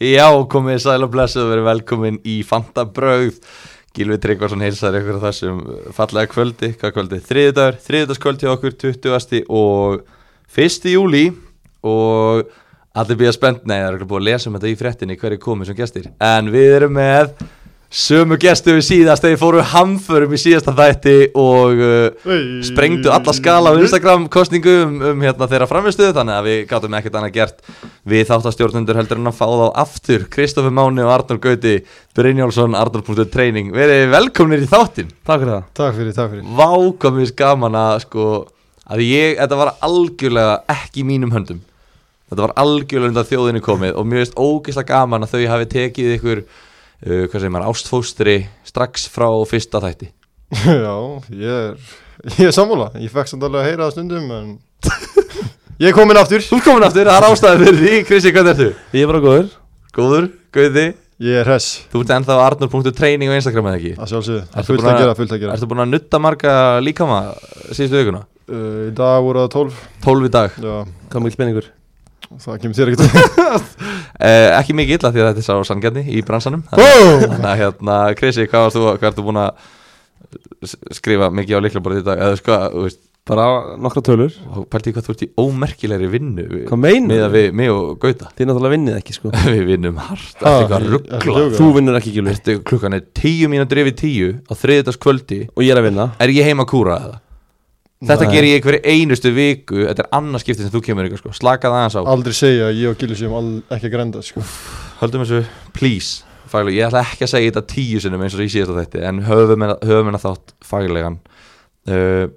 Já, komið sæl og blessuð og verið velkomin í Fanta Brauð Gilvi Tryggvarsson heilsar ykkur á þessum fallega kvöldi, hvað kvöldi? Þriðudagur, þriðudagskvöld hjá okkur, 20. og 1. júli og allir býða spennt, nei, það er ekki búið að lesa um þetta í fréttinni, hverju komið sem gestir En við erum með sömu gestu við síðast, þeir fóru hamförum í síðasta þætti og uh, Hey. sprengdu alla skala á Instagram kostningu um, um hérna þeirra framistuðu þannig að við gátum ekkert annað gert við þáttastjórnundur heldur en að fá þá aftur Kristoffer Máni og Arnur Gauti Brynjálsson, Arnur.training verið velkomnir í þáttin Takk fyrir það Takk fyrir, takk fyrir Vákamis gaman að sko að ég, þetta var algjörlega ekki í mínum höndum þetta var algjörlega undan þjóðinni komið og mér finnst ógeðslega gaman að þau hafi tekið ykkur uh, hvað segir maður, ástfóstri strax frá fyrsta þætti Já, ég er, ég er sammála Ég fekk samt alveg að heyra það stundum en... Ég er komin aftur Þú ert komin aftur, það er ástæðið fyrir því Krissi, hvernig ertu? Ég er bara góður Góður, Gauði, Ég er hress þú ert ennþá arnur.training á Instagram eða ekki? Að sjálfsögðu, Ertu fullt búin að að- gera, fullt að gera Ertu búin að nutta marga líkama síðustu vikuna? uh, Í dag voru það 12 12 í dag Já, Hvað mikil spenningur það kemur þér ekkert eh, Ekki mikið illa því að þetta er sá sangjarni í bransanum Þannig Búm! þannig að hérna, Krissi, hvað varst þú, hvað ertu búin að s- skrifa mikið á líklaborðið í dag? Eða sko, þú veist, Bara nokkra tölur pælti hvað þú ert í ómerkilegri vinnu Hvað meinar Með að við, mig og Gauta Þið náttúrulega vinnið ekki sko Við vinnum hart, Ha, allt eitthvað ertu ruggla að Þú ljóga? vinnur ekki gilvi Ertu klukkan er tíu mínútur yfir tíu á þriðudagskvöldi Og ég er að vinna Er ég heima að kúra eða? Þetta Nei. ger ég hverju einustu viku Þetta er annars skipti sem þú kemur ykkur sko Slaka það aðeins á Aldrei segja að ég og Gilvi séum al- ekki að grenda sko. Höldum þessu Please Faglega, ég ætla ekki að segja þetta tíu sinnum eins og ég síðast á þetta En höfum hérna- höfum hérna þátt faglegan uh,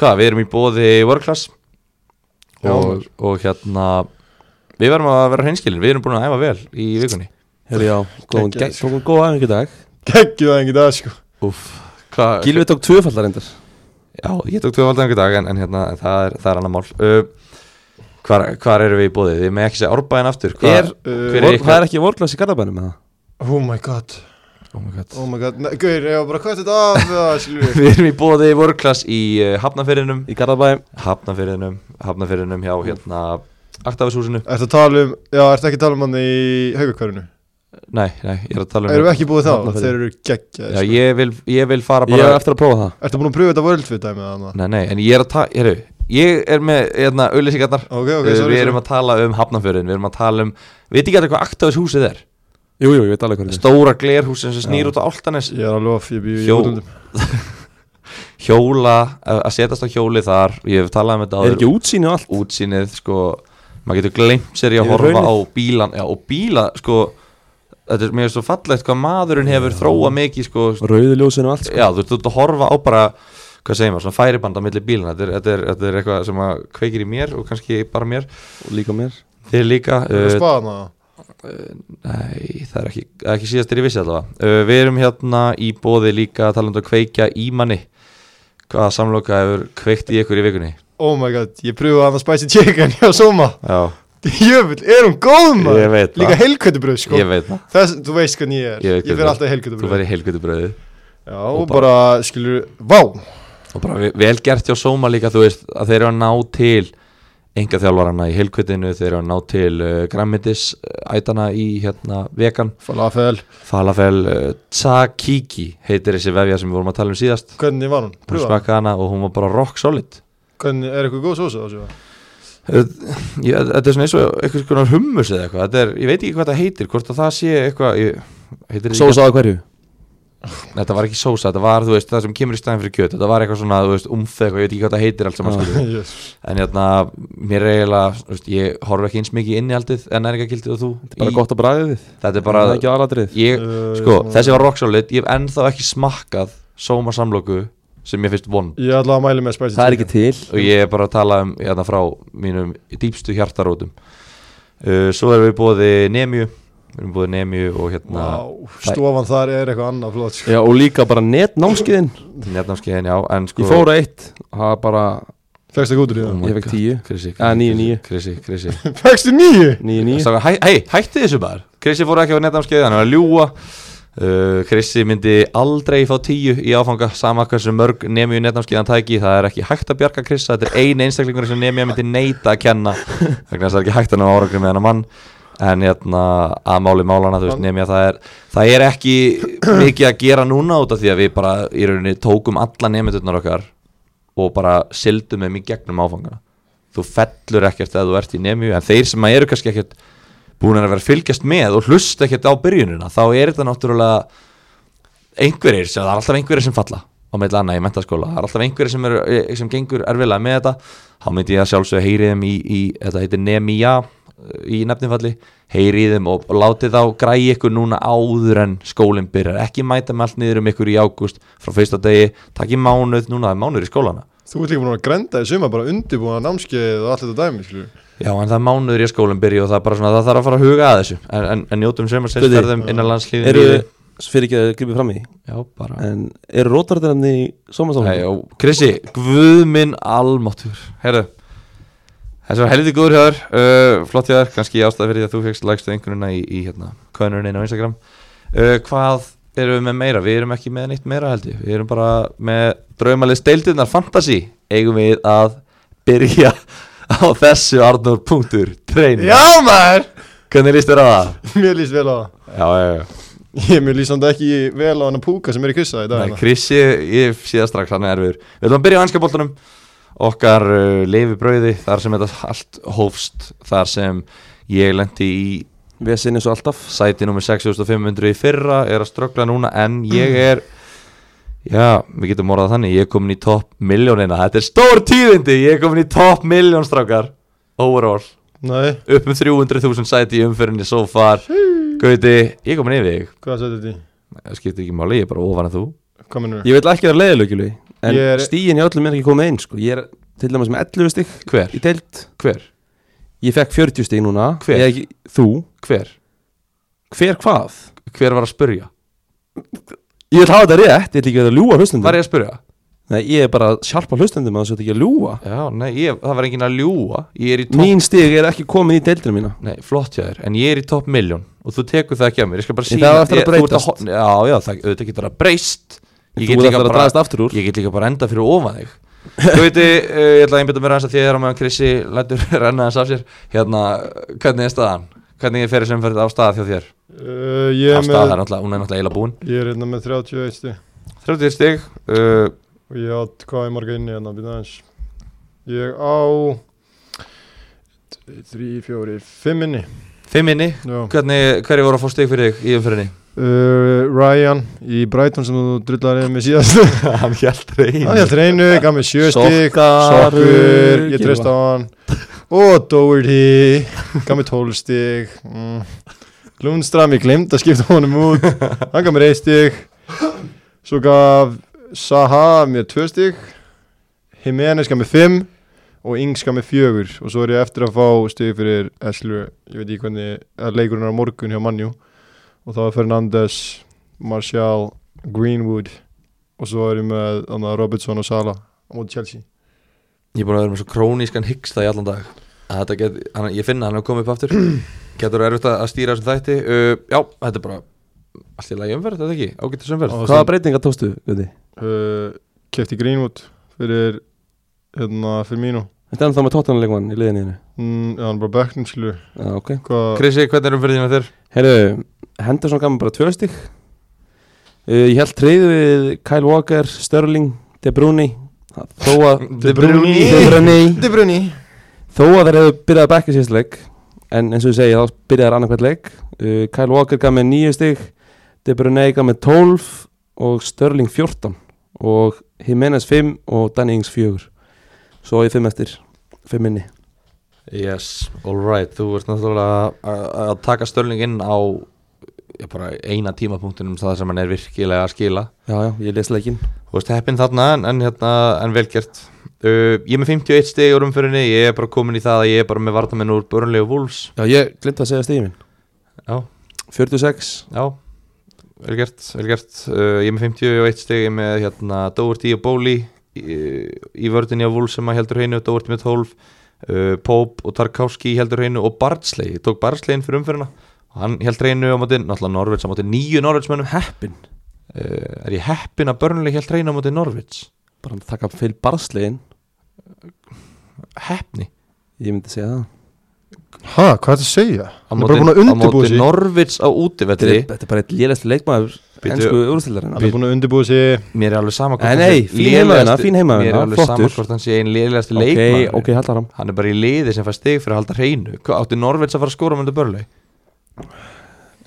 Hvað, við erum í bóði Workclass Já. og, og hérna Við verðum að vera hreinskilin Við erum búin að æfa vel í vikunni Herri já Góðan Geggjað, gæ- sko. Góðan góðan ekki dag Gekkið það engi dag sko. Úff hvað- Gilvi tók tvöfallar endar Já, ég tók tvöfaldan einhver dag en, en hérna, en það er, það er annar mál uh, hvar, hvar eru við í bóðið? Við með ekki segja árbæðin aftur hvar, Er Hver uh, er vor- ykkar- Það er ekki vorklass í Garðabænum með það Oh my god oh my god Oh my god, Nei, Gaur, ég var bara hvað er þetta af það, skilur við Við erum í bóðið í vorklass í uh, Hafnafyrðinum Í Garðabæn Hafnafyrðinum, Hafnafyrðinum hjá hérna Aktafishúsinu Ertu að tala um, já, ertu ekki að tala um hann í haugakvarinu? Nei, nei, ég er að tala um Erum við ekki búið þá? Hafnarfirði. Þeir eru geggjaðir sko. Já, ég vil, ég vil fara Ég bara er eftir að prófa það Ertu búin að pröfa þetta Worldfit dæmið þannig? Nei, nei, en ég er að tala, hérru Ég er með, hérna, auðlýsingarnar Ok, ok, Uh, sorry Við erum að tala um Hafnafyrðin, við erum að tala um Veit ekki allir hvað Aktafishúsið er? Jú, jú, ég veit alveg hvað það Stóra glerhúsin sem snýr Já. út á Áltanes Ég er alveg off, ég býð í Hjó. útlöndum hjóla, að að setast á hjóli þar ég hef talað um þetta er Er ekki útsýni og allt útsýnið sko, maður getur glemt sér í að Yfir horfa á hraunið. bílan já, og bíla, sko þetta er mér finnst svo fallegt hvað maðurinn hefur þróað mikið, sko, Rauði ljósin og allt sko. já, þú ert út að horfa á bara hvað segir maður, svona færibanda millir bílana þetta er, þetta, er, þetta er eitthvað sem að kveikir í mér og kannski bara mér, sko, Og líka mér þið líka Það er uh, spaðan að Nei, það er ekki, það er ekki síðast er ég vissi allavega uh, Við erum hérna í bóði líka talandi um að kveikja í manni Hvaða samloka hefur kveikt í ykkur í vikunni? Oh my god, ég pröfaði hann að spicy chicken hjá Soma Já, Jöfull, er hún góð maður? Ég veit það. Líka helkvöldubröð sko ég veit það Þess, þú veist hvernig ég Ég er veit Ég hvernig. fyrir alltaf í Þú helkvöldubröð verði heilgötu bröðið Já, og og bara, skilur, vá Og bara ve- vel gert hjá Soma líka, þú veist Að þeir eru að ná til Enga þjálfarana í heilgötinu Þeir eru að ná til uh, Grammitis Ætana í hérna vegan Falafel Falafel uh, Tsakiki Heitir þessi vefja sem við vorum að tala um síðast Hvernig var hún? Hún Pröfa smakkaði hana og hún var bara rock solid Hvernig, er eitthvað góð sósa á þessu? Ég- Þetta er svona eins og eitthvað skonar hummus eða eitthvað Þetta er, Ég veit ekki hvað það heitir, hvort að það sé eitthvað ég, heitir þetta Sósa á hverju ekki, Þetta var ekki sósa, þetta var þú veist, það sem kemur í staðin fyrir kjöt Þetta var eitthvað svona, þú veist, umþ eitthvað, ég veit ekki hvað það heitir allt saman Já. skilur. Yes. En hérna, mér er eiginlega, þú veist, ég horf ekki eins mikið inn í aldið En er ekki og þú Þetta er bara í, gott að bræði við Þetta er bara, Það er ekki aðladrið ég, Uh, sko, svona- þessi var rock solid Ég hef ennþá ekki smakkað sóma samlóku sem ég finnst vond Ég ætla að mæla með spicy Það er ekki chicken til og ég er bara að tala um hérna frá mínum dýpstu hjartarótum uh, svo erum við bóði Nemju við erum bóði Nemju og hérna Vá, stofan þar er eitthvað annað flott sko. Já, og líka bara netnámskiðin netnámskeiðin, já, en sko Oh Ég fór að eitt Það var bara Fegstu það gútur í það? my Ég fekk God. tíu Krissi, Ah, níu, níu. Krissi, Krissi Fegstu nýju? Nýju, nýju Strákar, hæ, Hei, hætti þessu bara Krissi fór ekki á netnámskeið, hann var að ljúa uh, Krissi myndi aldrei fá tíu í áfanga sama hversu mörg Nemju netnámskeið hann tæki það er ekki hægt að bjarga Krissa, þetta er ein einstaklingur sem Nemja myndi neita að kenna vegna þess að það er ekki hægt að ná árangri með hennar mann en hérna að máli málana þú veist nefnja það er það er ekki mikið að gera núna út af því að við bara í rauninni tókum alla nefndurnar okkar og bara sildum þeim í gegnum áfangana þú fellur ekkert að þú ert í nefnju en þeir sem eru kannski ekkert búin að vera að fylgjast með og hlusta ekkert á byrjunina þá er þetta náttúrulega einhverjir sem það er alltaf einhverjir sem falla á meðl annað í mentaskóla, það er alltaf einhverjir sem, er, sem gengur erfilega með þetta þá myndi ég að sjálfsög heyri þeim í, í þetta heitir Nemia í nefninfalli heyri þeim og, og láti þá græi ykkur núna áður en skólinn byrjar ekki mæta með allt niður um ykkur í ágúst frá fyrsta degi, takk í mánuð núna það er mánuður í skólana Þú ert líka búin að grenda í suma bara undirbúna námskeið og allt þetta dæmi, skilju. Já, en það er mánuður í að skólinn byrja og það er bara svona, það þarf að fara að huga að þessu en, en, en njótum sem að Guði, ferðum innanlandslíðin Eru, fyrir ekki að gripa fram í Já, bara En eru rótarðarnefni í sómasála? Nei, og Krissi, guð minn almáttur Herðu Þessi var helviti góður hjá þér uh, Flott hjá þér, kannski ástæð fyrir því að þú fegst lægstu einhvernuna í, í hérna, könurinn á Instagram uh, Hvað erum við með meira? Við erum ekki með neitt meira held ég Við erum bara með draumalið steildirnar Fantasy Eigum við að byrja á þessu Arnur punktur Treyni Já, maður! Hvernig líst þér á það? Mér líst vel á það. Já, já, já Ég mér líst samt ekki vel á hann að púka sem er í kussa í dag. Nei, hérna. Krissi, ég sé það strax, hann er erfiður Við ætlum að byrja á ennska boltanum Okkar uh, leifi brauði, þar sem þetta allt hófst Þar sem ég lendi í Vesin eins og alltaf sæti nummer 6500 í fyrra Er að ströggla núna, en ég er Já, við getum orðað þannig Ég er komin í topp miljónina Þetta er stór tíðindi, ég er komin í topp miljón strákar Overall Nei, Upp um 300.000 sæti í umfyrinni so far Gauti, ég er komin yfir þig hvað sætti þetta í? Það skiptir ekki máli, ég er bara ofan að þú Hvað minnur? Ég vil ekki vera leiðilögjulu En Ég er- er... stíin í öllum er ekki komið einn sko. Ég er til dæmis með 11 stík Hver? í deild Hver? Ég fekk 40 stík núna Hver? Ég ekki, Þú Hver? Hver hvað? hver var að spurja? Ég vil hafa þetta rétt, ég vil ekki vera að ljúa hlustendum Var ég að spurja? Nei, ég er bara að sjálpa hlustendum að þessu ekki að ljúa Já, nei, ég, það var enginn að ljúa Ég er í topp, Mín stík er ekki komin í deildina mína nei, flott hjá þér En ég er í topp miljón og þú tekur það ekki að mér Ég skal bara En sína það á eftir að ég- þú ert breytast. hor- Já, já, það auðvitað getur að breyst Ég Þú get ert líka eftir að bara- draðast aftur úr Ég get líka bara enda fyrir ofan þig Þú veitir, uh, ég ætla að einbytta mér aðeins að þér á meðan Krissi lætur renna þess af sér Hérna, hvernig er staðan? Hvernig er fyrir sem fyrir á stað hjá þér? Uh, ég, Á er stað, það með, er náttúrulega, hún er náttúrulega eila búin ég er hérna með 31 stu 30 stig, uh, og ég átt hvað er marga inni hérna, býta aðeins. Ég á 3, 4, 5 inni. fimm inni Já. Hvernig, hverju voru að fá stig fyrir þig í umfyrinni? Uh, Ryan í Brighton sem þú drullar með síðast. Hann hjælt reyn Hann held reynu, gaf mér sjö stík Sokkar, Sokkur, ég Gylfa. treyst á hann Og Doherty Gaf mér tól stík mm. Lundstram, ég glemt að skipta honum út Hann gaf mér eitt stík Svo gaf Saha mér tvö stík Jimenez gaf mér fimm Og Ings gaf mér fjögur Og svo er ég eftir að fá stík fyrir Eslu Ég veit ekki hvernig að leikurinn er á morgun hjá Manju Og þá er Fernandes Martial, Greenwood og svo er ég með annað, Robertson og Sala á móti Chelsea Ég er búin að vera með svo krónískan hyggsta í allan dag að þetta get, hann, ég finna hann að koma upp aftur getur erfitt að að stýra þessum þætti uh, já, þetta er bara allt í lagi umverð, þetta ekki, ágættis umverð Og Hvaða breytingar tókstu, Guði? uh, kefti Greenwood fyrir hérna, fyrir mínu Þetta er ennþá með tóttanleikmann í liðinni þínu. mm, já, hann er bara bekknum skilu Já, ok hvað Krissi, hvernig er umverðin með þér? Herru, Henderson gaf mér bara tvö stygg uh, Ég held treyðu við Kyle Walker, Sterling, De Bruyne Þó að De Bruyne. De Bruyne De Bruyne Þó að þeir hefðu byrjað að bekka síðast leik En eins og ég segi, þá byrjaði þeir annarkvæmt leik uh, Kyle Walker gaf mér nýju stygg De Bruyne gaf mér 12 Og Sterling 14 Og Jimenez 5 og Danny Ings 4 Svo á ég 5 eftir 5 minni Yes, alright, þú ert náttúrulega að- að taka störling inn á já, bara eina tímapunktinum það sem hann er virkilega að skila Já, já, ég les leikinn Þú veist, heppin þarna en, en, hérna, en velgjert uh, Ég er með 51 stig úr umfyrinni ég er bara komin í það að ég er bara með vartamenn úr Burnley og Wolves Já, ég glemt að segja stíðin minn Já, 46 Já, vel gert, vel gert uh, Ég er með 51 stig, ég er með hérna, Doherty og Bóli í, í vördinni á Vúl sem að heldur hreinu Doherty með 12, uh, Pope og Tarkowski heldur hreinu og Bardsley ég tók Bardsley inn fyrir umfyrirna og hann held hreinu á móti, náttúrulega Norvits á móti nýju Norvitsmönnum uh, Heppin Er ég heppin að Burnley held hreinu á móti Norvits? bara að taka fyrir barsliðin Heppni ég myndi segja það Hæ, hvað er þetta að segja? á Hann er bara búin á að undirbúa móti sig Norvits á Þetta útivelli er, þetta er bara eitt lélægst leikmaður Bíddu. ennsku úrstildar Hann er búin að undirbúa sig Mér er alveg sama Nei, hann nei, sé fín heimavinna, lélegasti- fín heimavinna, Mér er alveg sama flottur. hvort hann sé einn liðlegasti okay, Ok, leikmaður ok, hallar hann Hann er bara í liði sem fær stig fyrir að halda hreinu Hvað- Átti Norvits að fara að skora mjöndu börlei?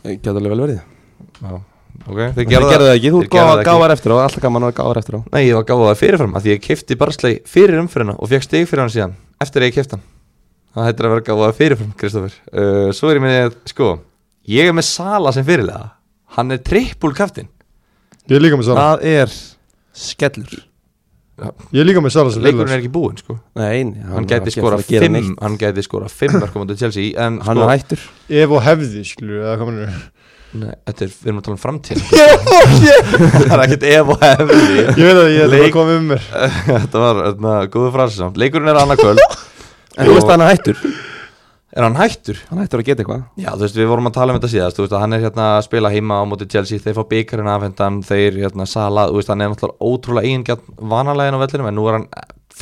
Gjáðu alveg vel verið Já, ok Þeir Þeir gerðu það ekki, þú þeir gerðu það gáðar ekki. gáðar eftir á Alltaf gaman að vera gáðar eftir á Nei, ég var gáð það fyrirfram af Því ég kefti barslei fyrir umfyrirna og fekk stig fyrir hann síðan Eftir að ég kefti hann Það hættir að vera gáð það fyrirfram, Kristoffer uh, Svo er ég með, sko Ég er með Sala sem fyrirlega Hann er trippul kaftin Ég er líka með Sala Það er skellur Ég er líka með Sala sem Leikurinn fyrirlega er ekki búinn, sko Nei, nei, Hann gæti var skora ekki að fara að gera fimm neitt. Hann gæti skora fimm verkum á Chelsea En, Hann sko, er hættur Ef og hefði, skilur við, eða hvað mennur Nei, þetta er, við erum að tala um framtíð Oh, Það er ekkert ef og hefði Ég veit að ég er Leik- bara að koma um mér Þetta var, þetta, góðu frasi samt Leikurinn er annað kvöld En þú veist að hann er hættur Er hann hættur? Hann er hættur að geta eitthvað Já, þú veist, við vorum að tala um þetta síðast Þú veist, að hann er hérna að spila heima á móti Chelsea Þeir fá byggarinn afhendan, þeir hérna sala Þú veist, hann er náttúrulega ótrúlega eigingjarn vanalegin á vellinum En nú er hann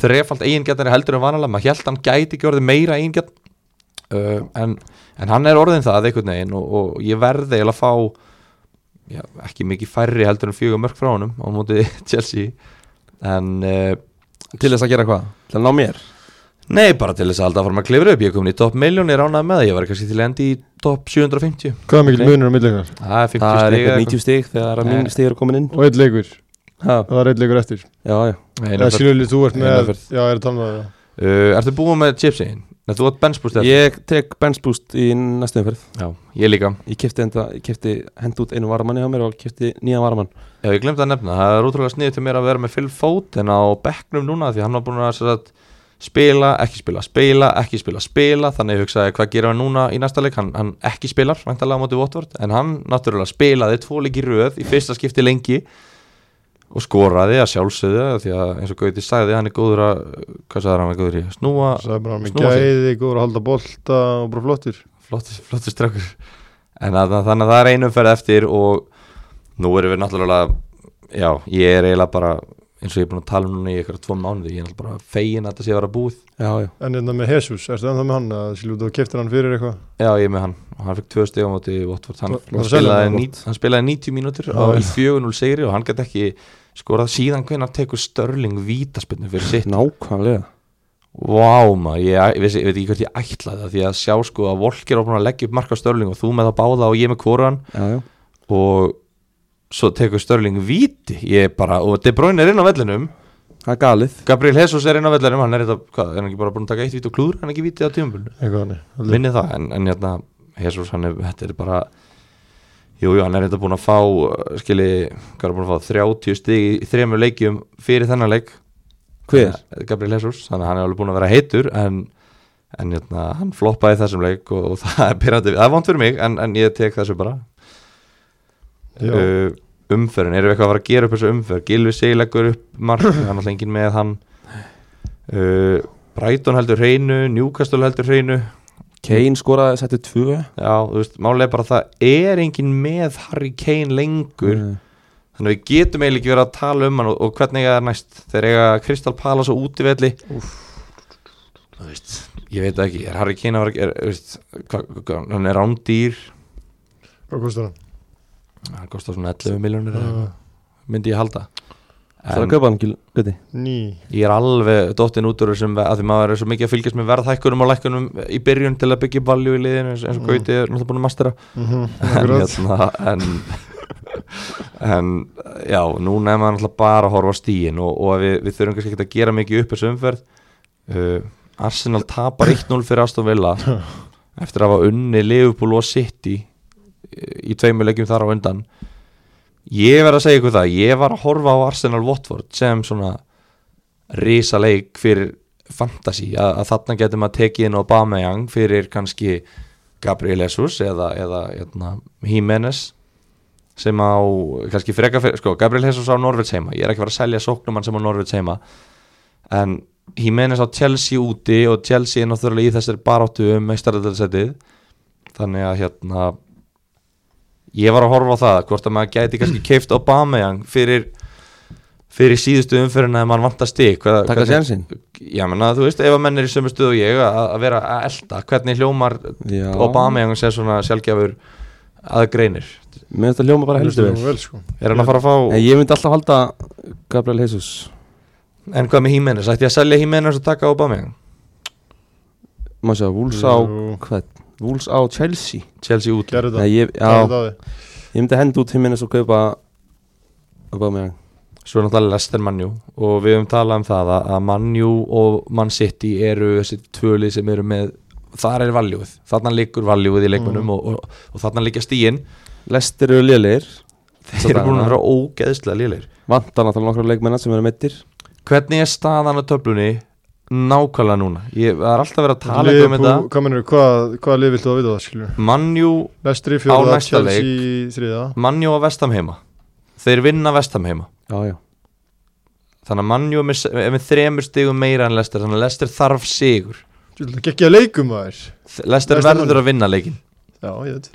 þrefald eigingjarnari heldur en vanalega Maður held hann gæti ekki orðið meira eigingjarn uh, en, en hann er orðin það einhvern veginn Og, og ég verði eiginlega að fá já, Ekki mikið færri heldur en fjögur mörg frá honum Á móti Chelsea En uh, Til þess að gera hvað? Til að ná mér Nei, bara til þess að alltaf fara maður að klifra upp Ég er komin í topp milljón, ég ránaði með það Ég var kannski til að enda í topp 750 Hvað er mikil Ok. munur á milli ykkar? Það er 50 Það er stig eða eitthvað 90 stig þegar að Nei. mín stig eru komin inn Og einn leikur Ha, Það er einn leikur eftir Já, já eitthvað. Eina Eða ferð. skilur við, þú ert með Eina ferð. Já, ég er að tala um það já. uh, Ertu búin með chipsegin? Nei, þú átt benchbúst eftir Ég tek bench boost í næstu umferð Já, ég líka Ég kefti, enda, ég kefti hend út einu varamanni á mér og kefti nýjan varamann Já, ég glemt að nefna, það er útrúlega sniðið til mér að vera með Phil Foden á bekknum núna Því hann var búin að sem sagt, spila, ekki spila, spila, ekki spila, spila Þannig ég hugsaði hvað gera hann núna í næsta leik Hann, hann ekki spilar, væntalega á móti Votvort En hann náttúrulega spilaði tvo leik í röð í fyrsta skipti lengi Og skoraði að sjálfsögðu Því að eins og Gauti sagði, hann er góður að, hvað sagði hann, hann er góður í að snúa Það er bara með Snúa sig. gæði, góður að halda bolta og bara flottir flottur, flottur strákur en að, þannig að það er einu ferð eftir og nú erum við náttúrulega já, ég er eiginlega bara eins og ég er búin að tala um núna í eitthvað tvo mánuði ég er náttúrulega bara fegin að þetta sé að vera búið Já, já En hérna með Jesus, ertu ennþá með hann? eða Skilur við, þú keftir hann fyrir eitthvað? já, ég er með hann og hann fekk tvö stig á móti Votvort hann, Var- hann, var að selja spilaði hann á ní- hann spilaði 90 mínútur á Já, í 4-0 segri og hann gæti ekki skorað síðan hvenær tekur Störling vítaspinnu fyrir sitt Nákvæmlega Vá maður, ég, ég, vissi, ég veit ekki hvort ég ætlaði það því að sjá sko að Volker var búin að leggja upp marka á Störling og þú með það báða og ég með kvoran Já, já og svo tekur Störling víti ég bara, og De Bruyne er inn á vellinum Það er galið Gabriel Jesus er inn á vellinum hann er þetta, hvað, er hann ekki bara búin að taka eitt víti og klúður hann er ekki víti á tímabunni, Eitthvað hann minni það en, en hérna, Jesus hann er, þetta er bara jújú, jú, hann er þetta búin að fá uh, skilji, hvað er búin að fá 30 stig í þremur leikjum fyrir þennan leik Hver? Eh, Gabriel Jesus, þannig að hann er alveg búin að vera heitur en, en hérna, hann floppaði í þessum leik og, og það er pyrrandi það er vant fyrir mig, en, en ég tek þessu bara Já. uh, umferðin, erum við eitthvað að fara að gera upp þessu umferð Gilvi Sigleggur upp mark hann er alltaf engin með hann uh, Brighton heldur hreinu Newcastle heldur hreinu Kane skoraði, setti tvö já, þú veist, málega bara að það er engin með Harry Kane lengur Nei. þannig að við getum eiginlega ekki verið að tala um hann og, og hvernig það er næst, þeir eiga Crystal Palace á útivelli þú veist, ég veit það ekki er Harry Kane að vera, er, þú veist hva, hva, hann er rándýr, Hvað kostar hann? hann kostar svona 11 miljónir Uh, myndi ég halda Það er Mm. að kaupa hann, Gil- Guði ný Ég er alveg dottin út úr þessum ve- að því maður er svo mikið að fylgjast með verðhækkunum og lækkunum í byrjun til að byggja valju í liðinu eins, eins og Mm. Gauti er náttúrulega búin að mastera en, Akkurat hérna, en, en já, núna er maður náttúrulega bara að horfa á stíin og, og við, við þurfum kannski ekki að gera mikið upp þessu umferð uh, Arsenal tapar 1-0 fyrir Aston Villa eftir að hafa unni Liverpool og City eh, í tveimur leikjum þar á undan ég verð að segja ykkur það ég var að horfa á Arsenal Watford sem svona risaleik fyrir fantasy að, að þarna getur maður tekið inn Aubameyang fyrir kannski Gabriel Jesus eða, eða hérna, Jimenez sem á, kannski freka fyrir, sko, Gabriel Jesus á Norvits heima, ég er ekki að fara að selja sóknumann sem á Norvits heima en Jimenez á Chelsea úti og Chelsea er náttúrulega í þessari baráttu um meistaröldarsætið þannig að hérna ég var að horfa á það, hvort að maður gæti kannski keift Aubameyang fyrir fyrir síðustu umfyrirna að mann vantar stig hvað- taka hvernig- sénsinn Já, menna, þú veist, ef að menn er í sömu stuð og ég að, að vera að elda, hvernig hljómar Já. Obama eða sér svona sjálfgjafur að greinir Mér finnst að hljóma bara helstu Heldur vel nú vel sko er hann að fara að fá, En ég myndi alltaf halda Gabriel Jesus en hvað með Hímenes ætti ég að selja Hímenes og taka Obama Má sjá, Wolves á Jú. Hvað? Wolves á Chelsea Chelsea út Gerðu Nei, það ég, Gerðu það já, á þig. ég myndi henda út himminnes og kaupa Obama svo er náttúrulega Lester Manjú og við höfum talað um það að að Manjú og Man City eru þessi tvölið sem eru með þar er valjúið, þarna liggur valjúið í leikmunum og, og, og þarna liggja stíin Lester eru lélir þeir eru búin að vera ógeðslega lélir Vantar náttúrulega nokkra leikmennar sem eru meittir hvernig er staðan á töflunni nákvæmlega núna ég það er alltaf verið að tala eitthvað um Liverpool- þetta Hvað mennur, hvað, hvað lið viltu að vita það skilur Manjú, Lestri Á fjóða, næsta Chelsea í þriða Manjú og Vestam heima þeir vinna Vestam heima Já, já þannig að Manjú er með, er með þremur stigum meira en Lester þannig að Lester þarf sigur Þú ætla ekki að leikum að þér Þ- Lester Leicester verður Man- að vinna leikin Já, ég veit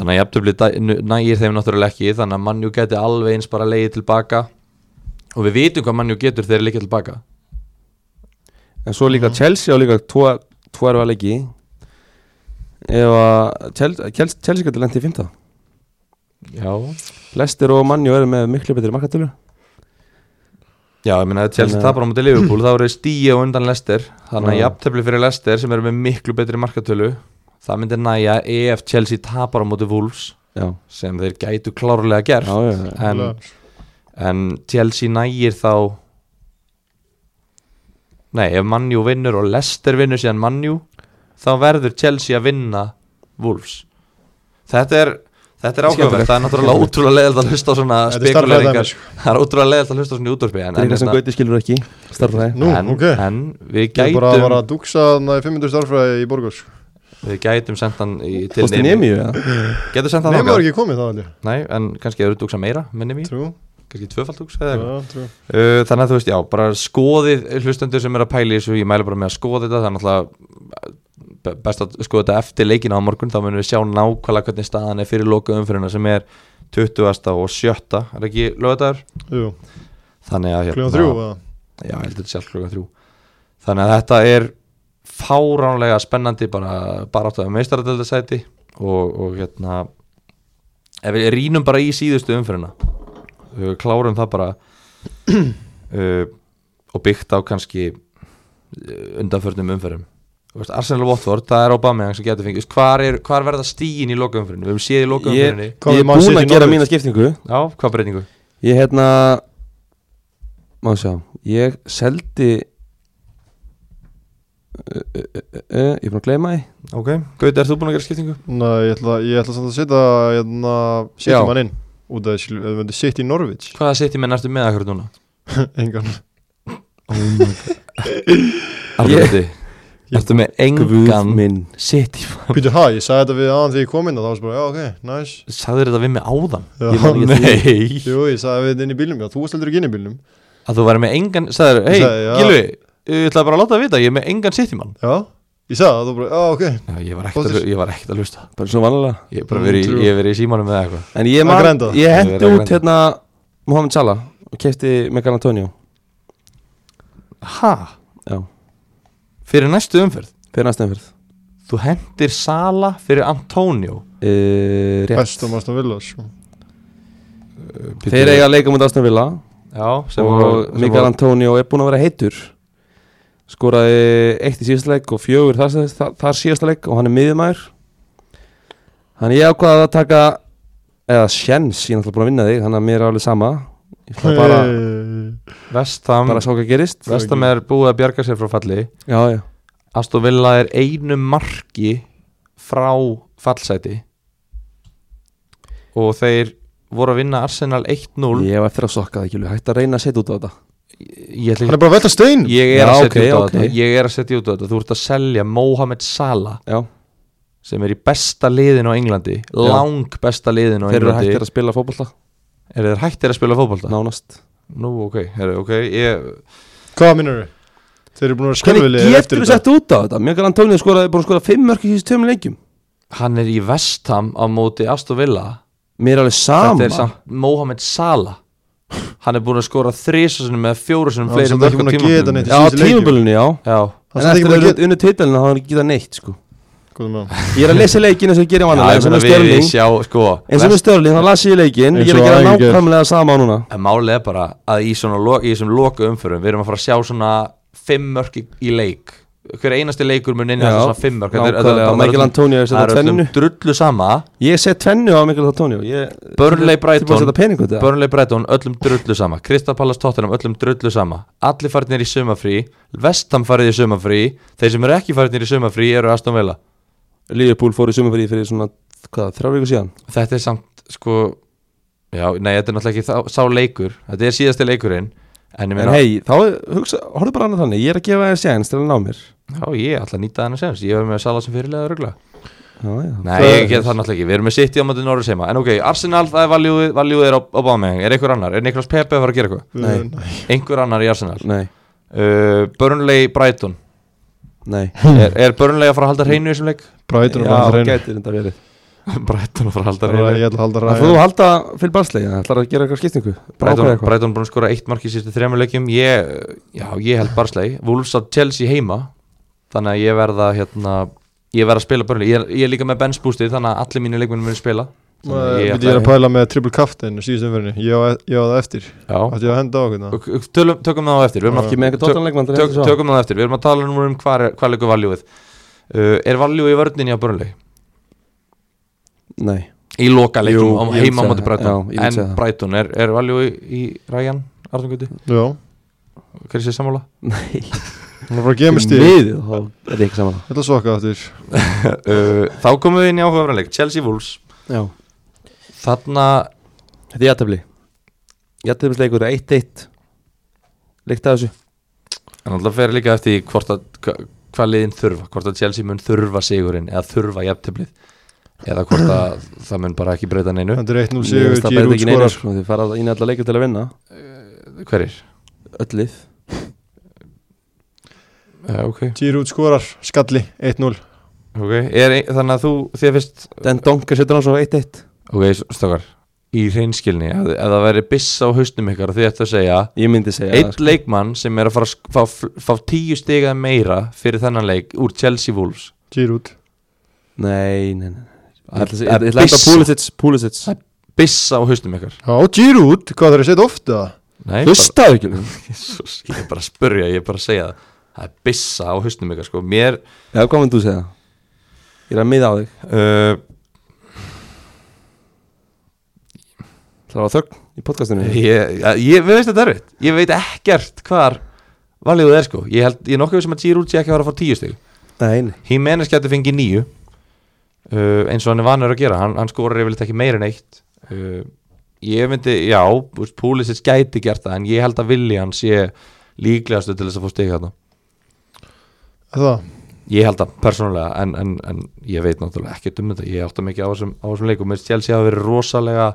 þannig að jafntöfli nægir þeim náttúrulega ekki þannig að Manjú geti alveg eins bara leiði tilbaka og við vitum hvað Manjú getur þegar leikja tilbaka En svo líka Mhm. Chelsea á líka tvo, tvo erfa leiki Ef að Chelsea, Chelsea, Chelsea getur lent í fymta já, Lester og Manjó eru með miklu betri markatölu já ég meina að Chelsea Þannig að- tapar á mútið Liverpool þá eru stíja og undan Lester þannig að Já. jafntöfli fyrir Lester sem eru með miklu betri markatölu það myndir næja ef Chelsea tapar á mútið Wolves Já, sem þeir gætu klárlega gert já, já, já. en, en Chelsea nægir þá nei, ef Manjú vinnur og Lester vinnur síðan Manjú þá verður Chelsea að vinna Wolves þetta er Þetta er ákveðverð, Skemmtilegt. það er náttúrulega ótrúlega leiðilegt að hlusta á svona Þetta er sko. spekuleringar starfræðið Það er ótrúlega leiðilegt að hlusta á svona í útvarpi en, Það er en, eitthvað sem hérna- Gauti skilur ekki Starfræði Nú, en, ok en við Ég er bara að gætum vara að duksa þannig að 500 starfræði í sko. borgars Við gætum sendt hann í, til Fórstu nemi, já Gætum sendt hann Nefnum var þangað ekki komið þá alveg Nei, en kannski eru dugsa meira, minni mér Trú Kannski tvöfald dugsa eða eitthvað Já, trú Uh, þannig að þú veist, já, bara skoðið hlustendur sem er að pæla í þessu, ég mæla bara með að skoða þetta það er náttúrulega be- best að skoða þetta eftir leikina á morgun, þá munum við sjá nákvæmlega hvernig staðan er fyrir loka umfyrirna sem er 20. og 7. er ekki lögadagur, Jú, þannig að hérna- kljóðan þrjú eða? já, ég heldur þetta sjálf klukkan þrjú þannig að þetta er fáránlega spennandi bara, bara áttu að meistaradeldasæti og, og hérna ef við rínum bara í síðustu umfyrirna klárum það bara uh, og byggt á kannski uh, undanförnum umfyrum veist, Arsenal og Watford, það er Aubameyang sem getur fengið Þú veist, hvar, er, hvar verða stíin í lokaumfyrinu við höfum séð í lokaumfyrinu Ég, Hvað ég er er Man búinn City að gera Norwich? mína skiptingu já, hvað breytingu? Ég hérna Má sjá Ég seldi Ö, ö, ö, ö, ö, Ég er búinn að gleyma því ok, Gauti, ert þú búin að gera skiptingu? Nei, ég ætla, ég ætla samt að setja hérna, Já. Setja mann inn Út af þessu, ef við myndum setja í Norvits hvaða sitt ég menn ertu með akkur núna? Engan Ég- Arnaldi, ertu með engan Guð minn City Býtu hæ, ég sagði þetta við aðan þegar ég kom inn og þá varst bara, já ok, nice Sagður þetta við mig áðan? Já. Ég man ekki að þú- Nei Jú, ég sagði við þetta inn í bílnum, já, þú varst heldur ekki inn í bílnum Að þú væri með engan Sagður, hei, Ég sagði, já. Gilvi Ég ætlaði bara að láta það vita, ég er með engan City mann Já, ég sagði það, þú bara, já ok Já, Ég var ekkert að, Fóttir. ég var ekkert að hlusta Bara svona vanlega Ég hef bara Mm, verið, í- true. ég hef verið í símanum með eitthvað En ég, Að man, grænda. ég Ég hendi er að út grænda. hérna Mohamed Salah Og kefti Megan Antonio Ha? Já Fyrir næstu umferð Fyrir næstenferð Þú hendir Sala fyrir Antonio uh, Rétt Bestum varst að vilja, sko Þeir eiga að leika mútið Aston Villa Eh, Já, sem var- Og sem Mikael var- Antonio er búinn að vera heitur Skoraði eitt í síðasta leik Og fjögur þar, þar, þar síðasta leik Og hann er miðjumæður Þannig ég ákvaði að taka Eða sjens, ég er náttúrulega búinn að vinna þig Þannig að mér er alveg sama Ég ætla bara, Hey. Vestham bara sá hvað gerist Vestham er búið að bjarga sér frá falli Já, já, Aston Villa er einu marki frá fallsæti og þeir voru að vinna Arsenal 1-0 ég var eftir að sokka það ekki alveg, Hægt að reyna að setja út á þetta ég, ætla Hann ekki- er bara að velta stein ég er Já, að ok, setja út á ok. þetta ég er að setja út á þetta, þú ert að selja Mohamed Salah Já, sem er í besta liðin á Englandi lang besta liðin á þeir eru Englandi hægt að spila fótbolta eru þeir hættir að spila fótbolta? Nánast nú ok, heru, ok ég, Hvað minnur þau? Þeir eru búin að vera skjálfilegir Hvernig getur þú sett út á þetta? Mjög grann tónið skoraði búin að skora 5 mörk í þessu tveim leikjum hann er í vestam á móti Aston Villa Mér er alveg sama þetta er samt Mohamed Salah Hann er búin að skora þrísasunum með fjórusunum Já, fleiri samt ekki mörg á búin að geta neitt. tímabili Í Já, síðustu leikjum. tímabölunni, já Já, Það En er ekki eftir búin að að við geta unni titilin þá hann ekki getað neitt sko Góðum með hann. Ég er að lesa leikin eins og ég gerir já vanlega ég eins og meina með við, við stjörling sjá sko eins og með stjörling þá las ég leikin ég Eins er að og gera Ægir. nákvæmlega sama núna En málið er bara að í, svona, lo- í þessum loku umförum Við erum að fara að sjá svona fimm mörk í, í leik Hver einasti leikur mun inn í Já, svona fimm mörk Þetta er- þetta er- þetta nákvæmlega. er Michael öllum- Antonio er að Það setja er öllum tvennu drullu sama Ég set tvennu á Michael Antonio Ég Burnley Þú búið að Brighton setja pening út það Burnley Brighton, öllum drullu sama Crystal Palace Tottenham, öllum drullu sama Allir farinir í sumafrí, Vestham farið í sumafrí Þeir sem eru ekki farinir í sumafrí eru Aston Villa Liverpool fór í sumafrí fyrir svona hvað, þrjá viku síðan Þetta er samt, sko Já, nei, þetta er náttúrulega ekki þá, sá leikur Þetta er síðasti leikurinn En ég En meina, hei, þá hugsa, horfðu bara annað þannig Ég er að gefa þér séns til að ná mér já, ég ætla að nýta þennan séns Ég verður með Sala sem fyrirlega rögla Já, já Nei, ég get það náttúrulega ekki, við erum með City á móti Norris heima En ok, Arsenal, það er valjúið, valjúið er á, á báðmeng Er einhver annar, er Niklas Pepe að fara að gera eitthvað? Nei. Nei. Einhver annar í Arsenal Nei, uh, Burnley Brighton nei er, er Burnley að fara að halda hreinu í þessum leik? Brighton er bara að Já, reyna. gætir þetta verið Brighton að fara að halda Það er að hreinu ég ætla að halda Það ræði. þú halda fyrir barnslega Það ætlar að gera eitthvað skiptingu Brighton, Ákveða eitthvað. Brighton búin að skora eitt mark í sístu þremur leikjum ég, Já, ég held Barsley Wolves að Chelsea heima Þannig að ég verða hérna Ég verð að spila Burnley, ég er, ég er líka með bench boostið Þannig að allir mínu leikmenn munu spila Þannig að Ég ég er að ætla- pæla með triple captain síðust umfyrinni. Ég á e- ég á það eftir. Já. Ætti ég að henda á okkur það? Og- og Tölum, tökum það á eftir Við erum að Ekki með eitthvað tóttanleikmann tök, tökum það eftir, við erum að tala nú um hvað er, hvað leikur valjúið uh, er valjúið í vörninni á Burnley? Nei í loka Jú, leikum ég heima á myndi móti segja það. Brighton en Brighton, Já, ég myndi segja það. er, er valjúið í Ræjan, Arnumgöti, Já. hver er sér sammála? Nei Það er bara að gefa mig stíð. Miðið, þá er það ekki saman Ég ætla að sokka aftur. Uh, þá komum við inn í áhugaverðanleik Chelsea Wolves, Já þarna Þetta er jættabli Jættablisleikur er 1-1 Leikt að þessu en alltaf fer líka eftir því hvort að hva- hvað liðin þurfa, hvort að Chelsea mun þurfa sigurinn eða þurfa jafntöflið eða hvort að það mun bara ekki breyta neinu Þetta er 1-0 Mér sigur, finnst það breyta Giroud ekki neinu, skorar. sko, Þið fara inn í alla leikur til að vinna hverir? Öll lið Uh, ok, Giroud skorar, skalli, 1-0. okay. Er, ein- þannig að þú, þér finnst Den Donker setur hann svo 1-1 ok, stokkar, í reynskilni ef, ef það væri biss á hausnum ykkar og þið ættu að segja Ég myndi segja Einn það, sko. leikmann sem er að fara að sk- fá, fl- fá tíu stiga meira fyrir þennan leik úr Chelsea Wolves Giroud. Nei, nei, nei Ég ætla að segja- Það er ég ætla að byssa. Pulisic Pulisic Það Bissa á haustum ykkar Já, Giroud. Hvað þarf ég að setja ofta? Nei, Hlustaðu ekki bara, Jesus, Ég er bara að spurja, ég er bara að segja það Það er bissa á haustum ykkar sko. Mér Já, hvað myndu þú segja? Ég er að miða á þig uh, Það var þögn í podcastinu ég, ég, ég mér finnst þetta erfitt Ég veit ekkert hvar valiðu er sko Ég, held, ég er nokkuð sem að Giroud sé ekki að fara að fá tíu stig Nei, nei Jimenez getur fengið nýju uh, eins og hann er vanur að gera hann, hann skorar yfirleitt ekki meira en eitt uh, ég myndi, já Púlisins gæti gert það en ég held að vilja hann sé líklegastu til þess að fá stig þarna Það. ég held það persónulega en, en, en ég veit náttúrulega ekkert um þetta ég átta mikið á þessum, á þessum leikum mér stjálf sé að vera rosalega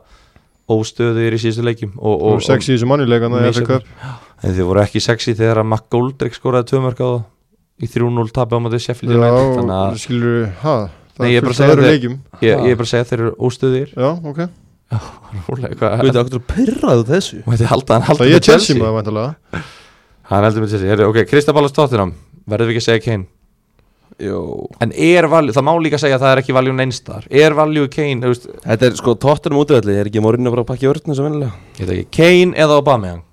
óstöður í síðustu leikum og, Og og, sex í þessu mannuleikana hérna í FA Misjafn. Cup. en þið voru ekki sexy þegar að Mac Goldrick skoraði tvömörk á það í 3-0 tabi á móti Já, Sheffield United þannig að skilur við, hæ? Nei, Það ég er er bara að fullt segja að öðru þér- leikjum. ég, ég er bara að segja að þeir eru óstöðir Já, ok. Rólega, hvað Guði, okkur að pyrraðu þessu Og þetta er halda, hann Það halda ég er Chelsea maður, væntalega. Hann heldur með Chelsea, Heyrðu, ok, Kristabalast Tottenham Verðum við ekki að segja Kane Jó En er valjú, það má líka segja að það er ekki valjú neinstar Er valjú Kane, þú veist Þetta er sko tóttunum útvelli Er ekki morinn að fara að pakka í vörðinu sem vennilega Ég veit ekki, Kane eða Aubameyang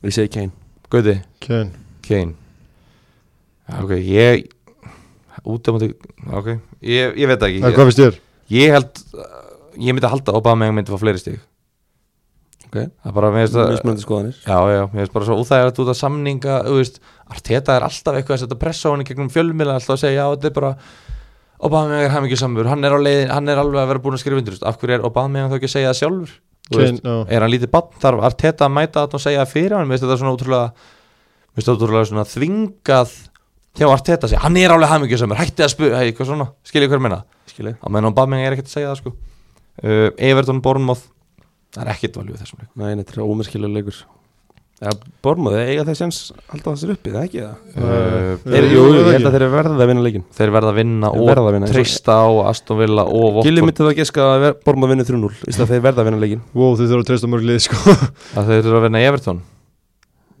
Ég segi Kane Guði, Kjön. Kane Já, Ok, ég Út af múti, ok Ég, ég veit það En ekki, hvað finnst þér? ég, ég held eh, Ég myndi að halda að Aubameyang myndi fá fleiri stík Ok Það er bara, mér finnst það Mismunandi skoðanir Já, já, mér finnst bara svo óþægilegt út af samninga þú veist, Arteta er alltaf eitthvað að setja pressa á hann í gegnum fjölmiðla alltaf að segja, já, þetta er bara Obama er hamingjur samur, hann er á leiðin hann er alveg að vera búin að skrifa undir, þú veist, af hverju er Obama þá ekki að segja það sjálfur, þú Kjön, veist eh, já. er hann lítið bann, þarf Arteta að mæta þarna og segja það fyrir hann, mér finnst þetta svona ótrúlega mér finnst þetta ótrúlega svona þvingað hjá Arteta að segja, hann er alveg hamingjur samur hætti að spura, hei, hvað svona, skilja hver menna Skilji á meðan Obama er ekkert að segja það, sko uh, Everton Bournemouth, það er ekkert valjú í þessum leik. Nei, þetta er ómerkilega leikur ja, Bormóði, eiga þeir sjans alltaf þessir uppi, það ekki það? Uh, Jú, Þeir, jú, eh, jú, það ég held ekki. að þeir eru verða að vinna leikin Þeir verða að vinna Þeir og verða að vinna, eins og- treysta á Aston Villa og Gilli Votford myndi það að geska að Bormóði vinna 3-0 í stað þeir verða að vinna leikin Wow, þið þurfa að treysta á mörg lið sko að þeir eru að vinna Everton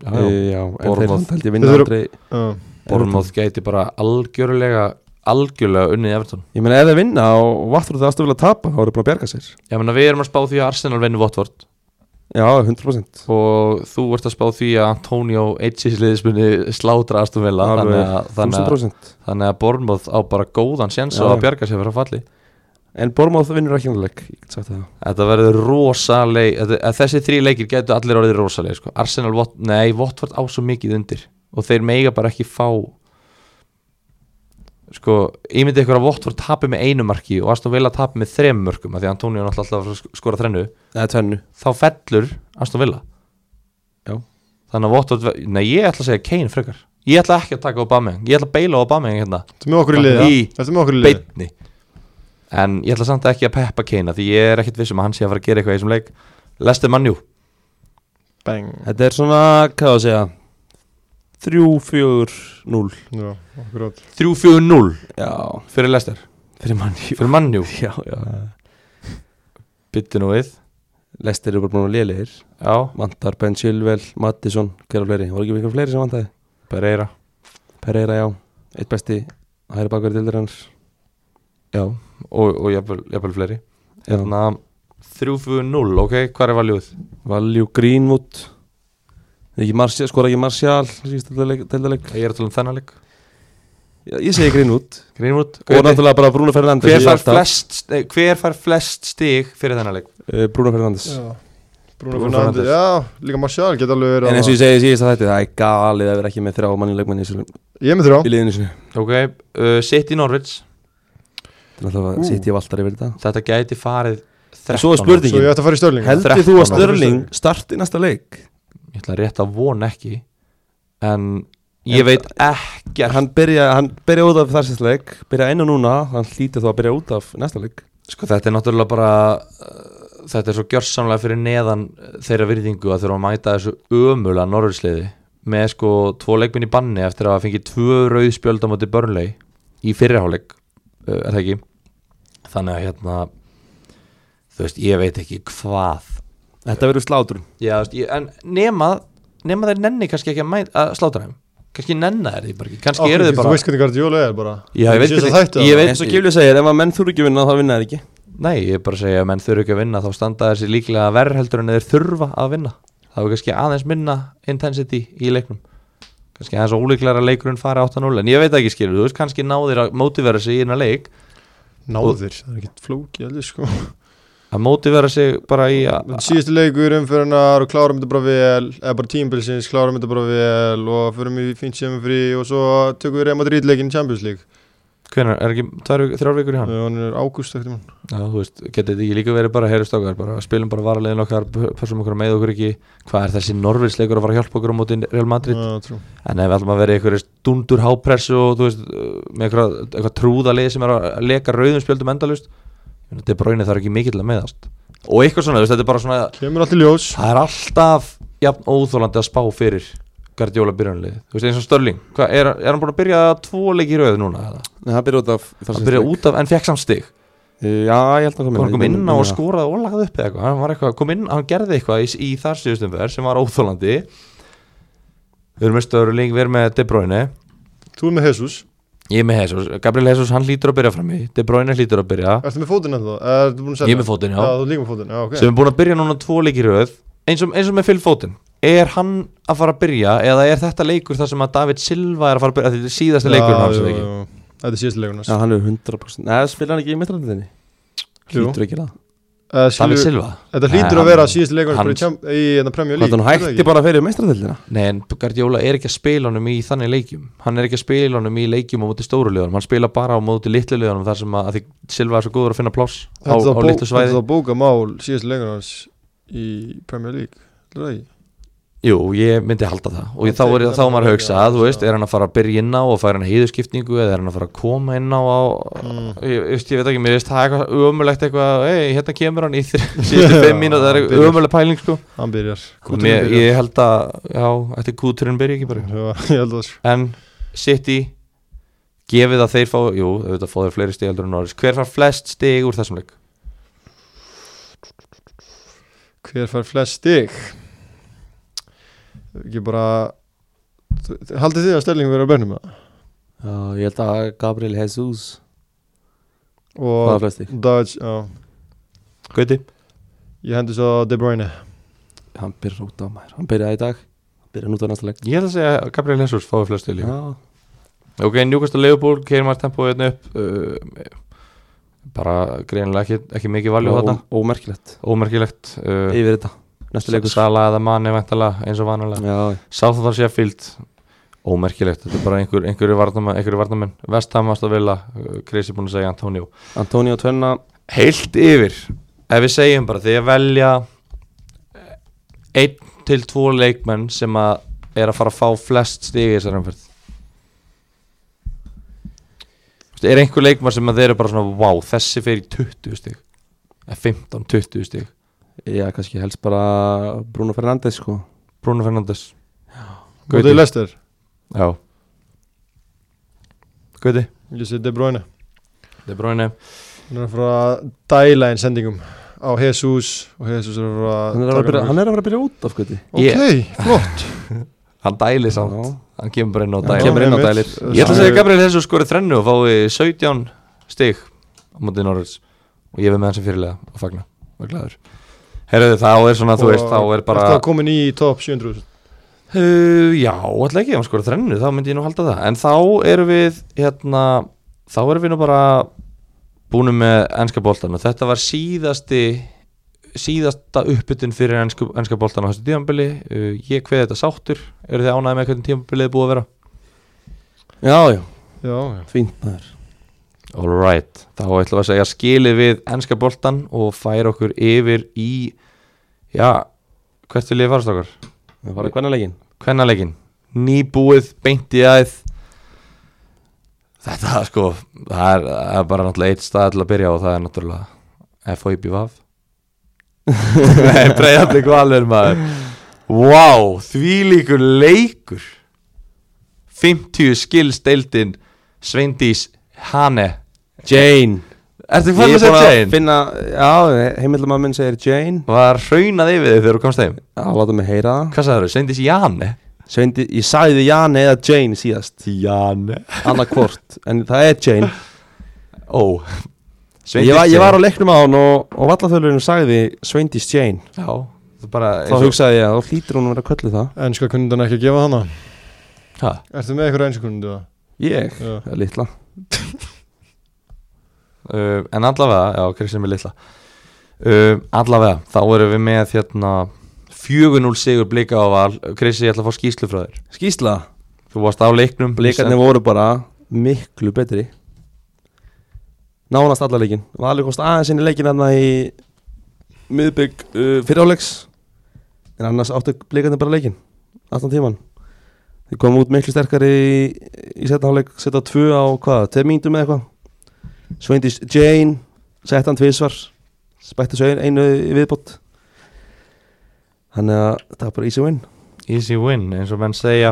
Já, já. Eh, já, en þeir Bournemouth. samt held ég vinna Þeir eru- aldrei Já. Bournemouth gæti bara algjörlega algjörlega unnið Everton Ég meina, ef þeir vinna og vatnur það aðstofa vilja að tapa, þá eru búin að bjarga sér Já, menna, við erum að spá því að Arsenal vinni Votford Já, 100% og þú ert að spá því að Antonio Eitchis muni slátra Aston Villa Alveg, þannig að, þannig, 1000% að, þannig að Bournemouth á bara góðan sjens Já, og já. að bjarga sér fyrir að falli En Bormóð vinnur ekki annað leik, ég get sagt það Þetta verður rosaleg þetta- að Þessi þrý leikir getur allir orðið rosaleg sko. Arsenal, Vot, nei, Votford á svo mikið undir og þeir mega bara ekki fá sko, ímyndið ykkur að Votford tapi með einu marki og Aston Villa tapi með þrem mörkum af því að Antonio náttúrulega alltaf að sk- skora þrennu Eða tvennu þá fellur Aston Villa Já. Þannig að Votford, ver- nei, ég ætla að segja Kane frekar Ég ætla ekki að taka Aubameyang, ég ætla að beila á Aubameyang hérna Ertu með okkur í lið? Í- Ertu með okkur í lið? beinni En ég ætla samt ekki að peppa Keina Því ég er ekkit vissum að hann sé að fara að gera eitthvað í þessum leik Lester Manjú, Bang Þetta er svona, hvað á að segja 3-4-0 Já, okkur átt 3-4-0 Já, fyrir Lester fyrir manni Fyrir Manjú, Já, já byttu nú við Lester eru bara búin að lélegir Já, Vantar Ben Chilwell, Mattisson, hver á fleiri Var ekki mikil fleiri sem vantaði? Pereira Pereira, já Eitt besti hæri bakverði dildur hans Já, og, og jafnvel, jafnvel fleiri Hérna, Já. Þannig að 3-4-0, ok, hvað er valjúð? Valjú Greenwood Er ekki Marcia, skora ekki Marcial Dildarleik Ég er að tala um þennan leik Ég segi Greenwood Greenwood, Og Gauti, náttúrulega bara Bruno Fernandes hver fær flest, nei, hver fær flest stig fyrir þennan leik? uh, Bruno Fernandes Já Bruno Bruno Fernandes Fernandes. Já, líka Martial geta alveg verið En eins og að- ég segi síðast að þetta Það er galið að vera ekki með þrjá manni leikmanni í þessu- Ég er með þrjá í liðinu sinu Ok, uh, City Norwich Það er náttúrulega Ú. að sitja valtar yfir þetta Þetta gæti farið 13 svo er spurningin. Svo ég ætti að fara í störling Heldur þú 13 að Störling starti næsta leik? ég ætla rétt að vona ekki en ég En- veit ekkert Hann byrja, hann byrja út af þessast leik Byrja enn og núna Hann hlýtur þá að byrja út af næsta leik sko þetta er náttúrulega bara uh, þetta er svo gjörsamlega fyrir neðan uh, þeirra virðingu að þurfa að mæta þessu ömula norðursliði með sko tvo leikminn í banni eftir að hafa fengið tvö rauðspjöld á móti börnlei í fyrirháleik uh, er það ekki þannig að hérna þú veist ég veit ekki hvað Þetta verður slátur Já, þú veist, ég, en nema nema þeir nenni kannski ekki að, mæta, að slátra þeim kannski nenna þeir því bara ekki kannski eru þeir bara Þú veist hvernig Guardiola er bara Já, ég veit Síðasta hvernig- þætti, ég eða? veit- Eins og Gifli segir Ef að menn þurfi ekki að vinna þá vinna þeir ekki Nei, ég er bara að segja að menn þurfi ekki að vinna þá standa þessi líklega verð heldur en þeir þurfa að vinna þá er kannski aðeins minna intensity í leiknum kannski aðeins ólíklega að leikurinn fari 8-0 en ég veit ekki skilur, þú veist kannski náðir að mótivera sig í eina leik Náðir, það er ekkert flóki alveg sko að mótivera sig bara í að Þetta síðustu leikur umfyrirnar og klárum þetta bara vel eða bara tímbilsins, klárum þetta bara vel og förum í fínt sem frí og svo tökum við reyma drítleikin í Champions League hvenar, er ekki tvær, vik- þrjár vikur í hann? og hann er ágúst eftir mann Já, þú veist, getið þetta ekki líka verið bara heyrðu stokkar, bara spilum bara varaliðin okkar p- pössum okkur að meiða okkur ekki, hvað er þessi Norvilsleikur að fara að hjálpa okkur á móti Real Madrid Mm. Þetta en ef við ætlum að vera í einhverju stundur hápressu og þú veist, uh, með eitthvað, eitthvað trúðalið sem er að leka rauðum spjöldum endalust þetta er bráinu þarf ekki mikill að meðast og eitthvað svona, þú veist, þetta er bara svona kemur allt í ljós það er alltaf jafn óþólandi að spá fyrir Guardiola byrjunlið, þú veist eins og Störling Hva, er, er hann búin að byrja tvo leik í rauð núna? eða? Nei, hann byrja út af hann byrja út af, en fekk samt stig Uh, Já, ég held að hann hann kom inn á og skoraði og lagði upp eða eitthvað, hann var eitthvað, kom inn, hann gerði eitthvað í, í þar síðustum verð sem var óþólandi við erum með Störling, við erum með De Bruyne Þú er með Jesus, Ég er með Jesus, Gabriel Jesus hann hlýtur að byrja fram í De Bruyne hlýtur að byrja ertu með fótinn ennþá? Ertu búin að selja? Ég er með fótinn, já. Já, þú er líka með fótinn, já ok sem er búin að byrja núna tvo leikir í röð eins og, eins og með Phil Foden er hann að fara að byrja eða er þetta leikur þar sem að David Silva er að fara að byrja þetta er síðasta leikurinn hans Já, er já, ekki já. Þetta er síðustu leikurinn Já, hann er 100% Nei, spila hann ekki í meðrandinni Jú. Hlýtur ekki það hans David Silva Þetta Nei, hlýtur hann- að vera síðustu leikurinn hann- bara í Champ- í hérna Premier Hvað League hann hætti bara fyrir meistratildina Nei en Guardiola er ekki að spila honum í þannig leikjum hann er ekki að spila honum í leikjum á móti stóru liðanum hann spila bara á móti litlu liðanum þar sem að, að því Silva er svo góður að finna pláss á, Þetta á er litlu það svæði bóka mál síðustu leikurinn hans í Premier League Þetta er það ekki Jú, ég myndi halda það og Hann þá er tekur þá er maður það að bara hugsa ekki að, þú alls, veist, já. er hann að fara að byrja inn á og færa hann að hýðuskiptingu eða er hann að fara að koma inn á, á Mm. ég, veist, ég veit ekki, mér veist það er eitthvað ömulegt eitthvað, ei, hérna kemur hann í þr- síðustu fimm mínútur, það Byrjar. er ömuleg pæling sko hann byrjar mér, ég held að, já, ætti kúturinn byrja ekki bara Já, ég held það sko en City gefið að þeir fá, jú, auðvitað fá þeir fleiri stig heldur en Norris, hver far flest stig úr þessum leik? Hver fær flest stig? Ekki bara Þ- Haldið þið að Sterling verið á bennum það? Já, ég held að Gabriel Jesus Það Og er flestir Dodge, já Gauti? Ég hendi svo De Bruyne Hann byrjar út á maður Hann byrjaði í dag Byrjaði nút á næsta leik Ég held að segja að Gabriel Jesus fái flest stig líka Já, Ok, njúkast að leiðból, keirir maður tempóið hérna upp uh, bara greinilega ekki, ekki mikið valjú og þarna, ómerkilegt ómerkilegt uh, Yfir þetta Næsta leikur Sala eða manni vantala eins og vanalega Já, Sáþóttar Sheffield, ómerkilegt þetta er bara einhver, einhverju varnamenn, einhverju varnamenn Vestham, Astavilla, uh, Krisi búin að segja Antonio Antonio Tvenna heilt yfir ef við segjum bara því að velja eh, einn til tvo leikmenn sem að er að fara að fá flest stig í þessari umferð Þú veist, er einhver leikmann sem að þeir eru bara svona wow, þessi fer í 20 stig Eða 15-20 stig Já, kannski helst bara Bruno Fernandes sko Bruno Fernandes Og þið lestir Já Gauti Ég sé De Bruyne De Bruyne Hann er að fara að dæla einn sendingum Á Jesus Og Jesus er að fara Hann er að taka fara hann að byrja, byrja út af gauti upp. Ok, flott Hann dæli samt Já. Hann kemur bara inn á Já, dæli Kemur inn á einmitt. dælir Ég ætla að Sami- segja að Gabriel Jesus skorið þrennu og fái 17 stig á móti Norris og ég við með hans sem fyrirlega og fagna og er glæður Herðu þá er svona, þú Og veist, þá er bara Ertu að komin í top 700 uh, Já, alltaf ekki, ef hann skorið þrennu þá myndi ég nú halda það, en þá erum við hérna, þá erum við nú bara búinu með ennska boltan og þetta var síðasti síðasta uppbytun fyrir ennska, ennska boltan á þessu tímabili uh, ég kveði þetta sáttur, eru þið ánægði með hvernig tímabilið er búið að vera? Já, já, Já, já fínt maður Alright, þá ætlum við að segja skilið við ennska boltan og færa okkur yfir í, já, hvert vil ég farast okkur? Það var að hvernig leikin Kvennalegin, nýbúið, beint í aðið Þetta sko, það er, það er bara náttúrulega eitt stað til að byrja og það er náttúrulega FOIB Vaf Nei, breyðandi kvalur maður Vá, wow, þvílíkur leikur 50 skilsteildin Sveindís Hane Jane Ertu Ég fann að er búin segja að Jane? finna, já, heimildamann minn segir Jane Var hraunað yfir þig þegar þú komst heim? Já, láta mig heyra það Hvað sagður þú? Sveindís Jane? Sveindi, ég sagði Jane eða Jane síðast Jane Annað hvort, en það er Jane Ó ég, var, ég Jane. var á leiknum á hann og, og vallafölurinn sagði Sveindis Jane Já, það er bara Þá hugsaði ég að þá hlýtur hún að vera að köllu það Ennska kundan ekki að gefa hana ha, Ertu með eitthvað ennska kundu það? Ég? Já Það er litla uh, En allavega, já, Kristján er litla uh, Allavega, þá erum við með hérna 4-0 sigur blika á val Kristján, ég ætla að fá skýslu frá þér Skýsla Þú varst á leiknum Blikarnir sem- voru bara miklu betri Nánast alla leikin Valur komst aðeins inn í leikin hann í miðbygg uh, fyriráleiks En annars áttu blikarnir bara leikin Alltaf tíman Þeir komum út miklu sterkari í, í setna áleik Setta tvö á hvað, tveir mínútum eða eitthvað Sveindis Jane Sett hann tvísvar Spætti svo ein- einu í viðbót Þannig að það er bara easy win Easy win, eins og menn segja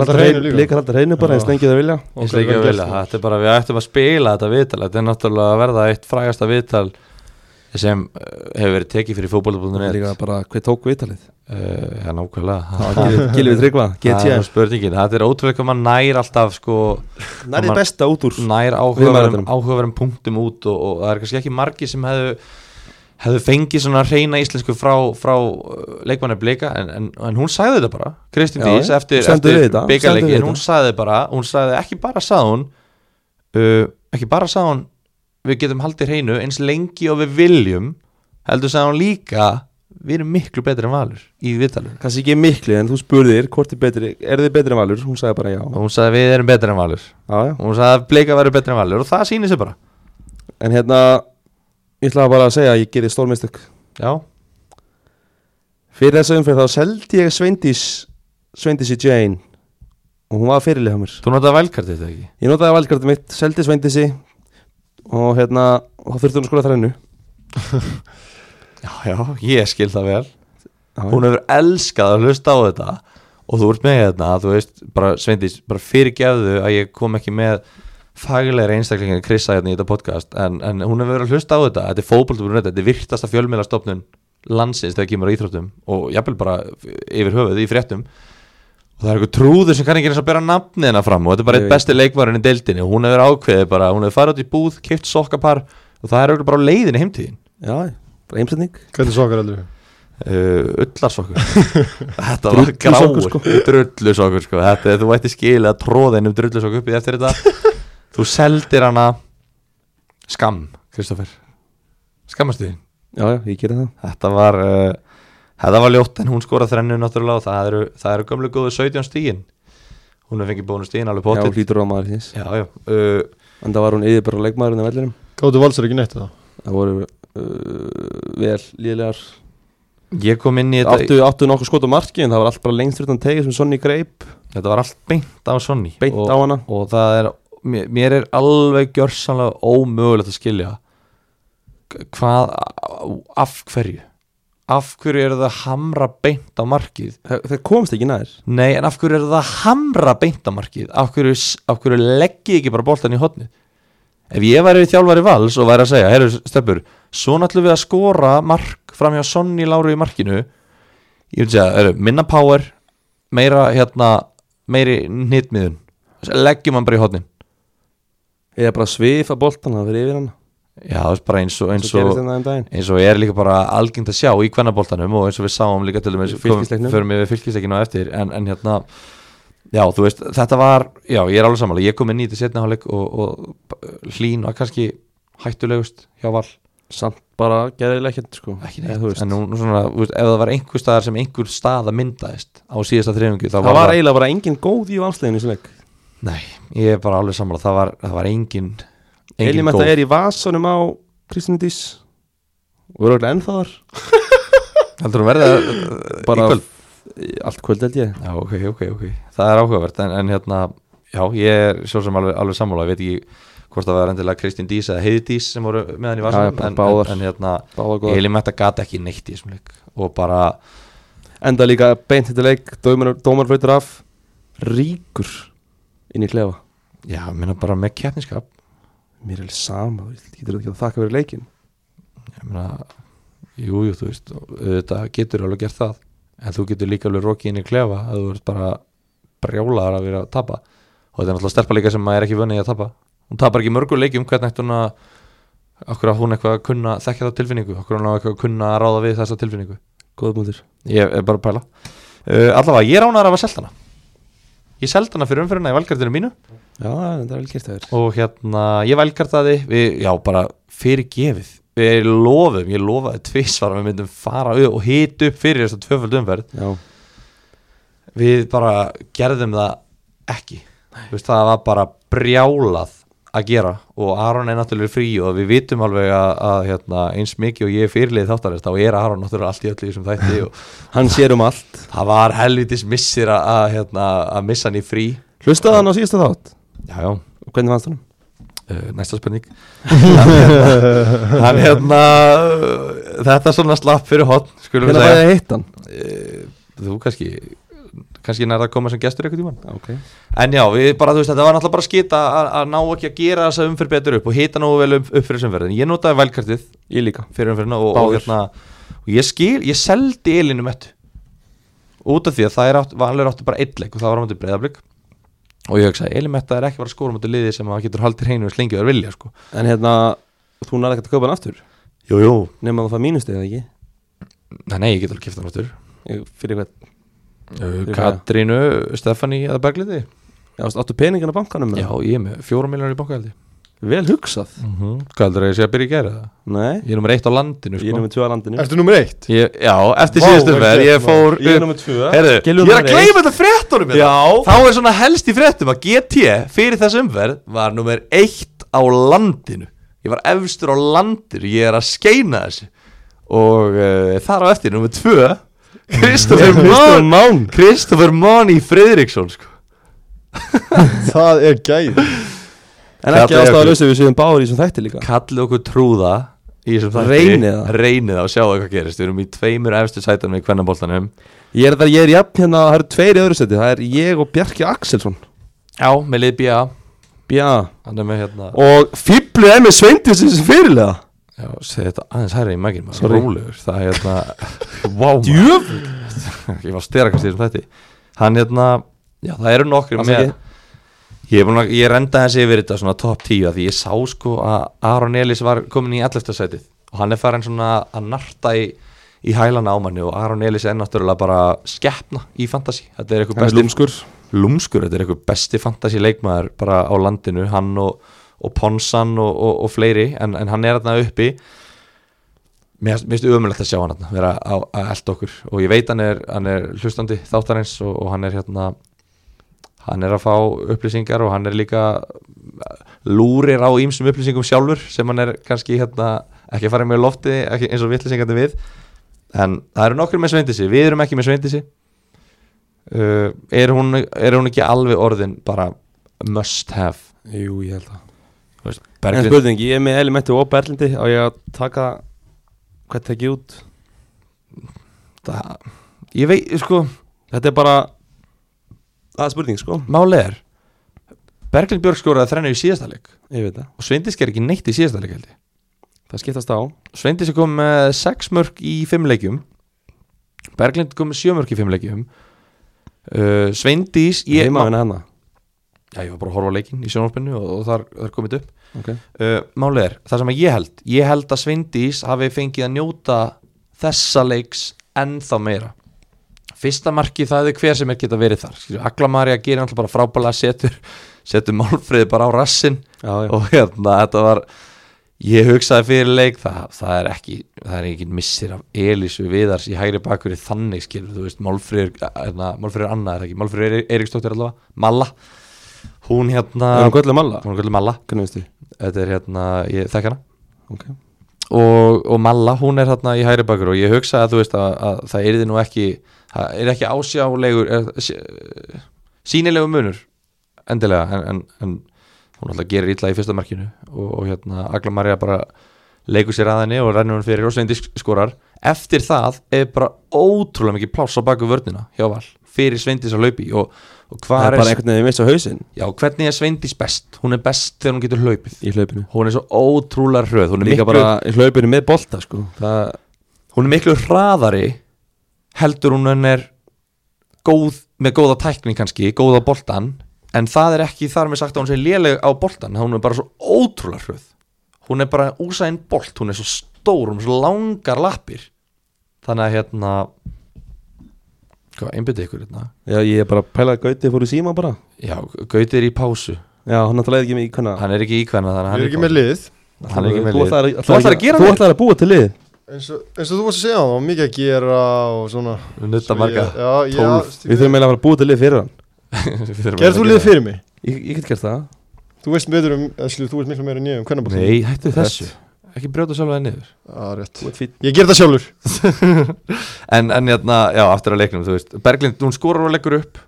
Og halda alltaf hreinu hreinu, líka. blikar alltaf hreinu bara Já. eins lengi það vilja eins og ekki að vilja Þetta er bara, við ættum að spila þetta viðtal Þetta er náttúrulega að verða eitt frægasta viðtal sem uh, hefur verið tekið fyrir Það er fótbolta.net líka bara hver tók viðtalið Uh, Já, nákvæmlega Það var Gylfi- Gylfi Tryggva, Það er nú GTM spurningin, þetta er ótrúlega hvað maður nær alltaf sko, Nærið Hann- besta út úr nær Viðmælandanum. áhugaverum, áhugaverum punktum út og, og það er kannski ekki margi sem hefðu hefðu fengið svona reyna íslensku frá, frá uh, leikmanni blika en, en, en hún sagði þetta bara, Kristín Já, Dís já. eftir, Stendur við eftir þetta, stendur við byggarleikin, hún þetta. sagði bara hún sagði ekki bara sagði hún uh, ekki bara sagði hún við getum haldið hreinu eins lengi og við viljum heldur sagði hún líka við erum miklu betri en valur í viðtalinu Kanski ekki miklu en þú spurðir hvort er betri Er þið betri en Valur? Hún sagði bara já og hún sagði við erum betri en valur Já já og hún sagði að bleika verður betri en valur og það sýnir sér bara En hérna Ég ætla bara að segja að ég gerði stórmistök já, Fyrir þessa umferð þá seldi ég Sveindís Sveindísi Jane og hún var fyrirlið á mér Þú notaði velkartið þetta ekki? Ég notaði valkartum mitt, seldi Sveindísi og hérna og þá þurfti hún að skora þrennu Já, já, ég skil það vel Já, Hún hefur elskað að hlusta á þetta og þú ert með þetta, þú veist bara, Sveindís, bara fyrirgefðu að ég kom ekki með faglegri einstaklingar Krissa hérna í þetta podcast en, en hún hefur verið að hlusta á þetta, þetta er fótbolta.net þetta er virtasta fjölmiðlastofnun landsins þegar kemur á íþróttum og jafnvel bara yfir höfuð í fréttum og það er eitthvað trúður sem kann ekki eins að bera nafnina fram og þetta er bara Ég eitt veit. besti leikvarinn í deildinni og hún hefur ákveðið bara, hún hefur farið út í búð, kipt sokkapar og það er örugglega bara á leiðinni heimtíðin já bara heimsetning Hvernig sokkar heldur uh, Ullarsokkur Þetta var Drullusokkur, gráur sko. Drullusokkur sko þetta, er- Þú ætti skilið að tróða inn um drullusokkur uppið eftir þetta Þú seldir hana Skam, Kristoffer Skammastu þín Já, já, ég gerði það Þetta var uh, Þetta var ljótt en hún skorað þrennu náttúrulega og það eru, það eru gömlu góðu 17 stígin Hún hefur fengið bónu stígin alveg Já, potið hlýtur á maður þins Já, já, uh, En það var hún yfir bara leikmaðurinn á vellinum Gáttu valsar ekki neitt það Það voru uh, vel líðlegar Ég kom inn í þetta áttu, áttu nokkuð skot á marki en það var allt bara lengst utan tegið sem Sonny greip Þetta var allt beint á Sonny beint og, á hana og það er mér, mér er alveg gjörsanlega ómögulegt að skilja k- hvað af hverju af hverju eru það að hamra beint á markið það, það komst ekki nær nei en af hverju eru það að hamra beint á markið af hverju, s- af hverju leggið ekki bara boltan í hotni ef ég væri þjálfari vals og væri að segja heyrðu stöpur, svona ætlum við að skora mark fram hjá Sonny Láru í markinu ég vil segja, heyrðu, minna power meira hérna meiri nýttmiðun leggjum hann bara í hotnin eða bara svifa boltan það fyrir yfir hana Já, það er bara eins og eins svo gerist og, þetta um daginn eins og er líka bara algengt að sjá í kvennaboltanum og eins og við sáum líka til dæmis Í fylkisleiknum. fyrir mig við fylgisleikinu á eftir en, en hérna, já þú veist þetta var, já ég er alveg sammála ég kom inn í þetta setna hálfleik og, og hlín var kannski hættulegust hjá Val, samt bara gerðilega ekkert sko ekki Eða, neitt þú veist. en nú, nú svona, þú veist, ef það var einhver staðar sem einhver staða myndaðist á síðasta þriðungu það var eiginlega bara engin góð í valsleginu sem leik nei, ég er bara alveg sammála það var, það var engin, engin Elímetta góð er í vasanum á Kristindís og eru öll ennþá þar heldur hún verði uh, í bara kvöld allt kvöld held ég Já, ok, ok, ok, það er áhugavert en, en hérna, já, ég er svo sem alveg, alveg sammála, ég veit ekki hvort það var endilega Kristín Dís eða Heiði Dís sem voru með hann í Já, já, vasanum bara en, en, báðar. en hérna, báða góða Elin Metta gat ekki neitt í þessum leik og bara, enda líka beint þetta leik dómar, dómar flautur af ríkur inn í klefa já, minna bara með keppniskap mér er alveg sama þú veist, getur þetta ekki að þakka fyrir leikin ég meina, jú, jú, þú veist þetta getur alveg gert það en þú getur líka alveg rokið inn í klefa að þú ert bara brjálaðar að vera að tapa og þetta er náttúrulega stelpa líka sem maður er ekki vönnið að tapa hún tapar ekki mörgur leikjum hvernig ætti hún að okkur að hún eitthvað að kunna þekkja það tilfinningu okkur hún á eitthvað að kunna að ráða við þessa tilfinningu góð mútur ég er bara að pæla uh, allavega, ég ránar af að selta hana ég selta hana fyrir umfyrirna í valgardinu mínu Já, það er vel gert það er og hérna, ég velkartaði við, já, bara fyrir gefið við lofum, ég lofaði tvisvar að við myndum fara au- og hita upp fyrir þess að tvöfald umferð Já, við bara gerðum það ekki Þú veist, það var bara brjálað að gera og Aron er náttúrulega frí og við vitum alveg að, að hérna, eins mikið og ég er fyrirlið þáttarist þá er Aron náttúrulega allt í öllu í þessum þætti og hann sér um allt það var helvitis missir að, að, hérna, að missa hann í frí Hlustaði hann á síðasta þátt? já, já, Og hvernig fannst hann? Uh, næsta spurning hann hérna, hann hérna uh, þetta svona slapp fyrir hotn skulum við Hvernig fæði segja að hitta hann? uh, þú kannski kannski nærða að koma sem gestur eitthvað tíma Okay. en já, við bara, þú veist, þetta var náttúrulega bara skita að, að ná ekki að gera þessa umferð betur upp og hita nógu vel um, upp fyrir umferðin ég notaði velkartið Ég líka fyrir umferðina og, og, Báðir. hérna, og ég skil, ég seldi Elinu mett út af því að það er átt, vanlega áttu bara einn leik og það var á mútið breyðablík og ég hugsaði, Elinu mett er ekki bara að skóra mútið liði sem að getur haldið hreinu og slengið þar vilja sko. En hérna, þú nærði ekkert að kaupa hann aftur jú, jú. Nefnum að það fæ mínustið eða ekki Nei, nei, ég get alveg kipta hann áttur Ég- Fyrir hvern Mm. Fyrir Katrínu, Stefani eða Bergliði Já, veist, áttu peningin á bankanum Já, eða? ég er með fjóra miljonar í bankahaldi Vel hugsað mm -hmm. Hvað heldur að ég sé að byrja í gera það? Nei, Ég er nummer eitt á landinu ég er sko. nummer 2 á landinu Ertu nummer eitt? ég, Já, eftir Vá, síðustu vel verð gert, Ég maður. fór Ég er nummer 2 Heyrðu, Ég er Gilvi að númer gleyma þetta fréttunum hérna. Já. Þá er svona helst í fréttum að GT fyrir þessu umverð var nummer eitt á landinu Ég var efstur á landinu, ég er að skeina þessu Og uh, þar á eftir nummer tvö Kristoffer Kristoffer Mán Mán Kristoffer Mán í Friðriksson sko. Það er gæð En Kalla ekki ástæða Jökull. að lausa við séum báður í þessum þætti líka Kallið okkur trúða í þessum þætti. Reynið það. Reynið það og sjáðu hvað gerist Við erum í tveimur efstu sætanum í kvennaboltanum Ég er, það, ég er jafn hérna, það eru tveir í öðru seti Það er ég og Bjarki Axelsson Já, með lið BA Bja Hann er með hérna Og fýblu Emi Sveindinsson sem fyrirlega Já, segði þetta aðeins hærri í maginn maður Sorry. Rólegur, það er hérna Vá maður Djöf Ég var styrakast í þessum þætti Hann hérna Já, það eru nokkri með Afsakið. Ég, er búinn að, ég renda þessi yfir þetta svona top 10 af Því ég sá sko að Aron Elís var komin í 11. sætið Og hann er farin svona að narta í í hælana á manni og Aron Elís er náttúrulega bara skepna í fantasy þetta er eitthvað Hann er besti lúmskur lúmskur, þetta er eitthvað besti fantasy leikmaður bara á landinu, hann og, og Ponsan og, og, og fleiri en, en hann er þarna uppi mér finnst umulegt að sjá hann þarna vera á- að elda okkur og ég veit hann er, hann er hlustandi þáttarins og, og hann er hérna hann er að fá upplýsingar og hann er líka lúrir á ýmsum upplýsingum sjálfur sem hann er kannski hérna ekki að fara með lofti ekki, eins og vittlýsingandi við en það eru nokkur með sveindisi, við erum ekki með sveindisi uh, er, hún, er hún ekki alveg orðin bara must have Jú, ég held það Þú veist, En Berglind, spurning, ég er með Elimetti og Berlindi og ég að taka hvað tek ég út sko, það, ég veit sko, Þetta er bara Það er spurning sko, málið er Berglind Björg skoraði þrennu í síðasta leik ég veit það og Sveindis ger ekki neitt í síðasta leik held ég Það skiptast á Sveindis er komið með 6 mörg í 5 leikjum Berglind kom með 7 mörg í 5 leikjum uh, Sveindís ég, Heima henni hérna. hennar já, ég var bara að horfa á leikinn í sjónvarpinu og, og þar, þar komið upp okay. uh, Málið er, það sem að ég held Ég held að Sveindís hafi fengið að njóta þessa leiks ennþá meira Fyrsta marki það er hver sem er geta verið þar Skilju, Agla Marja gerir alltaf bara frábælega setur Setur Málfriði bara á rassin Já, já Og hérna, þetta var Ég hugsaði fyrir leik, það, það er ekki það er ekki missir af Elísu Viðars í hægri bakur í þannig skil þú veist, Málfriður, hérna, Málfriður Anna er það ekki, Málfriður Eiríksdóttir allavega Malla, hún hérna Það er hún göllu malla hún er kvöldið Malla Hvernig veist þið? þetta er hérna, ég þekk hana Ok og, og Malla hún er hérna í hægri bakur og ég hugsa að þú veist að, að það er nú ekki það er ekki ásjálegur eh, sí- sýnilegu munur endilega en, en, en hún alltaf gerir illa í fyrsta markinu og, og hérna Agla Maria bara leikur sér að henni og rennur hún fyrir og sveindi skorar eftir það er bara ótrúlega mikið pláss á baku vörnina hjá Val fyrir sveindis að laupi og, og Það hvað er er, bara einhvern veginn við missa hausinn já, hvernig er sveindis best hún er best þegar hún getur hlaupið í hlaupinu hún er svo ótrúlega hröð hún er, Líka miklu, bara í hlaupinu með bolta sko Það hún er miklu hraðari heldur hún en er góð, með góða tækni kannski góða boltan, en það er ekki þar með sagt að hún sé léleg á boltan hún er bara svo ótrúlega hröð hún er bara úsæðin bolt, hún er svo stór hún er svo langar lappir þannig að hérna hvað, einbytti ykkur hérna Já, ég er bara að pæla að Gauti fór í síma bara já, Gauti er í pásu, Já, hann náttúrulega er ekki með í hvernig hann er ekki íkvenna þannig að hann Ég er ekki með í lið pásu. hann er ekki með Þú lið ætlar að, Þú ætlar að gera Þú lið? ætlar að búa til lið eins og, eins og þú varst að segja það var mikið að gera og svona nutta marga Ég- Já, já, Tólf. stíf- Við þurfum eiginlega að fara að búa til lið fyrir hann Við þurfum Gerð að þú gera lið það. fyrir mig? Ég, ég get gert það Þú veist betur um, eða skilur, þú veist miklu meira en ég um hvernig Nei, hættu þessu Rétt. Ekki brjóta sjálfa það niður Já, rétt Þú ert fínn. Ég ger það sjálfur En, en hérna, já, aftur að leiknum, þú veist Berglind, hún skorar og leggur upp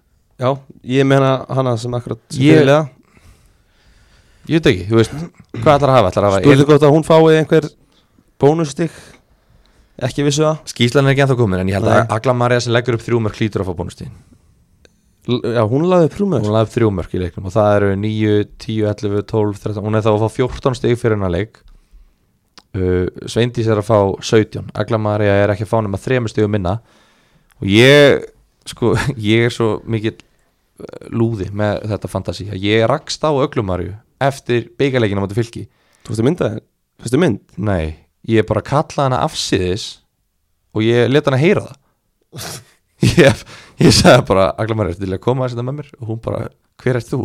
Já, ég meina hana sem akkurat sem Ég- fyrirliða. Ég veit ekki, þú veist, hvað ætlar að hafa? Ætlar að hafa Spurðu gott að hún fái einhver bónustig Ekki vissu það Skíslan er ekki ennþá komin En ég held Nei. að Agla Marja sem leggur upp þrjú mörk hlýtur að fá bónustíðin L- Já, hún laði prúmur Hún lagði upp þrjú mörk í leiknum og það eru 9, 10, 11, 12, 13 Hún er þá að fá 14 stig fyrir hennar leik uh, Sveindís er að fá 17 Agla Marja er ekki að fá nema 3 stigum minna Og ég, sko, ég er svo mikill uh, lúði með þetta fantasi að ég rakst á Öglumarju eftir beigaleikinum á þetta fylki Þú veist að mynda þér? Þú veist að mynd? Nei, ég bara kallaði hana afsýðis og ég let hana heyra það Ég, ég sagði bara Agla Maria, ertu til að koma að þetta með mér og hún bara, hver ert þú?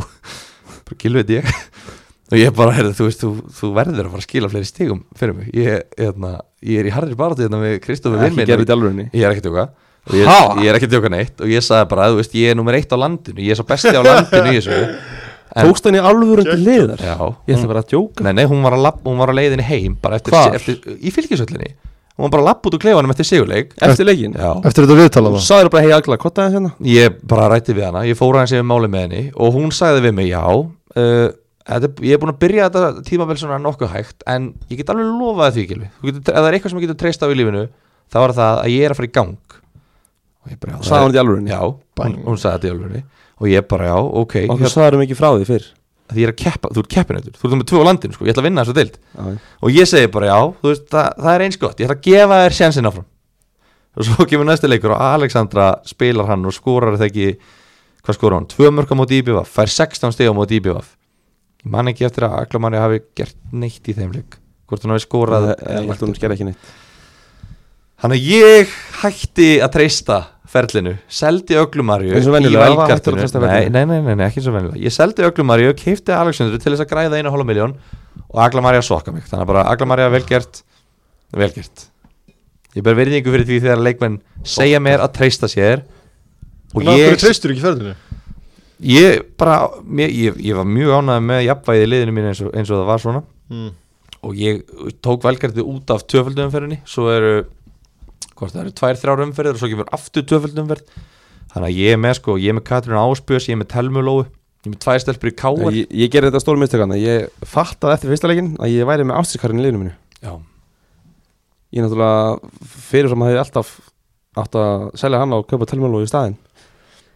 bara gilveit ég og ég bara, heyrðu, þú veist, þú, þú verður að fara að skila fleiri stigum fyrir mig ég, hérna, ég er í harðir baráttu hérna með Kristofur vinn minn Ekki og- gerði þetta alveg henni ég er ekki að tjóka og ég, Ha? ég er ekki að tjóka neitt og ég sagði bara, þú veist, ég er nummer eitt á landinu ég er svo besti á landinu í þessu En- Tókst hann í alvöru til liðar? Já, Ég ætla bara að djóka Nei, nei, hún var að, lapp, hún var að leiðinni heim bara eftir, Hvar? eftir, í fylgisöllinni og hann bara lapp út úr kleifanum eftir sigurleik Eftir leikin Já. Eftir þetta viðtala Þú það sagður bara hei agla, hvað það er hérna? Ég bara rætti við hana, ég fór aðeins yfir máli með henni og hún sagði við mig já uh, þetta, ég er búin að byrja þetta tímabil svona nokkuð hægt en ég get alveg lofað því Gilvi Þú getur- ef það er eitthvað sem ég getur treyst á í lífinu þá er það að ég er að fara í gang og ég bara já, Sagði það hann þetta í alvörunni? Já, hún, hún sagði þetta í alvörunni og ég bara já, ok Og ég, hvað sagður mikið um frá því fyrr? því ég er að keppa, þú ert keppinautur þú ert með tvö á landinu sko, ég ætla að vinna þessu deild Já, já. og ég segi bara já, þú veist, það, það er eins gott ég ætla að gefa þér sjansinn áfram og svo kemur næsti leikur og Alexandra spilar hann og skorar það ekki hvað skorar hann, tvö mörg á móti íbjöfaf fær 16 stig á móti íbjöfaf ég man ekki eftir að Aklamanni hafi gert neitt í þeim leik hvort hann hafi skorað Nei, eða lagt Ég held hún upp. sker ekki neitt Þannig að ég hætti að treysta ferlinu, seldi öglumarju Eins og í venjulega, það var hættur valkartinu að treysta nei, ferlinu. nei, nei, nei, nei, ekki eins og venjulega Ég seldi öglumarju, keipti Alexandru til þess að græða einu hálfa miljón og aglamarja soka mig Þannig að bara aglamarja velgert velgert Ég ber verðingu fyrir því þegar leikmenn segja mér að treysta sér og Þannig að hverju ég, treystur ekki ferðinu? ég bara mér, ég, ég var mjög ánægð með jafnvægið í liðinu mín eins og, eins og það var svona Mm. og ég tók velgerði út af tvöföldumferðinni svo eru hvort það eru tvær þrjár umferðir og svo kemur aftur tvöföldumferð þannig að ég er með sko, ég er með Katrín Áspjörs ég er með Telmu Lóu, ég er með tvær stelpur í Káar Ég, ég gerði þetta stór mistökan Ég fattaði eftir fyrsta leikin að ég væri með ástrikarinn í liðinu minu já, Ég náttúrulega fyrirfram að ég alltaf átt að selja hann á kaupa telmálói í staðinn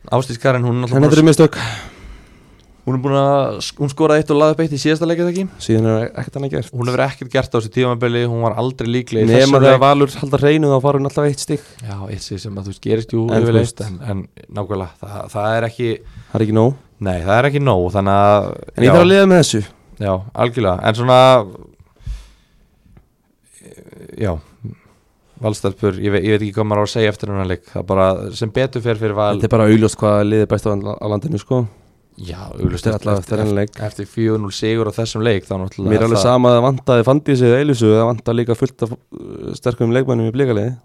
Ástís Karin hún, er En þetta náttúrulega eru mistök bara- hún er búin að, hún skoraði eitt og laði upp eitt í síðasta leikið ekki Síðan er ekkert annað gert hún hefur ekkert gert á þessu tímabili, hún var aldrei líklega í Nefn þessum að það leik. valur halda hreinu þá fara hún alltaf eitt stík já, eitt sig sem að þú veist gerist jú, En þú yfirleitt, veist. en, en nákvæmlega, það, það er ekki Það er ekki nóg nei, það er ekki nóg, þannig að En ég já. þarf að liða með þessu Já, algjörlega, en svona Já Valstarpur, ég, ve ég veit ekki hvað maður á að segja eftir hennar leik, það bara sem betur fer fyrir val Þetta er bara auðljóst hvað liðið best á, á landinu sko Já, Þetta er alltaf eftir enn leik Eftir 4-0 sigur á þessum leik þá náttúrulega Mér er alveg það- sama að það vantaði Fandísi eða Eilusu Það vantaði líka fullt af uh, sterkum leikmennum í blíkaliði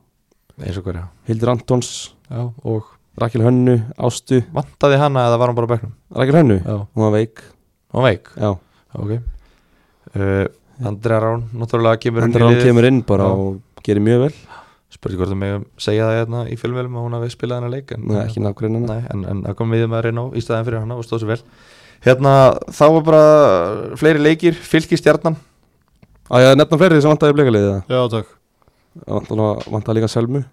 Eins og hverja Hildur Antons, Já, og Rakel Hönnu, Ástu vantaði hana eða var hún bara á bekknum? Rakel Hönnu, Já, hún var veik hún veik Já, Ok uh, Andrea Rán, náttúrulega kemur hendur hann kemur inn bara Já. og gerir mjög vel Spurði hvort þú megum segja það hérna í fjölmjölum að hún hafi spilað hennar leik en- hérna Nei, ekki nákvæmlega Nei, en, en það kom við maður inn á í staðin fyrir hana og stóð sér vel Hérna, þá var bara uh, fleiri leikir, fylki stjarnan Á ég að nefna fleiri sem vantaði í blíkaliði það Já, takk Vantaði, vantaði líka Selmu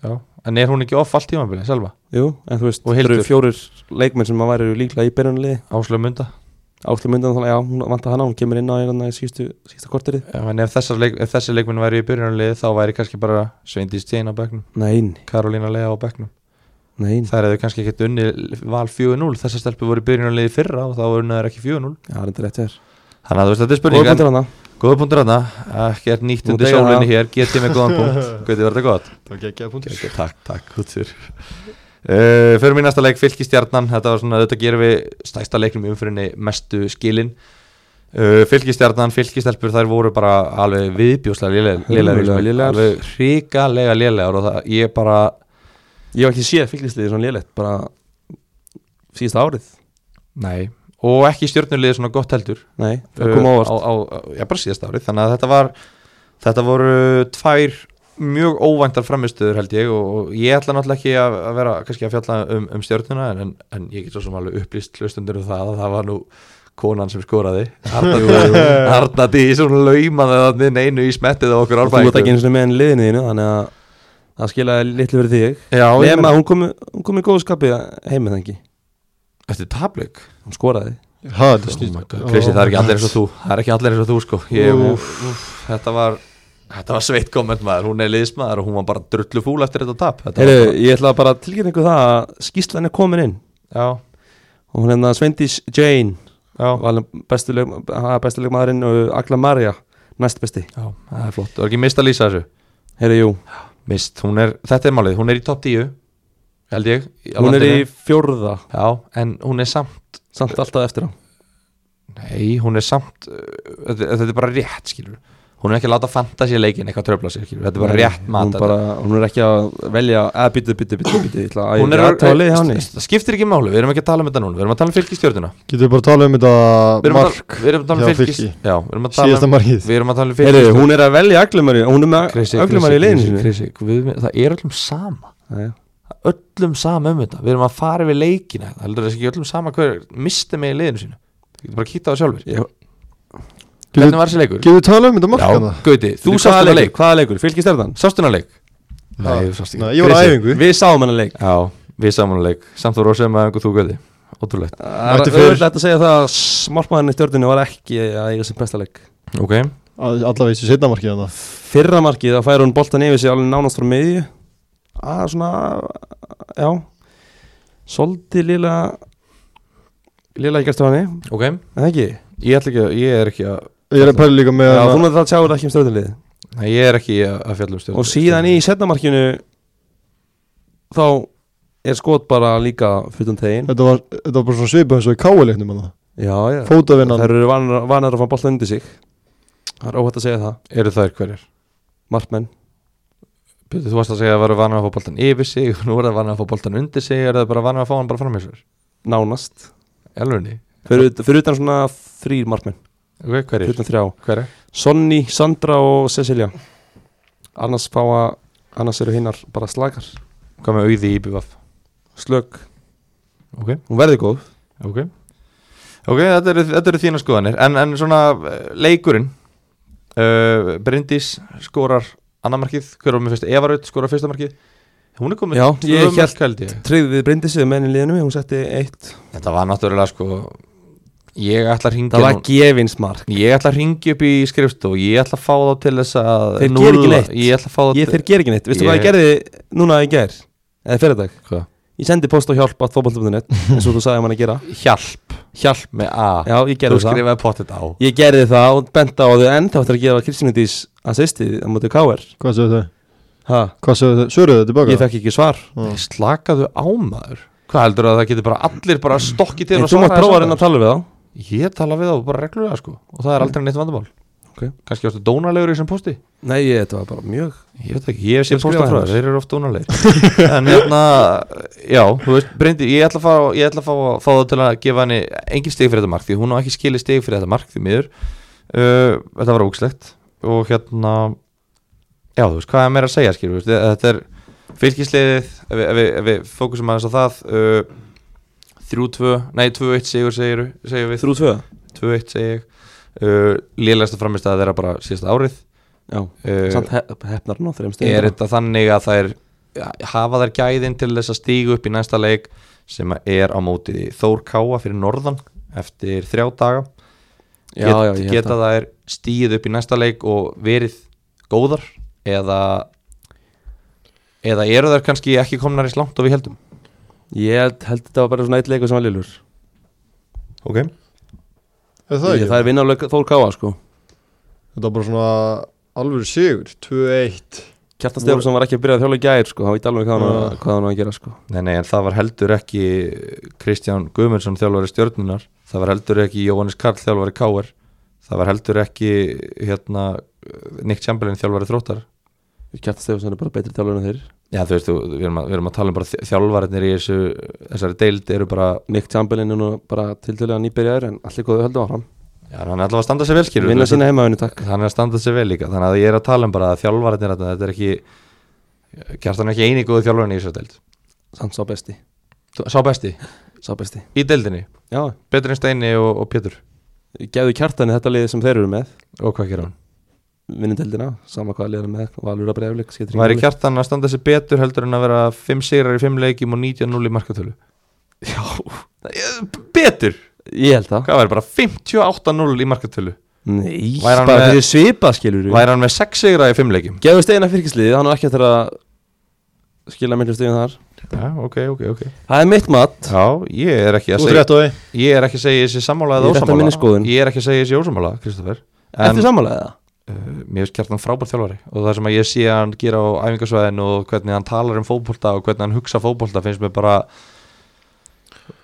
Já. En er hún ekki off allt tímabili, Selma? Jú, en þú veist, Og þetta eru Hildur. fjórir leikmenn sem að væri líklega í byrjunaliði Áslöf Munda Áslu myndan þannig, já, hún vantar hana, hún kemur inn á hérna í síðustu, síðustu korterið Já, En ef, þessar leik, ef þessi leikminn væri í byrjunarliði þá væri kannski bara Sveindís Tjén á bekknum Nein, Karolína Lea á bekknum nein, Það hefðu kannski ekkert unni val 4-0 Þessar stelpur voru í byrjunarliði í fyrra og þá unna þær ekki 4-0 það er þetta rétt hér Þannig að þú veist, þetta er Góða spurning en- punktur hana Góða punktur hana, ekki er nýtt Nú undir deyja sólinni það. hér Getið með góðan punkt, hvað þetta gott Það var geggjaða punktur Ekki, takk, takk, húttur uh, Förum í næsta leik, fylki stjarnan Þetta var svona, þetta gerum við stæsta leiknum í umfyrinni mestu skilin uh, Fylki stjarnan, fylki stelpur Þær voru bara alveg viðbjóslega lélegar í Hörmulega þessum leik. lélegar. sko. Alveg hrikalega lélegar Og það, ég bara, Ég hef ekki séð fylgisliðið svona lélegt bara síðasta árið nei Og ekki stjörnuliði svona gott heldur Nei, það kom uh, ávart á, á, á, Já, bara síðast árið Þannig að þetta var Þetta voru tvær mjög óvæntar framistuður held ég og, og ég ætla náttúrulega ekki að, að vera kannski að fjalla um, um stjörnuna en, en, en ég get svo sem alveg upplýst hlustundur um það að það var nú konan sem skoraði Arna Dís- Arna Dís, hún laumaði þannig neinu í smettið á okkur og þú ert ekki árbæðingum einu sinni með henni liðinu þínu þannig að það skilaði litlu fyrir þig Já, ég Nefn meina- að hún kom, hún kom í góðu skapi heim með það ekki Eftir tablik Hún skoraði Ha, þetta Oh Kristi, snýst það er ekki allir eins og þú Það er ekki allir eins og þú sko ég, Úff. úf, úf, Þetta var Þetta var sveitt komment maður, hún er liðsmaður og hún var bara drullu fúl eftir þetta tap Þetta var Heyru, ég ætla bara að tilkynna ykkur það að skýslan er komin inn bara, og hún hefði Sveindís Jane já, já, valin bestu leik- ha, bestu leikmaðurinn og Agla Marja næst besti Já, það er flott, þú er ekki mist að lýsa þessu Heyru, jú, Mist, hún er, þetta er málið, hún er í topp 10 Held ég í- á hún er í landinu. fjórða Já, en hún er samt samt alltaf eftir á Nei, hún er samt uh, Þetta, þetta er bara rétt, skilur hún er ekki að láta fantasy leikin eitthvað tröfla sig skilur. þetta er bara rétt mat hún, bara, hún er ekki að velja að býta, býta, býta, býta ég ætla að æfa að- aðtöfa liðið hjá henni það skiptir ekki máli, við erum ekki að tala um þetta núna við erum að tala um fylgistjórnuna Getur við bara að tala um við þetta erum að mark tala, við erum að tala um hjá fylgis Fylki. já, við erum að tala Síðasta um, markið við erum að tala um Heyrðu, fylgistjórnuna hún er að velja aglumari hún er Krissi, með aglumari í liðinu Krissi, sinni. Krissi, Guðmi, það er öllum sama Jæja. öllum sama um þetta við erum að fara við leikina það heldur þess ekki öllum sama hver misti mig í liðinu sínu þú getur bara að kýta á það sjálfur Já. hvernig var þessi leikur? Getur við að tala um þetta mark hann? Já, Gauti, þú Fyrir sást hvaða hennar leikur? leik hvaða leikur, fylgistjörðan sást hennar leik? Ha. þú sást Nei, ég var á Krissi. æfingu við sáum hennar leik já, við sáum hennar leik samt þú rosið með einhver þú Gauti ótrúlegt það Mætti er fyrr. auðvitað að segja það að smartmaðurinn í stjórninu var ekki að eiga sem besta leik ok, Allavega þessi setna markið hérna. hann fyrra markið þá fær hún boltan yfir sig alveg nánast frá miðju að svona já svolítið lila lila ekki að stofa henni ok en ekki ég, ætla ekki, að- ég er ekki að Ég er að pæla líka með já, þú hana- náttúrulega það sjáur ekki um stjórnulið Nei, ég er ekki að að fjalla um stjórn og síðan í setna markinu þá er skot bara líka fyrir tegin Þetta var, þetta var bara svona svipað eins og í káleiknum hann já já Fótavinnan þær eru vanar, vanar að fá boltan undir sig það er óhætt að segja það eru þær hverjar? markmenn Björn, þú varst að segja að það varu vanar að fá boltan yfir sig og nú er það vanar að fá boltan undir sig er það bara vanar að fá hann bara fram í sér nánast elvunni, fyrir, ut- fyrir utan svona þrýr markmenn ok, fyrir hverjar? utan þrjá hverjar? Sonny, Sandra og Cecilia annars fáa annars eru hinnar bara slakar hvað með auði í BVF? slök, ok, hún verði góð ok ok, þetta eru, þetta eru þína skoðanir en, en svona eh, leikurinn uh, Bryndís skorar annar markið, hver var með fyrst Evaraut skorar fyrsta markið hún er komið Já, ég hélt- held ég tryggði við breyndisið menn í liðinu, hún setti eitt þetta var náttúrulega sko ég ætla að það ringja var gefinsmark ég ætla að ringja upp í skrifstu og ég ætla að fá þá til þess að Þeir núlla- gera ekki neitt. ég ætla að fá þá ég þeir ger ekki neitt, veistu Ég- hvað ég gerði núna í ger eða fyrirdag, Hvað? ég sendi post og hjálp að fótboll.net eins og þú sagði maður að gera hjálp, hjálp með A já, ég þú gerði það skrifaði pottet á ég gerði það og bent á þau en þá ætti að gefa Kristínu Dís assistið á móti KR Hvað segðu þau? ha, Hvað segðu þau? Svöruðu þau tilbaka? ég fekk ekki svar Já. slakaðu á maður hvað heldur að það getur bara allir bara stokkið til en og þú mátt svaraði prófa að saman? reyna að tala við þá Ég tala við þá bara reglulega sko og það er aldrei neitt vandamál Ok. Kannski varstu dónalegur í þessum posti nei, ég, þetta var bara mjög Ég veit ekki, ég hef séð Ég skrifaði posta frá hennar. þér, þeir eru oft dónalegir En hérna, já, þú veist, Bryndi, ég ætla að fá, ég ætla að fá, fá það til að gefa henni engin stig fyrir þetta mark Því hún á ekki skilið stig fyrir þetta mark því miður uh, Þetta var ógslegt Og hérna, já, þú veist, hvað er meira að segja skilur, veist, e, þetta er fylgisliðið Ef við, ef við, ef við fókusum aðeins á það uh, 3-2, nei 2-1 sigur segir, segir við 3-2 2-1 segi ég uh, lélægsta framist að þeirra bara síðasta árið já, samt uh, hef- hefnar hann á þreim stegum er þetta þannig að þær ja, hafa þær gæðin til þess að stígu upp í næsta leik sem að er á móti Þór Káa fyrir norðan eftir þrjá daga já, já, ég held geta það þær stíð upp í næsta leik og verið góðar eða eða eru þær kannski ekki komnar í slangt og við heldum ég held, held þetta var bara svona eitt leikur sem var lillur okay. Er það það, ekki? það er vinnarleik Þór Káa sko Þetta var bara svona alvöru sigur 2-1 Kjartan Stefánsson var ekki að byrja að þjóla í gær sko, hann veit alveg hvað hann á- Já. hvað hann á að gera sko Nei, nei, en það var heldur ekki Kristján Guðmundsson þjálfari stjórnunar það var heldur ekki Jóhannes Karl þjálfari Káar það var heldur ekki hérna, Nick Chamberlain þjálfari þróttar Kjartan Stefánsson er bara betri þjálfur en þeir Já, þú veist, þú, við, erum að, við erum að tala um bara þjálfarinir í þessu, þessari deild eru bara Nick Chamberlain er nú bara tiltölulega nýbyrjaður en allir góðu höldu áfram já, hann er allavega að standa sér vel skilur vinna sína heimavinu takk hann er að standa sér vel líka þannig að ég er að tala um bara að þjálfarinir þetta, þetta er ekki Kjartan er ekki eini góðu þjálfarin í þessu deild samt sá besti, Sá besti sá besti í deildinni, já, betur en Steini og, og Pétur gefðu kjartani þetta liðið sem þeir eru með og hvað gerir hann? vinnindeldina, sama hvað liðið með valur að breyflik, skiptir Væri máli. kjartan að standa sér betur heldur en að vera 5 sigrar í 5 leikjum og 90-0 í markatölu? Já Betur? ég held það, Hvað væri bara 58-0 í markatölu? nei, Væri hann bara með- fyrir svipa skilur við, Væri hann með 6 sigrar í 5 leikjum? gefðu steina fyrkisliðið hann á ekki eftir að skila myndum stegin þar, Já, ok, ok, ok það er mitt mat Já, ég er ekki að Þú segja þrétt á því Ég er ekki að segja þessi sammála Ég eða er þetta minni ósammála skoðun. Ég er ekki að segja þessi ósammála, Kristoffer En eftir sammálaðið það uh, mér finnst kjartan frábært þjálfari Og það sem að ég sé hann gera á æfingasvæðin og hvernig hann talar um fótbolta og hvernig hann hugsa fótbolta finnst mér bara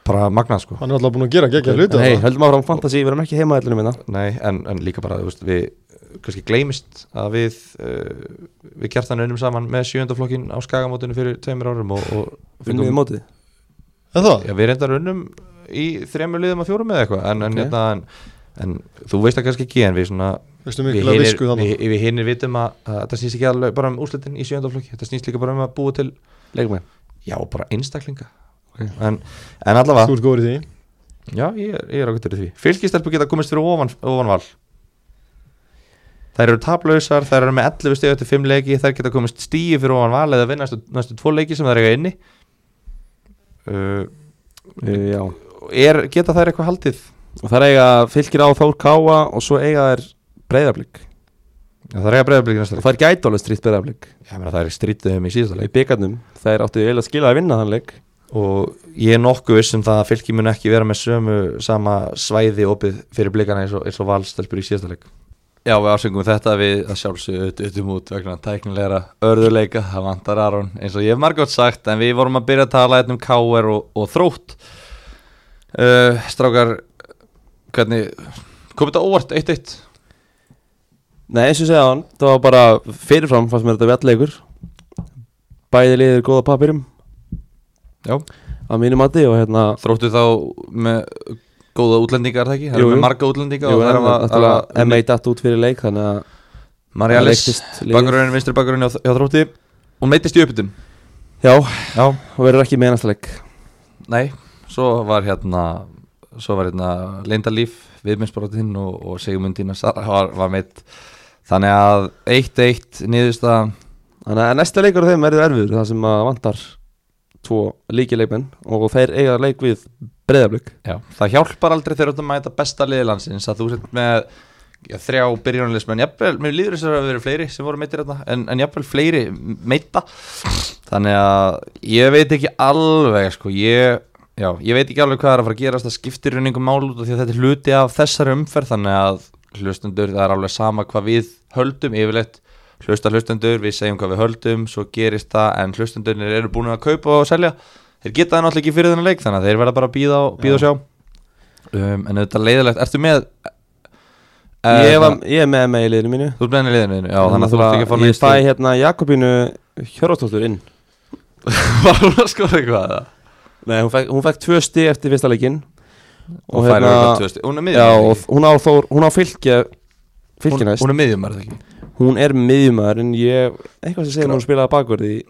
bara magnað sko Hann er alltaf búin að gera geggja hluti Nei, þarna. höldum áfram fantasy, við erum ekki heima allir minna Nei, en, en líka bara, þú veist, við kannski gleymist að við uh, við kjartan unnum saman með sjöndaflokkin á skagamótinu fyrir tveimur árum og, og Finnum við mótið Er það? Já, við reyndar unnum í þremur liðum að fjórum eða eitthvað en, en, Ok. hérna, en, en þú veist það kannski ekki en við svona Veistu við mikilvæg visku hinir, þannig við, við hinir vitum að, að þetta snýst ekki alveg bara um úrslitin í sjöndaflokki þetta snýst líka bara um að búa til Leikum við já, bara einstaklinga Ok. en, en allavega Þú ert góður í því Já, ég er, ég er ákveður í því Fylgistelpur geta komist fyrir ofan, ofan val Þær eru taplausar, þær eru með 11 stegu eftir 5 leiki Þær geta komist stíi fyrir ofan val eða vinna næstu, næstu tvo leiki sem þær eiga inni uh, uh, Já er, Geta þær eitthvað haldið? Og það eiga fylgir á Þór Káa og svo eiga þær breyðarblik Já, þær eiga breyðablík næsta Og leik það er gæti alveg strýtt breyðarblik Ég meina þær strýttu þeim í síðasta Í leik byggarnum, þær áttu eiginlega að skila að vinna þann leik Og ég er nokkuð viss um það að fylki mun ekki vera með sömu sama svæði opið fyrir blikana eins og, eins og valstelpur í síðasta leik Já, við ásöngum þetta við að sjálfsögðu auðvitað út vegna tæknilegra örðuleika, það vantar Aron eins og ég hef margótt sagt, en við vorum að byrja að tala hérna um KR og, og þrótt uh, Strákar, hvernig, kom þetta óvart 1-1? Nei, eins og ég segja hann, það var bara fyrirfram fannst mér þetta vettleikur Bæði liðir góða papirum Já. Að mínu mati og hérna Þróttu þá með góða útlendingar, er það ekki? Það Jú, eru jú. með marga útlendinga Jú, og það en eru að, náttúrulega að, M1 datt út fyrir leik þannig að að Marjalis, leiktist liðið. bakurinn, vinstri bakurinn hjá, hjá þrótti Hún meittist í uppbytun Já, Já, og verður ekki með næsta leik Nei, svo var hérna svo var hérna Lindalíf viðmyndsbrotinn og, og Sigmundína Sara var, var meitt þannig að 1-1 niðurstaðan Þannig að næsta leikur á þeim verður erfiður þar sem að vantar tvo líkileikmenn og þeir eiga leik við breyðablökk já, það hjálpar aldrei þegar þú ert að mæta besta liði landsins að þú sett með já, þrjá byrjónulismenn, jafnvel, mér líður þess að það hafa verið fleiri sem voru meittir þarna, en, en jafnvel fleiri meita, þannig að ég veit ekki alveg sko, ég, já, ég veit ekki alveg hvað er að fara að gerast, það skiptir runningum mál út af því að þetta er hluti af þessari umferð, þannig að hlustendur, það er alveg sama hvað við höldum yfirleitt, hlusta hlustendur við segjum hvað við höldum, svo gerist það en hlustendurnir eru búin að kaupa og selja þeir geta það náttúrulega ekki fyrir þennan leik þannig að þeir verða bara að býða og, býða og sjá um, en þetta er leiðilegt, ertu með eh, ég, var- svona- ég er með með í liðinu mínu þú ert með henni liðinu, þínu, já, þannig að þú ert ekki að fá Ég neitt fæ stig. hérna Jakobínu Hjörvartóttur inn var hún að skora eitthvað eða? Nei, hún fekk, hún fekk tvö stig eftir fyrsta leikin og, og færi eitthvað tvö stig, hún er hérna- Já, miðjum og hún á, Þór, hún á fylgja hún, fylgjanaðist hún, hún er miðjum, er það ekki? hún er miðjumæður en ég, eitthvað sem segir mér að hún spilaði bakverði í-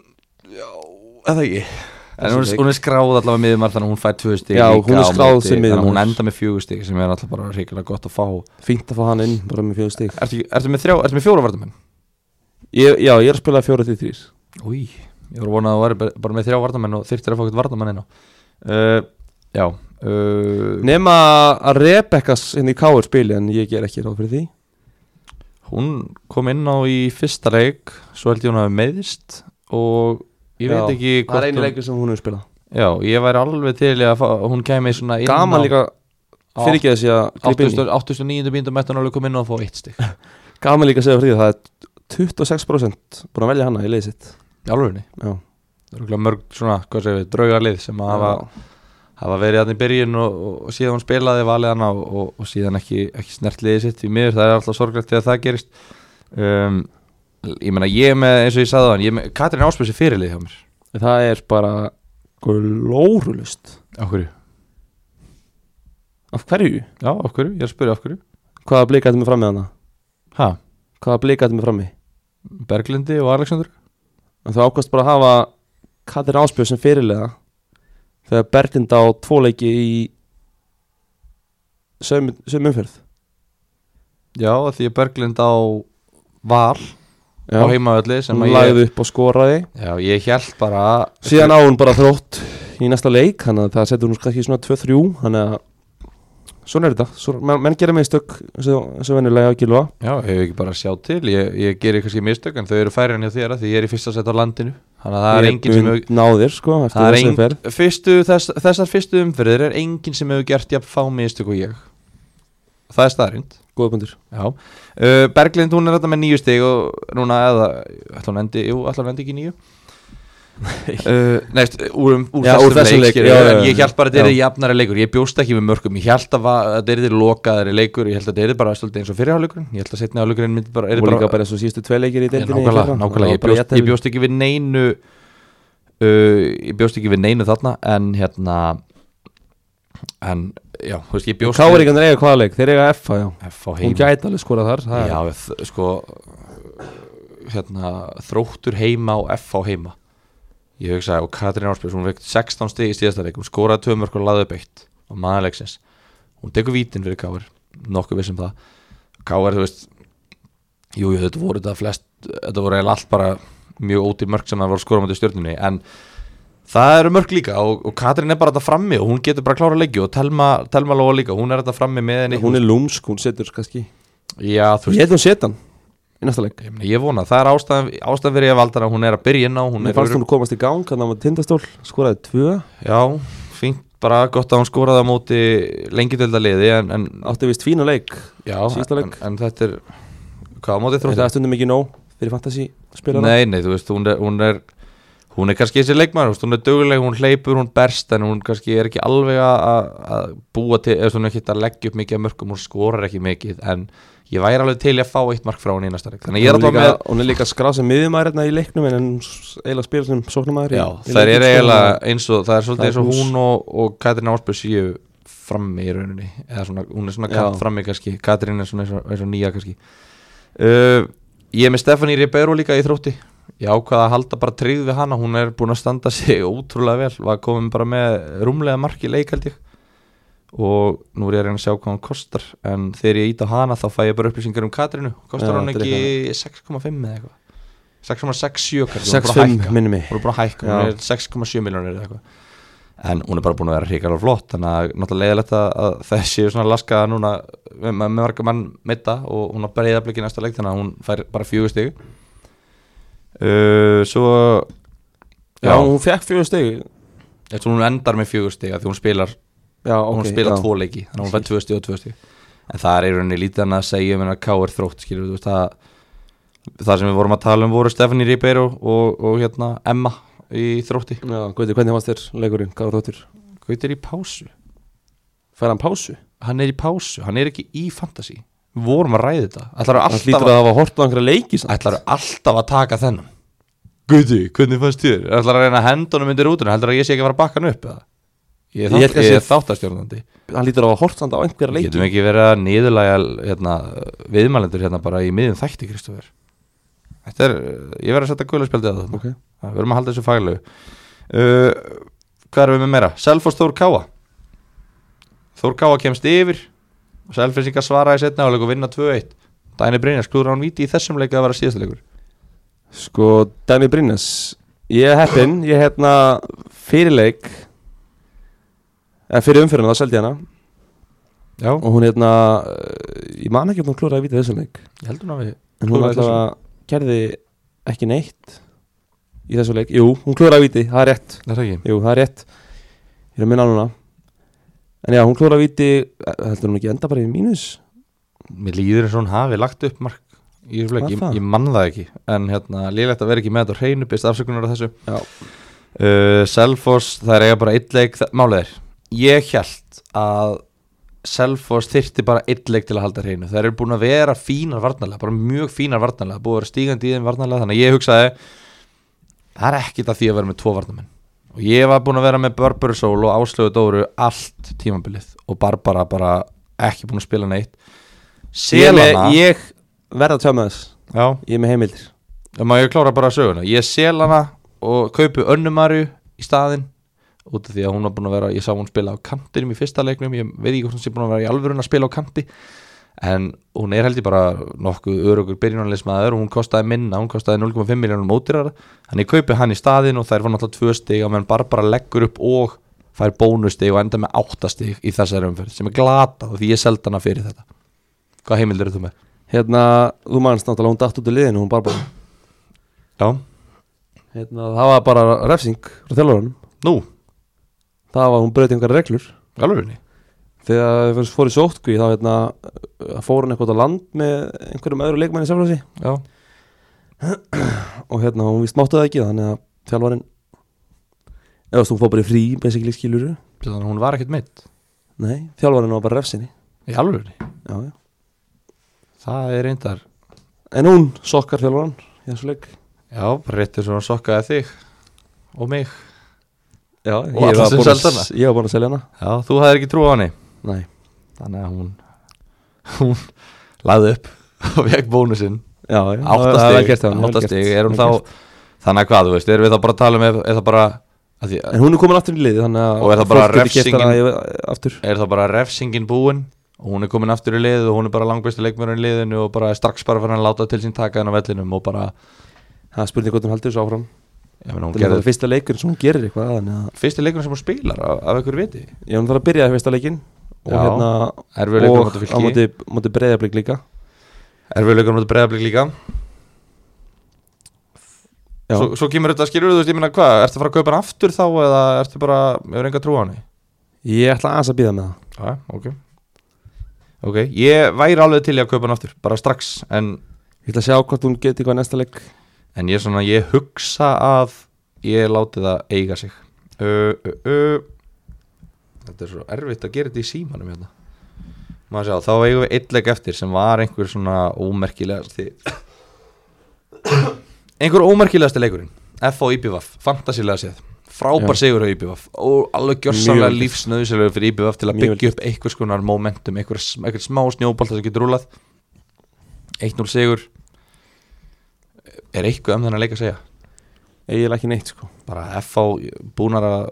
eða ekki En Þessi hún, er- leik. hún er skráð allavega miðjumar þannig að hún fær tvö stík Já, hún er skráð sem Þannig að hún miðjumaður. enda með fjögur stík sem er alltaf bara reikilega gott að fá fínt að fá hann inn, bara með fjóð stig Ertu, ekki- ertu með, þrjá, ertu með fjóra vartamenn? ég, Já, ég er að spila fjóra til þrýr Új, ég voru vonað að þú væri bara- bara með þrjá vartamenn og þyrftir að fá eitthvað vartamenn inn á uh, Já uh, Nefn að Rebekkas henni í Káur spili en ég ger ekki ráð fyrir því Hún kom inn á í fyrsta leik svo held ég hún hafi meðist og ég Já, veit ekki Það er einu hún- leikur sem hún hefur spilað Já, ég væri alveg til í að fá, hún kæmi svona inn Gaman á líka, fyrir ekki þessi að grípa inn í 89. bíndum eftir hún alveg kom inn og fá eitt stík Gaman líka að segja fyrir því að það er 26% búin að velja hana í leið sitt Jálfurinni Það Já, eru örugglega mörg svona, hvað segir við, draugarlið sem að hafa, hafa verið hann í byrjun og, og, og síðan hún spilaði valið hana og, og, og síðan ekki, ekki snert liðið sitt í miður, það er alltaf sorglegt þegar það gerist um, Ég meina ég er með, eins og ég sagði þann, ég er með Katrín Áspjössi fyrirlið hjá mér Það er bara glórulust Af hverju? Af hverju? Já, af hverju, ég er að spyrja af hverju Hvaða blikaði mig fram með hana? Ha, Hvaða blikaði mig fram með? Berglindi og Alexander En þú ákast bara að hafa Katrin Áspjöð sem fyrirlega þegar Berglind á tvo leiki í sömu, sömu umferð Já, af því að Berglind á val Já, á heimaölli sem hún að ég lagði upp og skoraði Já, ég held bara síðan á hún bara þrótt í næsta leik þannig að það setur hún kannski í svona 2-3 þannig að svona er þetta svona, menn, menn gera mistök sem venjulega á gilva Já, hefur ekki bara að sjá til, ég, ég gerir kannski mistök en þau eru færið hjá þér að því ég er í fyrsta set á landinu Þannig að það er enginn sem hefur náðir sko eftir Það er þessi ferð. engin, fyrstu, þess, þessar fyrstu umfyrir er enginn sem hefur gert jafn fá mistök og ég Það er staðrind góða bundur Já, uh, Berglind hún er þetta með nýju stig og núna eða, ætla hún endi, jú, ætla hún endi ekki í níu uh, neist, úr, um, úr Já, þessum úr þessum leik, leik, leik já, já, en já. ég held bara að þetta er Já. jafnari leikur ég bjóst ekki með mörgum, ég held að va- að þetta er lokaðari leikur, ég held að þetta er bara svolítið eins og fyrirháleikurinn, ég held að setna háleikurinn myndi bara, og er líka bara, bara þessu síðustu tvei leikir í Já, deildinni í nákvæmlega, fyrra. nákvæmlega. Það Ég, var bara bjóst, ég jafntefli. bjóst ekki við neinu uh, ég bjóst ekki við neinu þarna en hérna en já, þú veist, ég bjóst við Káringarnir eiga hvaða leik, þeir eiga F já. F á Hún heima gæti alveg skorað þar það er- já, þ- sko hérna, þróttur heima og F á heima ég hugsaði og Katrín Ársbjörns hún veikt 16 stig í síðasta leik hún skoraði tvö mörg og laði upp eitt og maður leiksins hún tekur vítin fyrir Káar nokkuð vissum það Káar, þú veist jú, jú, þetta voru þetta flest þetta voru eiginlega allt bara mjög ódýr mörg sem það voru skora á mútið stjórnunni en það eru mörg líka og, og Katrín er bara þetta frammi og hún getur bara klára leiki og Telma, Telma Lóa líka, hún er þetta frammi með henni Hún er lúmsk, hún setur kannski já, þú Ég held hún setan í næsta leik Ég, meni, ég vona, það er ástæðan, ástæðan fyrir ég valdan að hún er að byrja inn á hún Mér er, fannst hún komast í gang, hann var tindastól skoraði tvö, Já, fínt, bara gott að hún skoraði á móti lengi liði en, en, átti vist fína leik já, síðasta en, leik. en þetta er hvað á móti Er það þrótti? stundum ekki nóg fyrir fantasy spilara? Nei, nei, þú veist, hún er hún er, hún er kannski þessi leikmaður, þú veist, hún er döguleg hún hleypur, hún berst, en hún kannski er ekki alveg að- að að búa til eða svona ekki að leggja upp mikið af mörgum, hún skorar ekki mikið en ég væri alveg til í að fá eitt mark frá hún í næsta leik, þannig að ég er hún, er alltaf líka, með hún er líka skráð sem miðjumæður hérna í leiknum en hún s- eiginlega spila sem sóknumæður Já, það er sko. eiginlega eins og það er svolítið Það er eins og plús. hún og, og Katrín Ársbjörn séu frammi í rauninni eða svona, hún er svona Já. kant frammi kannski Katrín er svona eins og, eins og nýja kannski uh, Ég er með Stefani Ribeiro líka í þrótti ég ákvaða að halda bara tryggð við hana hún er búin að standa sig ótrúlega vel var komin bara með rúmlega marki leik held ég og nú er ég að reyna að sjá hvað hún kostar en þegar ég ít á hana þá fæ ég bara upplýsingar um Katrínu kostar Já, hún þetta er ekki 6,5 eða eitthvað 6,67 kannski, hún er búin að 6-5 hækka minni mig hún er búin að hækka, Já. hún er 6,7 miljonir eða eitthvað en hún er bara búin að vera hrikalega flott þannig að náttúrulega leiðilegt að- að þessi svona laskaða núna með, með marga mann mitta og hún har breyða blikið næsta leik þannig að hún fær bara fjögur stig uh, svo Já, hún fekk fjögur steg eftir hún endar með fjögur stig af því hún spilar, Já, ok hún spilar já. tvo leiki þannig að hún fær tvö stig og tvö stig en það er í rauninni lítið hann að segja um hennar K.R. þrótt skilur þú veist það það sem við vorum að tala um voru Stefani Ribeiro og, og hérna Emma í þrótti Já, Guði, hvernig fannst þér leikurinn, Gáður Þóttur? hvað er í pásu? Fær hann pásu? hann er í pásu, hann er ekki í fantasy Við vorum að ræða þetta ætlar Hann hlýtur alltaf, að hafa hort á einhverja leiki að, ætlar alltaf að taka þennan Guði, hvernig fannst þér? ætlar að reyna að henda honum undir rútuna ætlar að ég sé ekki að fara að bakka hann upp eða? ég er, Ég held þátt, að ég sé- er þáttastjórnandi Hann hlýtur að hafa hort samt á einhverja leiki getum ekki verið að niðurlæga hérna, viðmælendur hérna bara í miðum þætti Kristoffer þetta er, ég verið að setja guðlarspjaldið að þetta Ok. Það, við erum að halda þessu faglegu uh, hvað erum við með meira? Selfoss Þór Káa Þór Káa kemst yfir og Selfossingar svaraði setna áleik og vinna 2-1 Dæni Brynjar sklúður án viti í þessum leik að vera síðasta leikur Sko, Danny Brynnes Ég er heppinn, ég er hérna fyrir leik En fyrir umfyrirna, það seldi ég hana já, Og hún hérna, eh, ég man ekki um hún klúraði að vita þessum leik ég heldur hann að við En hún Klúðraði alltaf gerði ekki neitt Í þessum leik, jú, hún klúraði að viti, það er rétt það er ekki Jú, það er rétt Ég er að minna á núna En já, hún klúraði að viti, eh, heldur hún ekki enda bara í mínus mér líður eins og hún hafi lagt upp mark í þessu leik, Var ég, það? ég mann það ekki en hérna, lélegt að vera ekki með þetta á hreinu byrst afsökunar á þessu Já. uh, Selfoss, það er eiga bara eitt leik það- málið er, ég held að Selfoss þyrti bara eitt leik til að halda hreinu, það eru búin að vera fínar varnarlega, bara mjög fínar varnarlega búið að vera stígandi í þeim varnarlega, þannig að ég hugsaði það er ekkit að því að vera með tvo varnarmenn og ég var búin að vera með Barbarsól og Áslögu Dóru allt tímabilið og Barbara bara ekki búin að spila neitt Selana Ég, ég verð að tjá með þess Já, Ég er með heimildir það má ég klára bara söguna Ég sel hana og kaupi önnumarju í staðinn út af því að hún var búin að vera, ég sá hún spila á kantinum í fyrsta leiknum, ég veit ekki hvort hún sé búin að vera í alvörun að spila á kanti en hún er held ég bara nokkuð örugur byrjunarleismæður og hún kostaði minna hún kostaði 0,5 miljónum mótirara hann ég kaupi hann í staðinn og þær var náttúrulega tvö stig á meðan Barbara leggur upp og fær bónustig og enda með áttastig í þessari umferð sem er glata því ég seldi hana fyrir þetta hvað heimildir er þú með? Hérna, þú manst náttúrulega hún datt út í liðinu, hún barbara Já, hérna, Það var bara refsing frá þjálfurunum nú, Það var hún breytið einhverja reglur alvörunni Þegar við fórum í sótkví þá hérna, uh, fór hún eitthvað á land með einhverjum öðru leikmanni í seflási Já, og hérna, hún víst mátti það ekki þannig að þjálfarinn eða þú veist, hún fór bara í frí, basically skilur Þannig að hún var ekkert mitt nei, þjálfarinn var bara refsinni Í alvörni já, já. Það er reyndar en hún sokkar þjálfarinn í þessu leik Já, bara réttur sem hún sokkaði þig Og mig já, Og ég, var alla sem búin að, seldu hana. ég var búin að selja hana Já, þú hafðir ekki trú á henni nei, Þannig að hún Hún laði upp og vekk bónusinn já, já, það er vel Áttastig gert af henni, vel Áttastig, gert, er hún vel þá gert. Þannig að hvað, þú veist, erum við þá bara að tala um ef, ef það bara, að því, en hún er komin aftur í liði þannig að Og er það bara fólk getur keypt hana í- aftur er það bara refsingin búin og hún er komin aftur í liðið og hún er bara langbæstu leikmörun í liðinu og bara strax bara fyrir að láta til sín taka henn á vellinum og bara, það spurði hvort hún haldur þessu áfram ég meina, hún það er gerði bara fyrsta leikur sem hún gerir eitthvað þannig að fyrsti leikurinn sem hún spilar af, af ykkur viti ég hann þarf að byrja fyrsta leikin og Já. hérna Erfiður leikur á móti og á Fylki. móti, móti breyðablík líka erfið leikurinn út breyðablík líka Já. svo, svo kemur þetta skilur þú veist, ég meina hvað, ertu að fara að kaupa hann aftur þá eða ertu bara, hefur enga trú á hann ég ætla aðeins að býða með það Já, ok Ok, ég væri alveg til í að kaupa hann aftur bara strax, en, ég ætla að sjá hvort hún geti hvað næsta leik en ég svona ég hugsa að ég láti það eiga sig ö, ö, ö. Þetta er svo erfitt að gera þetta í símanum hérna Maður sjá, þá eigum við eitt leik eftir sem var einhver svona ómerkilegasti einhver ómerkilegasti leikurinn F.O. IBVF, fantasilega séð frábær Já. sigur á IBVF og alveg Mjög gjörsamlega vel gert. lífsnöðusilegu fyrir IBVF til að Mjög vel byggja upp einhvers konar momentum, einhver, einhver smá snjóbalta sem getur rúlað 1-0 sigur er eitthvað um þennan leik að segja eiginlega ekki neitt sko bara F.O. búnar að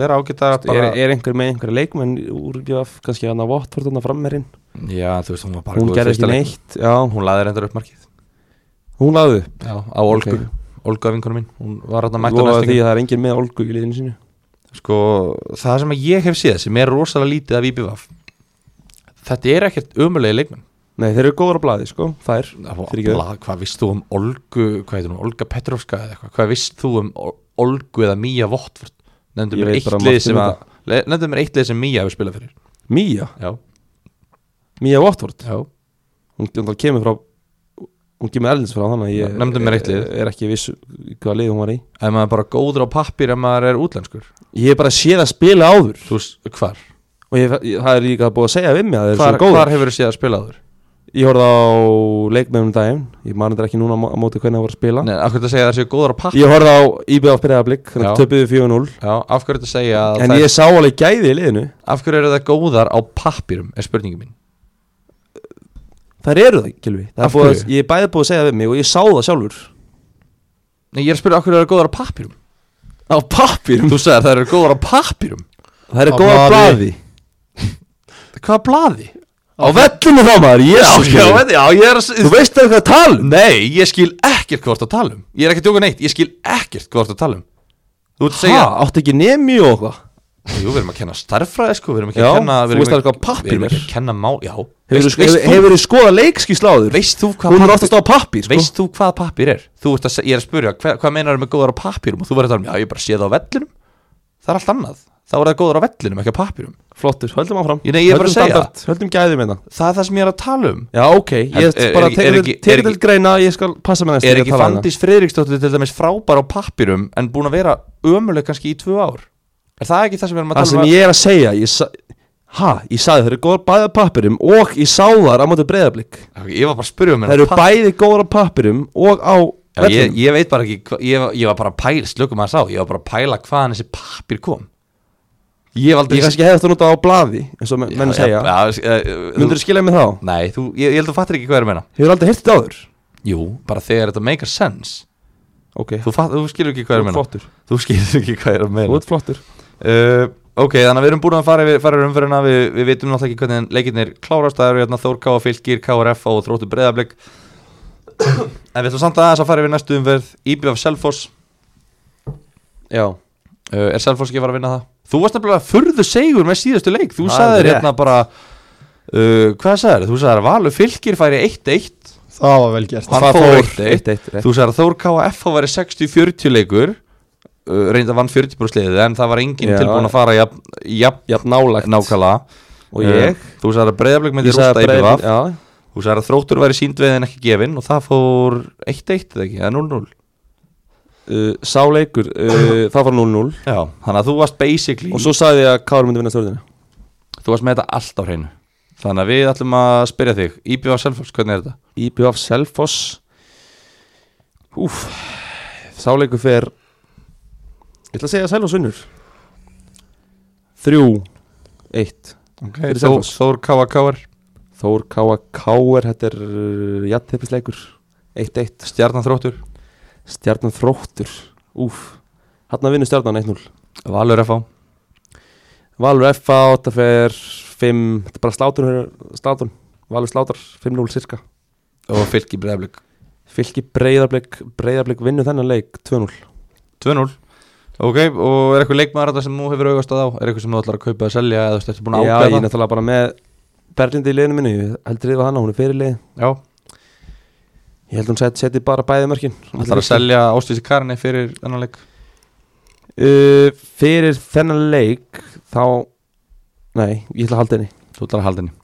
vera ágættar er, bara, er einhver með einhverja leikmenn úr BF, kannski hann að Watford hann að frammerinn já, þú veist, hún var bara hún góð í gerði fyrsta ekki leik. neitt já, hún laði reyndar upp markið hún laði upp já, á Olgu, Ok. Olgu af vinkunum mín hún var hann að mæta lofaði næstingu því að það er engin með Olgu í liðinu sínu sko, það sem að ég hef séð sem er rosalega lítið af IBVF þetta er ekkert umulegi leikmenn nei, þeir eru góður á blaði sko, þær Fyrirgefðu. Bla, hvað vist þú um Olgu hvað heitir hún, Olga Petrovska eða eitthvað hvað vist þú um Ol- Olgu eða Mía Vottford nefndu Ég mér veit eitt bara lið margt sem um að le- nefndu mér eitt lið sem Mía hefur spilað fyrir Mía, já, Mía Watford já, hún, hún kemur frá hún kemur erlins frá þannig að ég Nefndu mér eitt lið. er ekki viss hvaða lið hún var í ef maður er bara góður á pappir ef maður er útlenskur ég hef bara séð að spila áður þú veist, hvar, og ég, ég, það er líka búið að segja við mig að það er hvar, svo góður hvar hefur þú séð að spila þur ég horfði á leikmennum daginn ég mani þetta ekki núna á mó- á móti hvernig það voru að spila Nei, af hverju þetta segja að það séu góður á pappir ég horfði á IBF Breiðablík Já. töpuðu 4-0 já, af hverju þetta segja að en þær- ég sá alveg gæði í liðinu af hverju eru það góðar á pappirum er spurningin mín þær eru það, Gilvi það Af er búið, hverju? að- ég er bæði búið að segja við mig og ég sá það sjálfur Nei, ég er að spyrja af hverju eru það góðar á pappirum á pappirum Þú sagðir það eru góðar á pappirum það Á er góða blaði. blaði Hvaða blaði? á vellinu þá maður, Já, jésus já, veit- já, ég er að þú s- veist það hvað tal Nei, ég skil ekkert hvort að tala um Ég er ekki að djóka neitt, ég skil ekkert hvort að tala um Þú ert að ha, segja átti ekki nemi og hvað Jú, við erum að kenna starffræði, sko Við erum ekki að Já, kenna þú við erum veist ekki- alveg hvað pappír Við erum ekki er. að kenna má, já hefur, Veist- veist hefur, þú- hefur þú skoðað leikskísla áður Veist þú hvað hún er pappír- oftast á pappir sko. Veist þú hvað pappir er? Þú ert að segja, ég er að spyrja, hver, hvað meinar með góðar á pappirum? Og þú verður að tala um, já, ég bara sé það á vellinum Það er allt annað, þá er það góðar á vellinum, ekki á pappirum flottur, höldum áfram Ég- nei, ég er bara að Höldum segja. standard, höldum gæði með það Það er það sem ég er að tala um Já, ok, ég En er- bara er ekki- er tekur ekki- til- er tekur ekki- til greina ég skal passa með næst Er ekki Fandís Friðriksdóttir til dæmis frábær á pappirum en búin að vera ömuleg kannski í tvö ár? Er það ekki það sem við erum að Það tala sem um? ég er að segja ég sa... Ha, ég sagði þeir eru góðar bæði á pappirum og ég sá þar á móti breyðablík Ég, ég var bara að spyrja um Þeir eru bæði góðar á pappirum og á Já, ég, vellinum. ég veit bara ekki, hva, ég, var- ég var bara að pæla, slökum að sá, ég var bara að pæla hvaðan þessi pappir kom Ég hef aldrei Ég kannski hefði þetta notað á blaði eins og men- menn já, segja já, já, Myndur þú skilja mig þá? Nei, þú, ég, ég held að þú fattir ekki hvað er að meina Hefur aldrei hirt þetta áður? Jú, bara þegar þetta make a sense Ok, Þú, fatt, þú skilur ekki hvað þú er að ert meina flottur Þú skilur ekki hvað er að Þú meina ert flottur uh, Ok, þannig að við erum búin að fara yfir, fara yfir umferðina við, við vitum náttúrulega ekki hvernig leikirnir klárast Það eru hérna Þór K. Fylgir, KRF og Þróttu Breiðablik En við ætlum samt aðeins að fara yfir næstu umferð IBF Selfoss, Já uh, er Selfoss ekki að fara að vinna það? Þú varst nefnilega furðu segur með síðustu leik Þú Það er sagðir rétt. hérna bara uh, Hvað sagðir? Þú sagðir að Valur Fylgir færi 1-1 Það var vel gert Hann Það fór fór eitt, eitt. 1-1, rétt. Þú sagðir að Þór K. F. væri 60-40 leikur uh, reynda vann 40 brúsliðið en það var enginn Já. tilbúin að fara jafn, jafn Jafn nálægt nákvæmlega Eh, Og ég Þú sagði að breyðarblik myndi Eh, Ég sagði rústa Breiðablik- IBF Já, Þú sagði að þróttur væri síndveið en ekki gefinn og það fór 1-1 eða ekki, eða 0-0 uh, sá leikur, uh, það var 0-0 Já, þannig að þú varst basically og svo sagði ég að Kári myndi vinna stjórnina Þú varst með þetta allt á hreinu Þannig að við ætlum að spyrja þig Íbjöð á Selfoss, hvernig er þetta? IBF Selfoss Úf Sáleiku fer Ég ætla að segja að Selfoss vinnur Þrjú Eitt Okay, Fyrir Þór, Selfoss. Þór Káa Káar Þór Káa Káer Þetta er jættepisleikur Eitt eitt Stjarnan Þróttur Stjarnan þróttur Úf Hanna vinnur stjarnan 1-0 Valur FH Valur FA 8 fer 5 Þetta er bara slátur Slátun Valur slátar 5-0 cirka Og Fylki Breiðablík Fylki breyðarbleik Breyðarbleik vinnur þennan leik 2-0 2-0 Ok, og er eitthvað leikmaður þetta sem þú hefur augast að á? Er eitthvað sem þú ætlar að kaupa að selja eða þú veist, ertu búin að Já, ég er ákveða það? náttúrulega bara með Berlindi í liðinu minni, ég heldur yfir hana, hún er fyrirlið Já, Ég held hún set, seti bara bæði mörkin ætlar að selja Ástísi Karni fyrir þennan leik uh, Fyrir þennan leik þá Nei, ég ætla að halda henni Þú ætlar að halda henni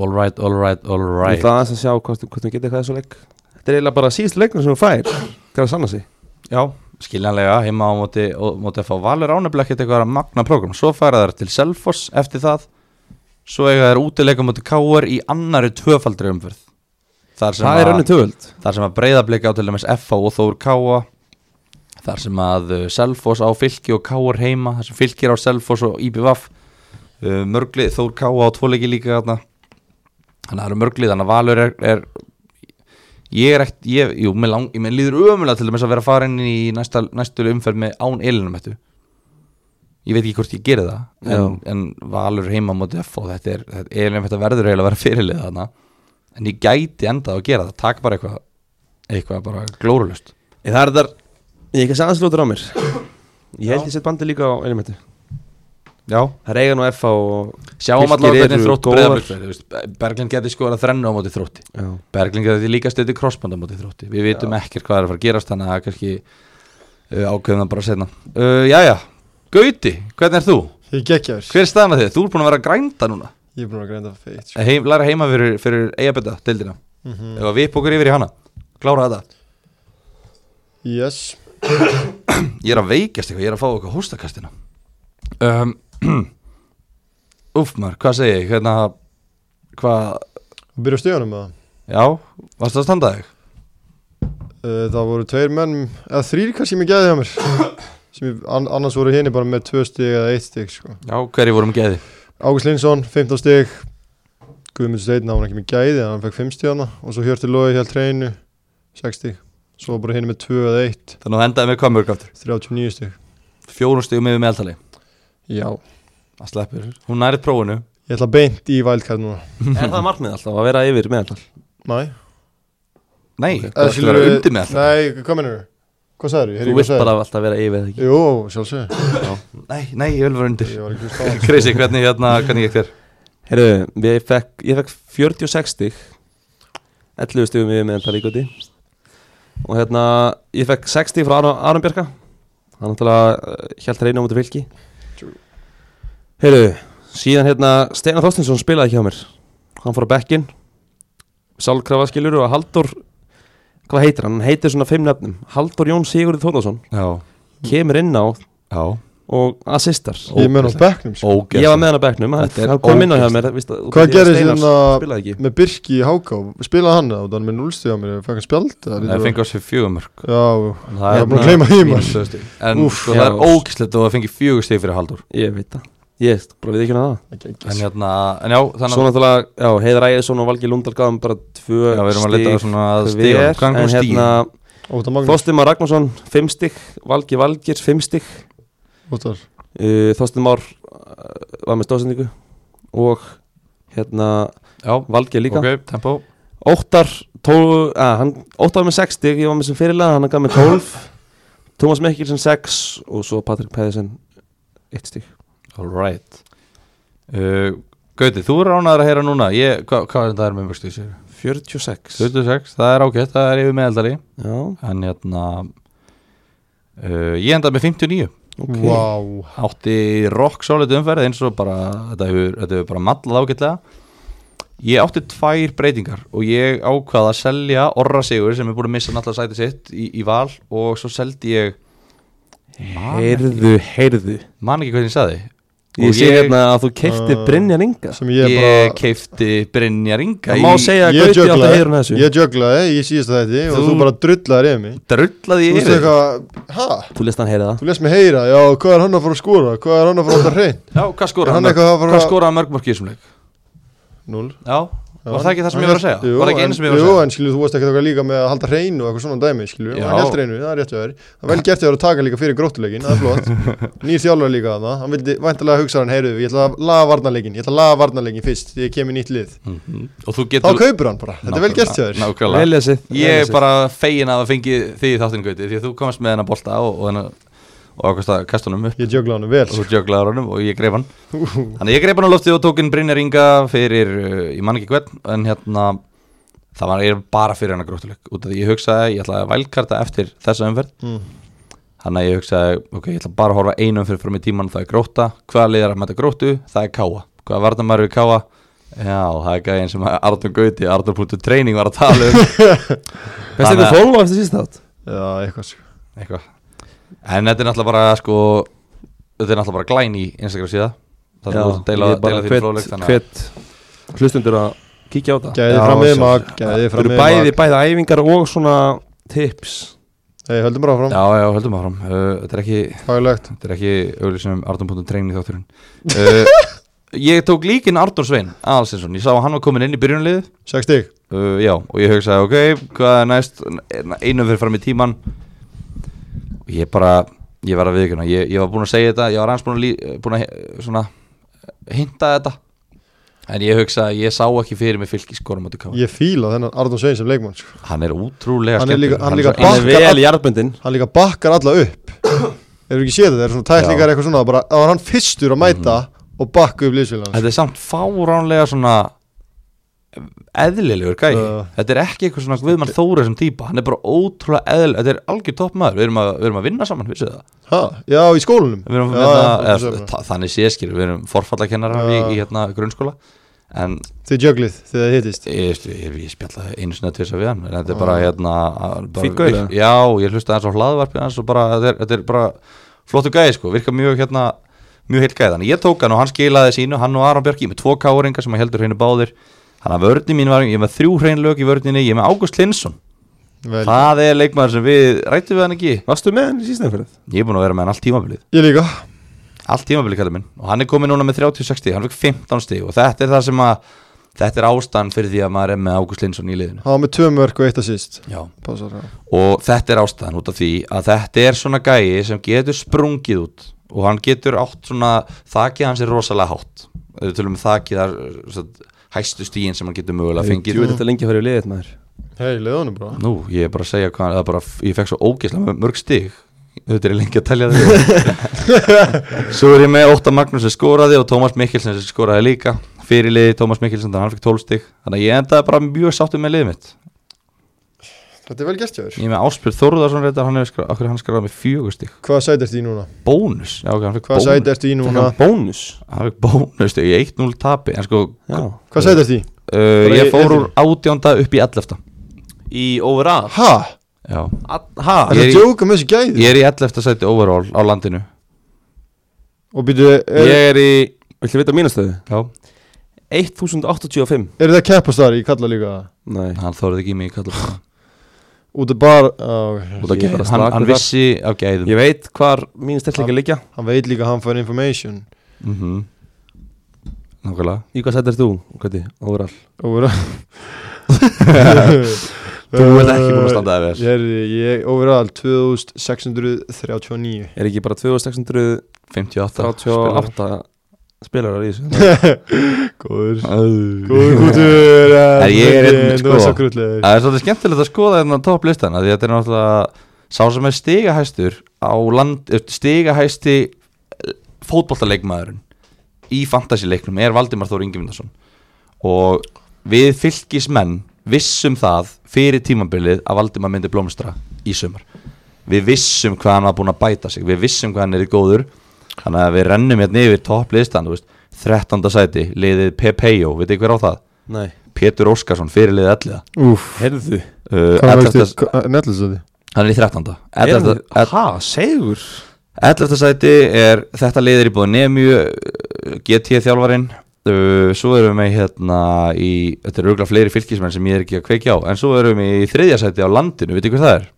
All right, all right, all Ég right ætla aðeins að sjá hvort, hvort hún geti eitthvað þessu leik Þetta er eiginlega bara síðustu leiknum sem hún fær Það er að sanna sig Já, skiljanlega heima á móti, á móti að fá Valur ánefnilega ekkert eitthvað að magna program Svo færa þær til Selfoss eftir það Svo eiga þær útileika móti Káar í annari tvöfaldri umfyrð Þar sem, Það er að, önnu töföld þar sem að breyðablika á til dæmis FH og Þór Káa Þar sem að uh, Selfoss á fylki og Káar heima Þar sem fylkir á Selfoss og IBVF uh, Mörgli, Þór Káa á tvoleiki líka þarna Þannig að það eru mörgli, þannig að Valur er, er Ég er ekkert, ég, jú, mér, lang, mér líður ömulega til þess að vera farin í næsta, næstu umferð með án elinum þetta Ég veit ekki hvort ég geri það en, en Valur heima móti F og þetta er, þetta, elinum þetta verður eiginlega að vera fyrirlið þarna En ég gæti endað að gera það, taka bara eitthvað eitthvað bara glórulust Ég það er þar Ég er ekki að segja aðslótur á mér Ég held ég sett bandi líka á Elimetu Já, Það er eigan og FA og sjáum Fylkir allar hvernig eru þrótt góðar. breyðar Berglind geti sko að þrennu á móti þrótti Já, Berglind geti líka stöðið krossband á móti þrótti Við vitum ekkert hvað er að fara að gerast þannig að kannski uh, ákveðum það bara setna uh, Jæja, Gauti, hvernig er þú? Ég gekkjaður Hver er staðan að þið? Þú er búin að vera að grænda núna Ég er búin að grænda feitt sko. heim, Læra heima fyrir, fyrir eigabetta, deildina mm Ef að við bókur yfir í hana, klára þetta Yes Ég er að veikjast eitthvað, ég er að fá eitthvað hóstakastina um, Úff maður, hvað segi ég? Hérna, hvað, Og byrja á stíðanum með já, varstu að standa þig? Eh, það Það voru tveir menn Eða þrýr kannski sem ég geði hjá mér sem ég, an, Annars voru henni bara með tvö stig eða eitt stig sko. Já, hverju vorum geði? Ágúst Linsson, 15 stig Guðmundur Steinn, hann var ekki með gæði en hann fekk 5 stíðana og svo Hjörti Lói held reynu 6 stig Svo var bara henni með 2 eða 1 Þannig að þú endaði með hvað mörg aftur? 39 stig Fjórun stigum yfir meðaltali Já Það sleppur Hún nærið prófinu Ég ætla beint í vældkæð núna er það markmið alltaf að vera yfir meðal Næ Nei, Ok. það ætti að vera undir meðaltali Nei, hvað mennur þú? Hvað sagður Þú vilt bara alltaf vera yfir eða ekki Jú, sjálfsög Nei, nei, ég vil vera undir Ég var ekki að staða Crazy, hvernig hérna, hvernig ég þér? Herru, ég fekk, ég fekk 46 stig 11 stigum yfir meðan það líkoti og hérna, ég fekk 6 stig frá Aron, Aron Bjarka hann náttúrulega hjælt reyna á mútið fylki True. Herru, síðan hérna Steinar Þorstinsson spilaði hjá mér hann fór á bekkin Sálkrafaskilur og Haldur hvað heitir hann? Hann heitir svona fimm nefnum Haldur Jón Sigurður Þórðarsson Já, kemur inn á já og assistar Ég menn á bekknum sko. Ógæst Ég var með hann á bekknum, hann, Þetta er hann kom inn á hjá ógeðslegt. mér víst, að- Hvað því að gerðist Steinar hérna- Spilaði ekki Með Birki í Háká Spilaði hann það og þannig með núlstíða mér Ég fækka spjald eða Það lítið var- fengi á sér fjögur mörg Já, En Ég Það var búinn að gleyma því, maður. mínus tvö stig. En Úff, sko, það er já. ógæstlegt og það fengi fjögur stig fyrir Haldur Ég veit það Ég bara við ekki hérna það ekki ekki En hérna, en já, Svo þannig náttúrulega, já, Heiðar Ægjesson og Valgi Lundal gafum bara tvö að Já, við erum að leta stig svona að hver, stíðum Hvað kom En stíðum? hérna, Óta Magnús Þorstin Már Ragnarsson, fimm stig Valgi Valgir, fimm stig Ótar uh, Þorstin Már uh, var með stóðsendingu Og hérna, Já, Valgi líka ok, tempo Óttar, tól, að, hann, Óttar var með 6 stig, ég var með sem fyrirlega, hann gaf með 12 Tómas Mikkelsen 6 og svo Patrik Pæðisen 1 stig All right uh, Gauti, þú er ránaður að heyra núna Ég, hva, hvað er þetta er með mörg stig sér? 46 26, það er ágætt, það er yfir meðaldali Já, En hérna uh, Ég endaði með 59 ok Vá Átti rock solid umferð eins og bara Þetta hefur, þetta hefur bara mallað ágætlega Ég átti tvær breytingar og ég ákvaða að selja Orra Sigur sem er búin að missa náttúrulega sæti sitt í, í val og svo seldi ég Man ekki- Heyrðu, heyrðu man ekki hvernig ég sagði Ég Og sé ég- hérna að þú keipti Ah. Brynjar Inga sem Ég, ég ég bara keifti Brynjar Inga Það má segja að ég Gauti átt að jöglaði- heyra hún þessu ég jöglaði í síðasta þætti og Þú- þú bara drullaði yfir mig Drullaði þú ég veist yfir þig? eitthvað hæ, Þú lest hann heyra það þú lest mig heyra já, hvað er hann að fara að skora, hvað er hann að fara að láta hrein Já, hvað Er skoraði hann hann? eitthvað að fara- Hvað skoraði hann mörg mörg í þessum leik? 0 Já, var það ekki það sem ég var að segja? Jú, var það ekki einu sem ég var jú, að segja? en skilju, þú varst ekki okkar líka með að halda hreinu og eitthvað svona dæmi, skilju, Já. hann held hreinu, það er rétt að vera það er vel gert að vera að taka líka fyrir gróttuleikin, það er flott nýr þjálfur líka þarna, hann vildi væntalega hugsa hann, heyrðu, ég ætla að laga varnarleikin ég ætla að laga varnarleikin fyrst, því ég kem í nýtt lið Mhm. Og þú þá getur kaupir hann bara, þetta er vel gert hjá þér Nákvæmlega Veljasið Ég er bara fegin að það fengi þig í þáttinu gauti Því að þú komast með hennar bolta og, og hennar Og ákvæmst að kasta honum upp ég jögla hann vel, Og þú jöglaði honum og ég greif hann sko. Þannig að ég greip hann á loftið og tók inn Brynjar Inga Fyrir, uh, ég man ekki hvern En hérna, það var ég bara fyrir hennar gróttuleik Út af því ég hugsaði, ég ætlaði að vælkarta eftir þessa umferð Mm. Þannig að ég hugsaði, ok, ég ætla bara að horfa einum fyrir fram í tíman, það er gróta, hvaða liðar að mæta grótu, það er káa, hvaða varnamæri við káa, já, það er gæðin sem Arnur Gauti, Arnur.training var að tala um, Best Þannig eitthvað að- fóló eftir síðast þátt já, eitthvað, sko. eitthvað. En þetta er náttúrulega bara, sko, þetta er náttúrulega bara glæn í Instagram síða, það er að deila, ég bara deila því fróðleik, þannig að hvet, hvet hlustundur að kíkja á það gæði Já, fram með sjálfsagt. mag, gæði Það fram eru með bæði, mag bæði æfingar og svona tips hei, höldum bara fram, Já, já, höldum áfram, uh, þetta er ekki, faglegt Eh, þetta er ekki auðvitað um Arnur.training þátturinn. Uh, ég tók líkin Arnur Svein, Aðalsinsson, ég sá að hann var komin inn í byrjunliðið, 6 stig, uh, Já, og ég hugsaði, ok, hvað er næst Einu fyrir fram í tíman Og ég bara Ég var að viðkjöna, ég, ég var búinn að segja þetta Ég var aðeins búinn að, lí- búinn að he- svona, Hinta þetta En ég hugsaði, ég sá ekki fyrir mig fylki skorum á káa ég fíla þennan Arnón Svein sem leikmann, sko. Hann er útrúlega Hann er líka- skemmtilegur. hann svo líka Hann er Bakkar vel all- í jarðbundin hann líka bakkar alla upp Hefur ekki séð þetta, það eru svona tæklingar eitthvað svona bara, Það var hann fyrstur að mæta og bakka upp ein- liðsfélagann sko. Þetta er samt fáránlega svona eðlilegur gæi Já. Þetta er ekki eitthvað svona Guðmann Þóra sem típa Hann er bara ótrúlega eðl Þetta er algjör topp maður, við erum að, við erum að vinna saman, vissu það Ha, Já, í skólanum Við erum Já, hérna, já, eða, já, þa- þannig séskir, við erum forfallakennarar í, Já. í hérna grunnskóla En Þið jöglið þegar þið hittist ég, veist, ég, ég spjallaði einu sinni að tvisa við hann En þetta er bara Já. hérna að- bara, Fínn gaur, eða? Já, ég hlusta hans á hlaðvarpið hans og bara, þetta er, þetta er bara flottu gæði sko, virka mjög hérna mjög heil gæði, þannig ég tók hann og hann skilaði sínu hann og Aron Bjarki með tvo káringa sem hann heldur henni báðir þannig að vörðin mín var, ég er með þrjú hrein lög í vörðinni, ég er með Ágúst Linsson Vel. það er leikmaður sem við rættum við hann ekki Varstu með hann í síðanferð? ég er búin að vera með hann allt tímabilið Ég líka allt tímabili kallið minn og hann er komið núna með 36 stíg, hann fikk 15 stíg og þetta er það sem að þetta er ástæðan fyrir því að maður er með Ágúst Lindsson í liðinu Hann var með tvö mörg og eitt að síst Já. Passar, já. og þetta er ástæðan út af því að þetta er svona gæi sem getur sprungið út og hann getur átt svona þakið hans er rosalega hátt Ef við tölum um þakið þar satt, hæstu stígin sem hann getur mögulega að fengið Þú veit þetta lengi að fara í liðið maður Hei, leiðu honum bara Nú, ég er bara að segja hvað, það er bara, ég fekk svo ógeðslega mörg stig Þetta er lengi að telja þig Svo er ég með Óttar Magnús sem skoraði og Tómas Mikkelsen sem skoraði líka Fyrirliði Tómas Mikkelsen, þannig að hann fikk 12 stig Þannig að ég endaði bara mjög sáttum með liðið mitt Þetta er vel gert hjá þér Ég er með Áspjörn Þórðarsson reyndar, hann hefur skráð, okkur hann skráði með fjögur stig Hvað sæti ertu í núna? Bónus, já ok, hann fikk Hvað sæti bónus ertu í Fekk núna? hann bónus Hann fikk bónus stig, ég 1-0 tapi En sko, Já Hvað sæti ertu í? uh, Bara í- ég fór úr í- átjónda upp í 11 Í overall Ha? Já, Ha? Ég Er er í- það djóka með þessu gæði? ég er í 11 sæti overall á landinu Og býtu, er, Ég er í Viltu vita mínastöðu? Já, 1085 er það keppast þar í kalla líka? Nei hann þórði ekki mig í kallum Út af bara á, Út af Ég er gæðum, bara hann, slakur hann þar. vissi af gæðum Ég veit hvar mín styrkleika liggja Hann veit líka að hann fær information mm -hmm. Nákvæmlega Í hvað sættir þú? Hvað er overall? Over Þú ert ekki búin að standa það Ég vel er, ég, overall, 2639 Er ekki bara 2638 58 spilarar í þessu Góður Góður Góður kútur eh, En ég er einn, Martin, Þú er sko. svo krullegur Það er svolítið skemmtilegt að skoða hérna topplistana Því þetta er náttúrulega Sá sem er stigahæstur á land eh, Stigahæsti fótbollaleikmaðurinn Í fantasileiknum er Valdimar Þór Ingemundarsson Og við fylgismenn Vissum það fyrir tímabilið Að Valdimar myndi blómstra í sumar Við vissum hvað hann var búin að bæta sig Við vissum hvað hann er í góður Þannig að við rennum hérna yfir topplistan þú veist, 13. sæti, liðið Pepeo, veit þið hver á það? Nei Pétur Óskarsson, fyrirlið 11 Úf Herðu uh, Hvað er 11. vextið? Nettlsöði Hann er í 13 Herðu 11. ell- Ha, segur 11. sæti er þetta liðir í búið Nemju uh, GT þjálfarin uh, svo erum við með hérna í þetta eru auðvitað fleiri fylgismenn sem ég er ekki að kveikja á en svo erum við í þriðja sæti á landinu veitir hvað það er?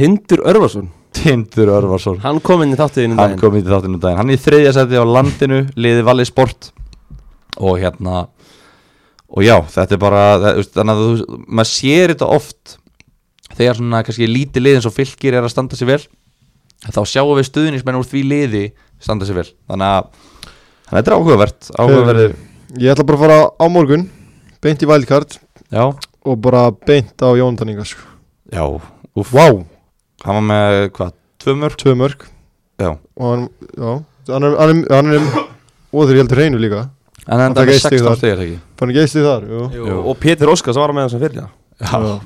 Tindur Örvarsson Tindur Örvarsson Hann kom inn í þáttiðinu hann kom í þáttinu um daginn hann er í þriðja sæti á landinu liði Valli Sport og hérna og já, þetta er bara það- þú veist, þannig að þú, maður sér þetta oft þegar svona kannski lítið lið eins og fylgir er að standa sér vel þá sjáum við stuðnismenn úr því liði standa sér vel þannig að þannig að þetta er áhugavert áhugaverðir, Ég ætla bara að fara á morgun Beint í wildcard já, Og bara beint á Jónatan Inga sko. já úf, Vá hann var með hvað, tvö mörg Tvö mörg já, Og hann, já Hann er, hann er, hann er Og þeir heldur hreinu líka en Hann enda fékk með eitt stig 16 þar. stegar ekki Fann ekki eistið þar, jú Jú. Og Pétur Óskars var með þessum fyrir já,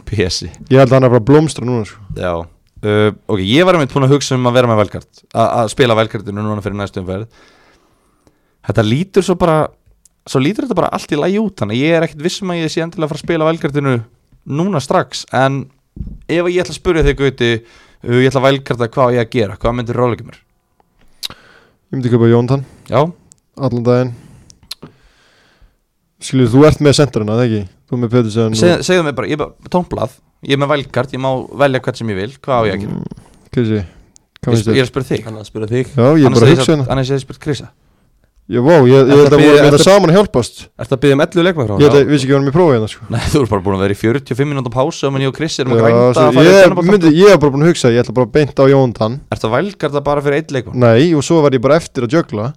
pési Ég held að hann er bara að blómstra núna sko. Já uh, Ok, ég var einmitt búinn að hugsa um að vera með velkart Að spila velkartinu núna fyrir næstu umferð Þetta lítur svo bara Svo lítur þetta bara allt í lagi út Þannig að ég er ekkert vissum að ég sé endilega að fara að spila velkartinu Núna strax En ef ég ætla að spurja þig Gauti uh, Ég ætla að velkarta hvað á ég að gera Hvað myndir ráleika mér? Ég myndi köpa Jónatan Já, Allan daginn Skilju, þú ert með sentarina, það ekki? Þú með Petersen Seg, segðu mér bara, ég er bara tómblað Ég er með velkart, ég má velja hvert sem ég vil Hvað á ég að gera? Kissi Mm, Hvað Ég, finnst sp- ég þér? er að spurja þig Hann að spyrja þig Já, ég er Annars bara að hefði ég hugsa sagt- hérna annars hefði ég spurt Krisa Já, vá, ég ég Ertu held að að við bíða- erum þetta ertu- saman að hjálpast Ertu að byggja um 11 leikmenn frá Ég held að, vissi ekki hann er með prófið hérna, sko Nei, þú ert bara búin að vera í 45 minúnda pásu og menn ég og Chris erum að Já, grænda svo að fara í ég, tönnaboltan. myndi, ég var bara búin að hugsa, ég ætla bara að beinta á Jónatan Ertu að velgarda bara fyrir eitt leikmann? Nei, og svo var ég bara eftir að jögla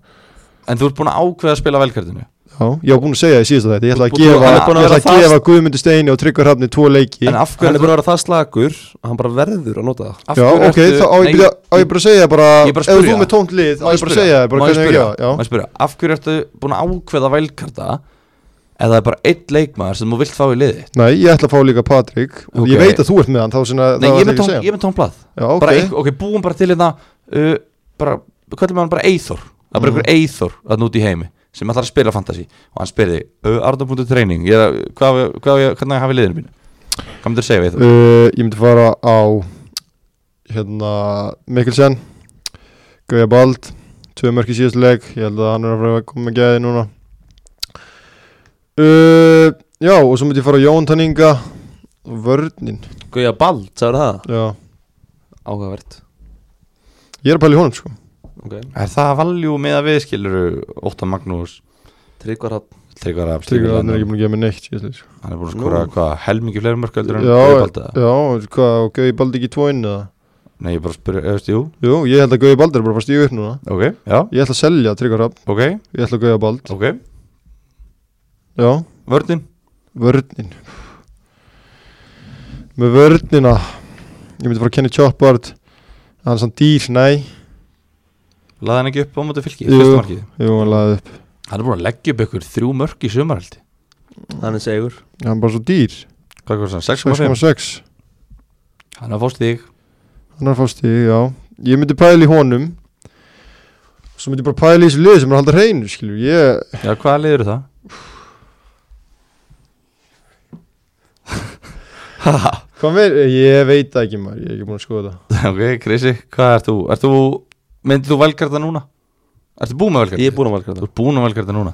En þú ert búin að ákveða að spila velgardinu Já, ég var búin að segja í síðasta þetta Ég ætla að Þú- þú- gefa, hann er búin að ég vera ætla að fast. gefa Guðmundur Steini og Tryggvar Hrafni tvo leiki En af Hann er hverju bara að vera það slagur að hann bara verður að nota það af Já, hverju ok, ertu- þá á Nei, ég, byrja, á ég bara að segja bara Ég er bara Ef að þú spyrja. er með tónt Má lið, á ég bara að segja Má ég bara hvernig ég spyrja? gefa Má Já, ég spyrja? Af hverju ertu búin að ákveða velgarda Ef það er bara eitt leikmann sem þú vilt fá í liði nei, ég ætla að fá líka Patrik Og Ok. ég veit að þú ert með hann, þá sinna, Nei, ég það var er með ekki að tón- ég segja er með tónblað Já, Bara ok, einhver- Ok, búum bara til hérna uh, Bara, hvað er með hann bara Eithor Það er bara Mm. einhver Eithor að núti í heimi sem ætlar að spila fantasy og hann spyrði uh, Arda.training, hvað, hvað, hvernig hafi liðinu mínu? Hvað myndir segja við Eithor? Uh, ég myndi fara á hérna Mikkelsen Gauja Bald tvö mörk í síðast leik ég held að hann er að fara að koma með gæði núna uh, já og svo myndi ég fara á Jón Tanninga vörnin Gauja Bald, sagður það já. Áhugavert ég er að pæla í honum sko okay. Er það valjú með að við skilur Óttan Magnús Tryggvar Hafn Tryggvar Rapp Tryggvar hann er ekki Hann búin að gefa mér neitt síðast leik sko. er búin að skora Nú. hvað, helmingi fleiri mörk heldur en Guðbalda já, já og hvað og Gauja Bald ekki tvo inn eða Nei, ég bara spyrir, eða jú, jú ég held að Gauja Bald er bara að fara stíu upp núna ok, já, ég ætla að selja Tryggvar Rapp ok, ég ætla að Gauja Bald ok já Vörnin, Vörnin Með vörnina Ég myndi fara að kenna Chopard Það er sann dýr, nei laði hann ekki upp á móti fylki Jú. fyrsta markið Jú, hann laði upp Hann er búin að leggja upp ykkur þrjú mörk í sumarhaldi Hann er segur Hann er bara svo dýr Hvað er það, 6,5? 6,6 Hann er að fóst þig Hann er að fá stíð, já Ég myndi pæla í honum Svo myndi ég bara pæla í þessu liði sem er að halda hreinu Skilju, ég Já, hvaða liður það? Haha, Hvað með, ég veit það ekki maður Ég er ekki búin að skoða það ok, Krisi, hvað ert þú? Ert þú, myndir þú velgarða núna? Ertu búin með velgarða? Ég er búin að valka Þú ert búinn að velja þetta núna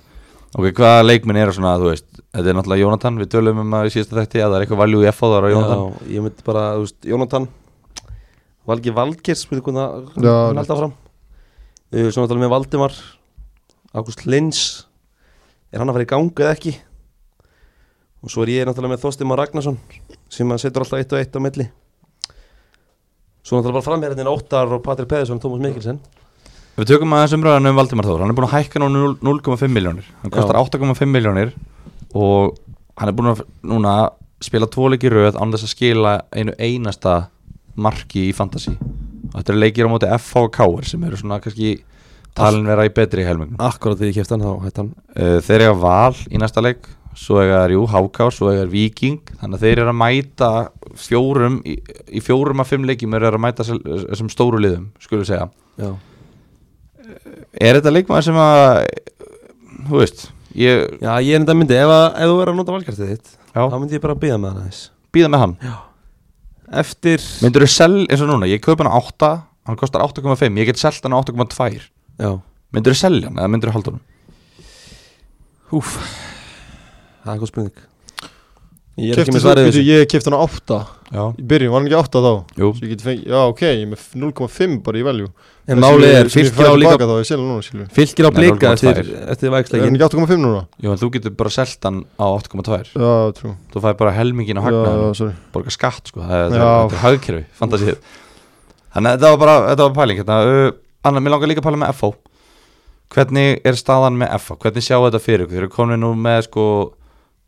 Ok, hvaða leikminn er svona, þú veist Þetta er náttúrulega Jónatan, við tölum um að í síðasta þætti að það er eitthvað valjú í F á þar á Jónatan Já, ég myndi bara, þú veist, Jónatan Valgi Valgir, spyrir hvernig það Já, hann alltaf fram uh, Svo náttúrulega með Valdimar Ágúst Lins Er hann að fara í gangi eða ekki? Og svo er ég náttúrulega með Þorstimar Ragnarsson sem að setur alltaf eitt og eitt á milli Svo náttúrulega bara framherðin Óttar og Patrik Peðisson, Tómas Mikkelsen Við tökum aðeins umræðan um Valdimar Þór Hann er búinn að hækka nú 0 0,5 miljónir Hann Já. kostar 8,5 miljónir Og hann er búinn að núna spila tvo leiki í röð án þess að skila einu einasta marki í fantasy Og þetta eru leikir á móti F og K sem eru svona kannski talin vera í betri helmingum Akkurat því ég kefti hann, þá hætti hann Uh, þeir eiga val í næsta leik svo eiga þeir, jú, háká, svo eiga þeir viking þannig að þeir eru að mæta fjórum, í, í fjórum af fimm leikjum eru þeir að mæta sel- þessum stóru liðum skulum segja, Já, er þetta leikmaður sem að þú veist, Ég Já, ég er enda myndi, ef, að, ef þú verður að nota valkartið þitt Já. þá myndi ég bara býða með hann aðeins býða með hann Eftir Myndur þú selja, eins og núna, ég kaup hann á 8 Hann kostar 8,5, ég get selgt hann á 8,2 Já, Myndur þú selja hann eða myndur þú halda hann? húf Það er góð spurning Ég er ekki Kefti með þú, svarið býtu, þessu ég kefti hann á 8 Já, Í byrjun, var hann ekki 8 þá? jú Svo ég get fengið, já ok, ég er með 0,5 bara í velju En málið er, fylgir á líka Baka, þá, ég selja núna, skilju Fylgir á Nei, 0,2. blika eftir, eftir Er hann vægsleikin ekki 8,5 núna? Jú, en þú getur bara selgt hann á 8,2 Já, trú Þú fæði bara helmingin á Já, já, hagnaðin sorry Borga skatt, sko, það er, Já. þetta er hagkerfi Fantasíð Þannig að þetta var bara, þetta var pæling hérna. uh, Anna, mér langar líka að pæla með FO Hvernig er staðan með FO? Hvernig sjáu þetta fyrir ykkur? Þeir eru komin nú með sko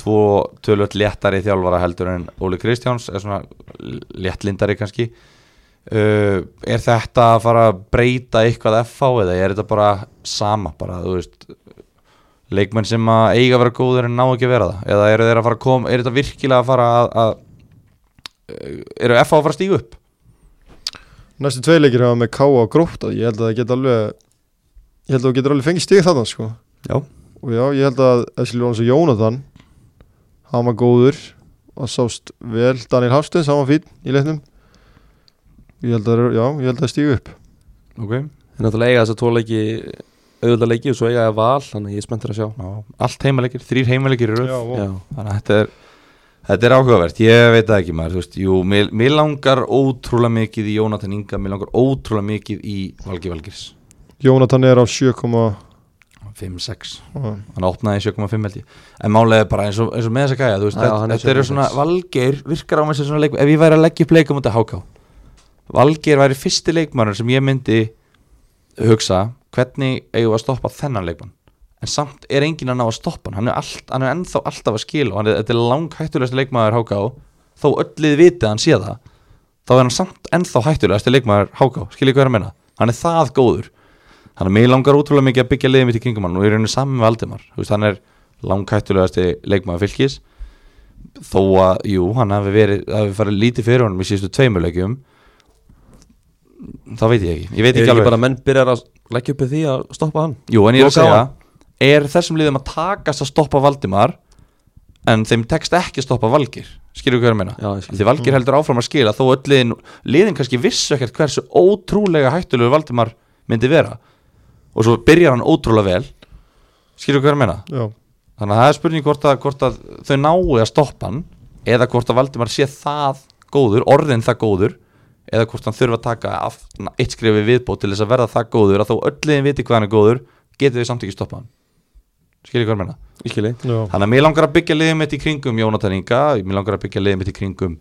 Tvo tölvöld léttari þjálfara heldur en Óli Kristjáns Er svona léttlindari kannski uh, Er þetta að fara að breyta eitthvað FO Eða er þetta bara sama bara, þú veist Leikmenn sem að eiga að vera góður en ná ekki að vera það Eða eru þeir að fara að koma Er þetta virkilega að fara að, að uh, Eru FO að fara að stíga upp? Næstu tvei leikir hafa með K.A. og Grótta Ég held að það geta alveg Ég held að það getur alveg fengið stig þarna, sko Já Og já, ég held að Eskil Jónas og Jónatan Hann var góður Og sást vel Daniel Hafsteins, hann var fín í leiknum Ég held að, já, ég held að stígu upp Ok En náttúrulega eiga þess að tóleiki auðvitað leiki og svo eiga það val þannig að ég er spenntur að sjá Já, allt heimaleikir, þrýr heimaleikir eru Já, þannig að þetta er, þetta er áhugavert ég veit það ekki maður, þú veist, jú mér, mér langar ótrúlega mikið í Jónatan Inga mér langar ótrúlega mikið í Valgi Valgirs Jónatan er á 7, komma- 5-6, já, hann opnaði 7,5 held ég en málega bara eins og, eins og með þessa gæja þú veist, Já, þetta, hann er þetta eru 7,6. svona, Valgeir virkar á mig sem svona leikum, ef ég væri að leggja upp leikum út af háká, Valgeir væri fyrsti leikmannar sem ég myndi hugsa, hvernig eigum við að stoppa þennan leikmann, en samt er enginn að ná að stoppa hann, hann er, allt, hann er ennþá alltaf að skila og hann er, þetta er langhættulegast leikmaður háká, þó öllið vitið að hann sé það, þá er hann samt ennþá hættulegast leikmaður háká, skiljið hvað er að menna hann er það góður þannig að mig langar ótrúlega mikið að byggja liðið mitt í kringum hann og ég er rauninni saman með Aldimar Þú veist, hann er langhættulegasti leikmaður fylgis þó að, jú, hann hafi verið hafi farið lítið fyrir honum í síðustu tveimurleikjum það veit ég ekki ég veit er ekki ekki alveg bara að menn byrjar að leggja upp við því að stoppa hann Jú, en ég er að Loka á segja, er þessum liðum að takast að stoppa Valdimar en þeim tekst ekki að stoppa Valgir skilur við hvað ég er að meina? Já, ég skil. Mm. Því Valgir heldur áfram að skila þó öll liðin, liðin kannski vissu ekkert hversu ótrúlega hættulegu Valdimar myndi vera og svo byrjar hann ótrúlega vel skilur við hvað ég er að meina? já Þannig að það er spurning hvort að, hvort að þau náu að stoppa hann eða hvort að Valdimar sé það góður, orðin það góður eða hvort hann þurfa að taka af, na, eitt skrifi viðbót til þess að verða það góður að þó ölliðin viti hvað hann er góður getur þau samt ekki stoppa hann skiljið hvað ég meina Ég skil ég Já, þannig að mér langar að byggja liðið mitt í kringum Jónatan Inga, mér langar að byggja liðið mitt í kringum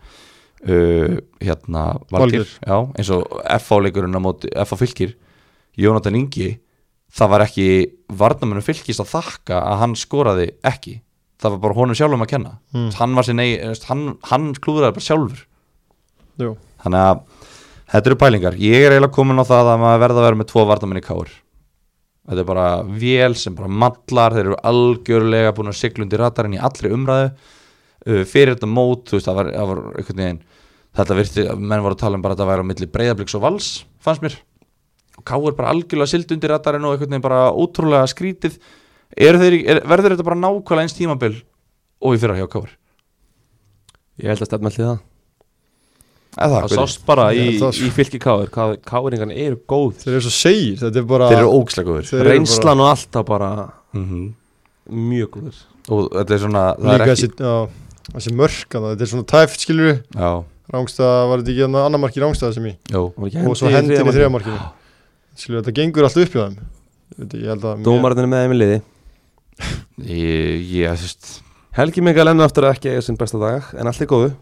uh, hérna Valgir, Valgir. já, eins og FH leikurinn á móti, FH fylgir Jónatan Ingi, það var ekki varnamönnum fylgis að þakka að hann skoraði ekki, það var bara honum sjálfum að kenna, Mm. hann var sér nei hann, hann klúðraði bara sjálfur já þannig að þetta eru pælingar, ég er eiginlega komin á það að maður verða að vera með tvo varnamenn í káur þetta er bara vél sem bara mallar, þeir eru algjörlega búin að sigla undir ratarinn í allri umræðu uh, fyrir þetta mót, þú veist, það var, það var einhvern veginn, þetta virti, menn voru að tala um bara að þetta væri á milli breyðabliks og vals fannst mér, og káur bara algjörlega sild undir ratarinn og einhvern veginn bara ótrúlega skrítið, eru þeir, í- er, verður þetta bara nákvæmlega eins tímabil og í fyrra hjá káur Ég held að stefna allir það Það, Það sást bara í, Ég held það, sko. í fylki káður hvað káðringan eru góð Þeir eru svo segir, þetta er bara þeir eru ógislega góður Þeir eru bara- Reynslan og alltaf bara mm -hmm. mjög góður og þetta er svona það er Líka ekki, þessi, já, þessi mörk hana, Þetta er svona tæft skilur við já, Rángstað, var þetta ekki hann annar marki rángstað sem í já, Var ekki Og svo hendi í hendin í þriðja markið? þriðamarkinu Skilur við, þetta gengur alltaf upp hjá þeim Þetta- Ég held að mér- Dómararnir er með þeim í liði ég, ég þú veist Helgi Mikael enn og aftur að ekki eiga sinn besta dag en allt er góðu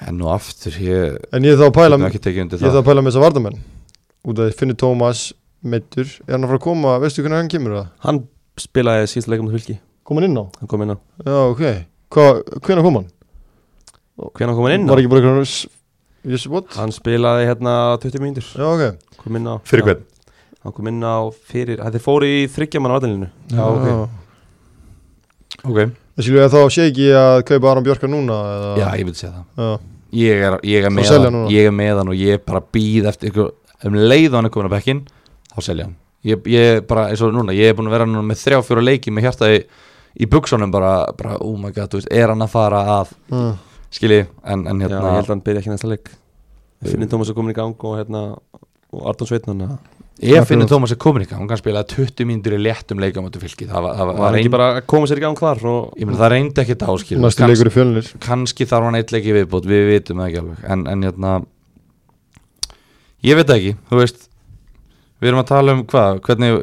enn og aftur, ég En ég er þá að pæla get nú ekki tekið undir Ég er það það að pæla með þess að varnamenn Út af því finnir Tómas meittur Er hann að fara að koma, veistu hvernig hann kemur það? Hann spilaði síðast leikum til fylki Kom hann inn á? Hann kom inn á Já, ok Hva, Hvernig kom hann? Hvernig kom hann inn á? Var ekki bara einhvern Yes, what? Hann spilaði hérna 20 mínútur Já, ok Kom inn á fyrir hvern? Já, Hann kom inn á fyrir Þeir fóru í þryggjaman á aðluninu Já, ok. ok, En skilur við, þá sé ekki að kaupa Aron Björka núna eða... já, ég myndi segja það Já, ég er, ég er Svo með selja hann, núna. ég er með hann og ég bara býð eftir ykkur, um leið og hann er komin að bekkin þá selja hann ég, ég bara, eins og núna, ég er búin að vera núna með þrjá fjóra leiki með hjartaði í, í buksunum bara, bara oh my god, þú veist, er hann að fara að mm. skilji, en, en Já, ég held hérna að hann byrja ekki næsta leik Finnir Tómas er komin í gang og hérna og Arnón Sveitnun var ég finnir Tómas er komin í gang, hann spilaði 20 mínútur í léttum leikamötu fylki það, var- það, var- það, hann ekki reynd, bara að koma sér í gang þar og ég meina, það reyndi ekki þetta áskil næstu leikur í fjölunir kannski þarf hann eitt leik í viðbót við vitum það ekki alveg en, en hérna ég veit það ekki, þú veist við erum að tala um hvað, hvernig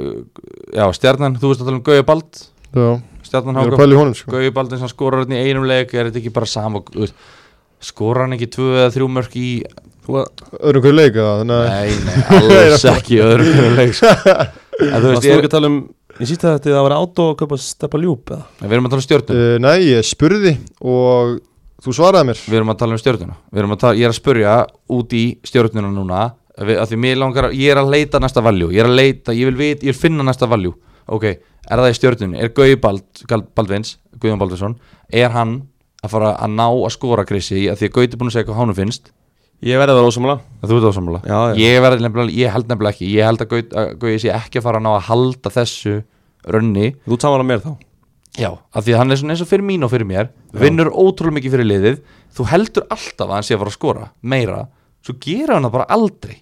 já, stjarnan, þú veist að tala um Gauja Bald já, stjarnan ég er að Háka, pæla í honum sko Gauja Bald eins og hann skorar hann í einum leik, er þetta ekki bara sama þú veist, skorar hann ekki tvö eða þrjú mörk í þú varst öðrum hverju leik eða þannig að nei, nei, alls ekki í öðrum hverjum leik sko. en þú þú veist, ekki ég, að tala um í sísta þetta það var átó að köpa steppa ljúp eða við erum að tala um stjörnum Eh, nei, ég spurði og þú svaraði mér við erum að tala um stjórnuna við erum að tala, ég er að spurja út í stjórnuna núna við, að því mér langar, að- ég er að leita næsta valjú ég er að leita, ég vil vit, ég vil finna næsta valjú ok, er það í stjórnunni, er Gauði Bald, Gal- Baldvins, Guðjón Baldvinsson er hann að fara að ná að skora Krissi, að því að Gauði er búin að segja hvað hánum finnst ég verði að vera ósamlega að þú ert ásamlega já, já. ég, verð nefnilega- ég held nefnilega ekki, ég held að Gauði- að Gauði sé ekki að fara að ná að halda þessu rönni þú samar á mér þá Já, af því að hann er svona eins og fyrir mín og fyrir mér vinnur ótrúlega mikið fyrir liðið þú heldur alltaf að hann sé að fara að skora meira, svo gera hann það bara aldrei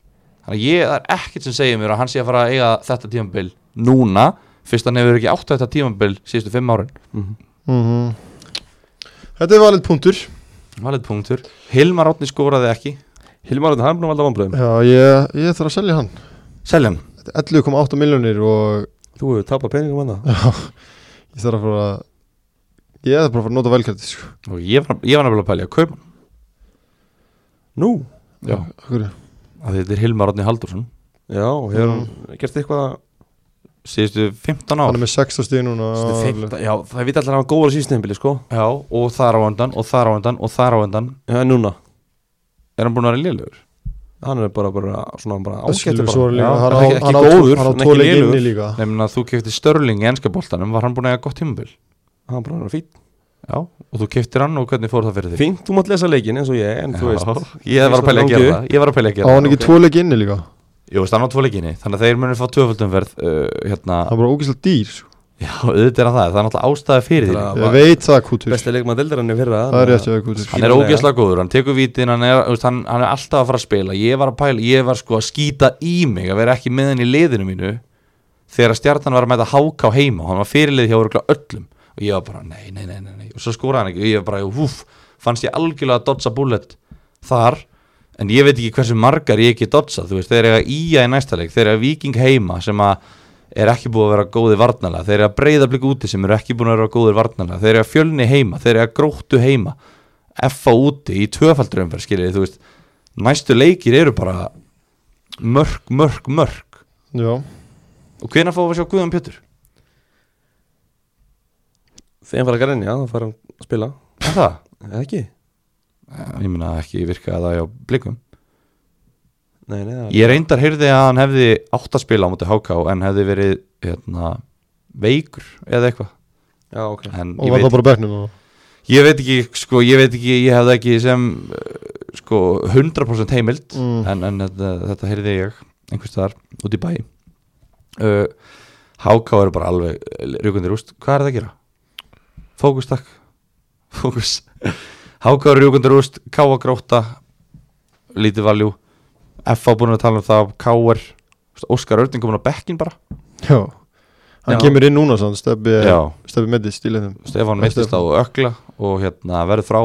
þannig að ég það er ekkert sem segir mér að hann sé að fara að eiga þetta tímabil núna, fyrst hann hefur ekki átt þetta tímabil síðustu fimm árin Mhm. mm þetta er valið punktur Valið punktur, Hilmar Átni skoraði ekki Hilmar Arnón Hamlin valda vonbröðum já, ég, ég þarf að selja hann Seljan, Þetta er 11,8 miljónir og þú hefur tapað peningum hann það ég þarf að fara að ég þarf bara að fara að nota velkætti sko. og ég var, ég var nefnilega að pælja að kaupa hann. nú Já, Af hverju? af því þetta er Hilmar Átni Haldursson já og hefur hann gert eitthvað síðustu 15 hann ár er með 16 stíð núna Þetta er fimmta- já það vita allir að hann góður sístnefnbili sko Já, og þar á undan, og þar á undan, og þar á undan en núna er hann búin að vera lélugur hann er bara bara svona bara ágættur Áskettur bara bara líka, Já, hann á, ekki- ekki hann á, góður, hann á en ekki tvo leik lélegur. inni líka Nefnir að þú kefti Störling í enska boltanum Var hann búin að eiga gott tímabil? hann bara var fínt Já Og þú keftir hann og hvernig fór það fyrir þig? fínt þú mátt lesa leikin eins og ég en þú veist Já, Ég var að pæla að gera það Ég var að pæla að á gera hann það ekki tvo leik inni líka Jú, veist, hann á tvo leikinni Þannig að þeir munir fá tvöföldumverð uh, Hérna hann er bara ógeðslega dýr sko. Já, auðvitað er hann það Það er náttúrulega ástæði fyrir Það því ég var- veit það kútur besti leikmann deildarinnu fyrra það er rétt hjá þér, kútur Hann er fínalega. ógeðslega góður Hann tekur vítin hann er, þú veist, hann, hann er alltaf að fara að spila Ég var að pæla Ég var sko að skýta í mig Að vera ekki með hann í liðinu mínu Þegar stjartan var að mæta háká heima Hann var fyrirlið hjá örgla öllum Og ég var bara Nei, nei, nei, nei, nei. Og svo skóraði hann ekki Og ég var bara Húf Fannst ég algjörlega að dodsa bullet Þar En ég veit ekki hversu margar ég ekki dodsa Þú veist, þeir eru að íja í næsta leik Þeir eru að viking heima Sem að er ekki búið að vera góði varnala Þeir eru að breyða blik úti sem eru ekki búin að vera góðir varnala Þeir eru að fjölni heima Þeir eru að gróttu heima F.A. úti í tvöfaldur umferð skiljiði, þú veist Næstu leikir eru bara mörg, mörg, mörg já Og hvenær fáum við að sjá Guðan Pétur? þegar hann fara að græna já þá fara hann að spila Er það? eða ekki Ég meina ekki virka að það hjá blikum nei nei það- Ég reyndar heyrði að hann hefði átt að spila á móti HK en hefði verið hérna, veikur eða eitthvað já ok En og ég var veit, það bara á bekknum og- ég veit ekki, sko, ég veit ekki, ég hefði ekki sem eh, sko 100% heimild Mm. en, en þetta, þetta heyrði ég einhvers staðar út í bæ uh, Háká eru bara alveg rjúkundir úst, hvað er það að gera? Fókus takk Fókus Háká eru rjúkundir úst, Káa gróta lítið valjú FA búin að tala um það, Káar Óskar Örning komin á bekkin bara já hann Já. kemur inn núna sann steppi Já. steppi meði stílið þeim Stefán meittist á ökla og hérna verður frá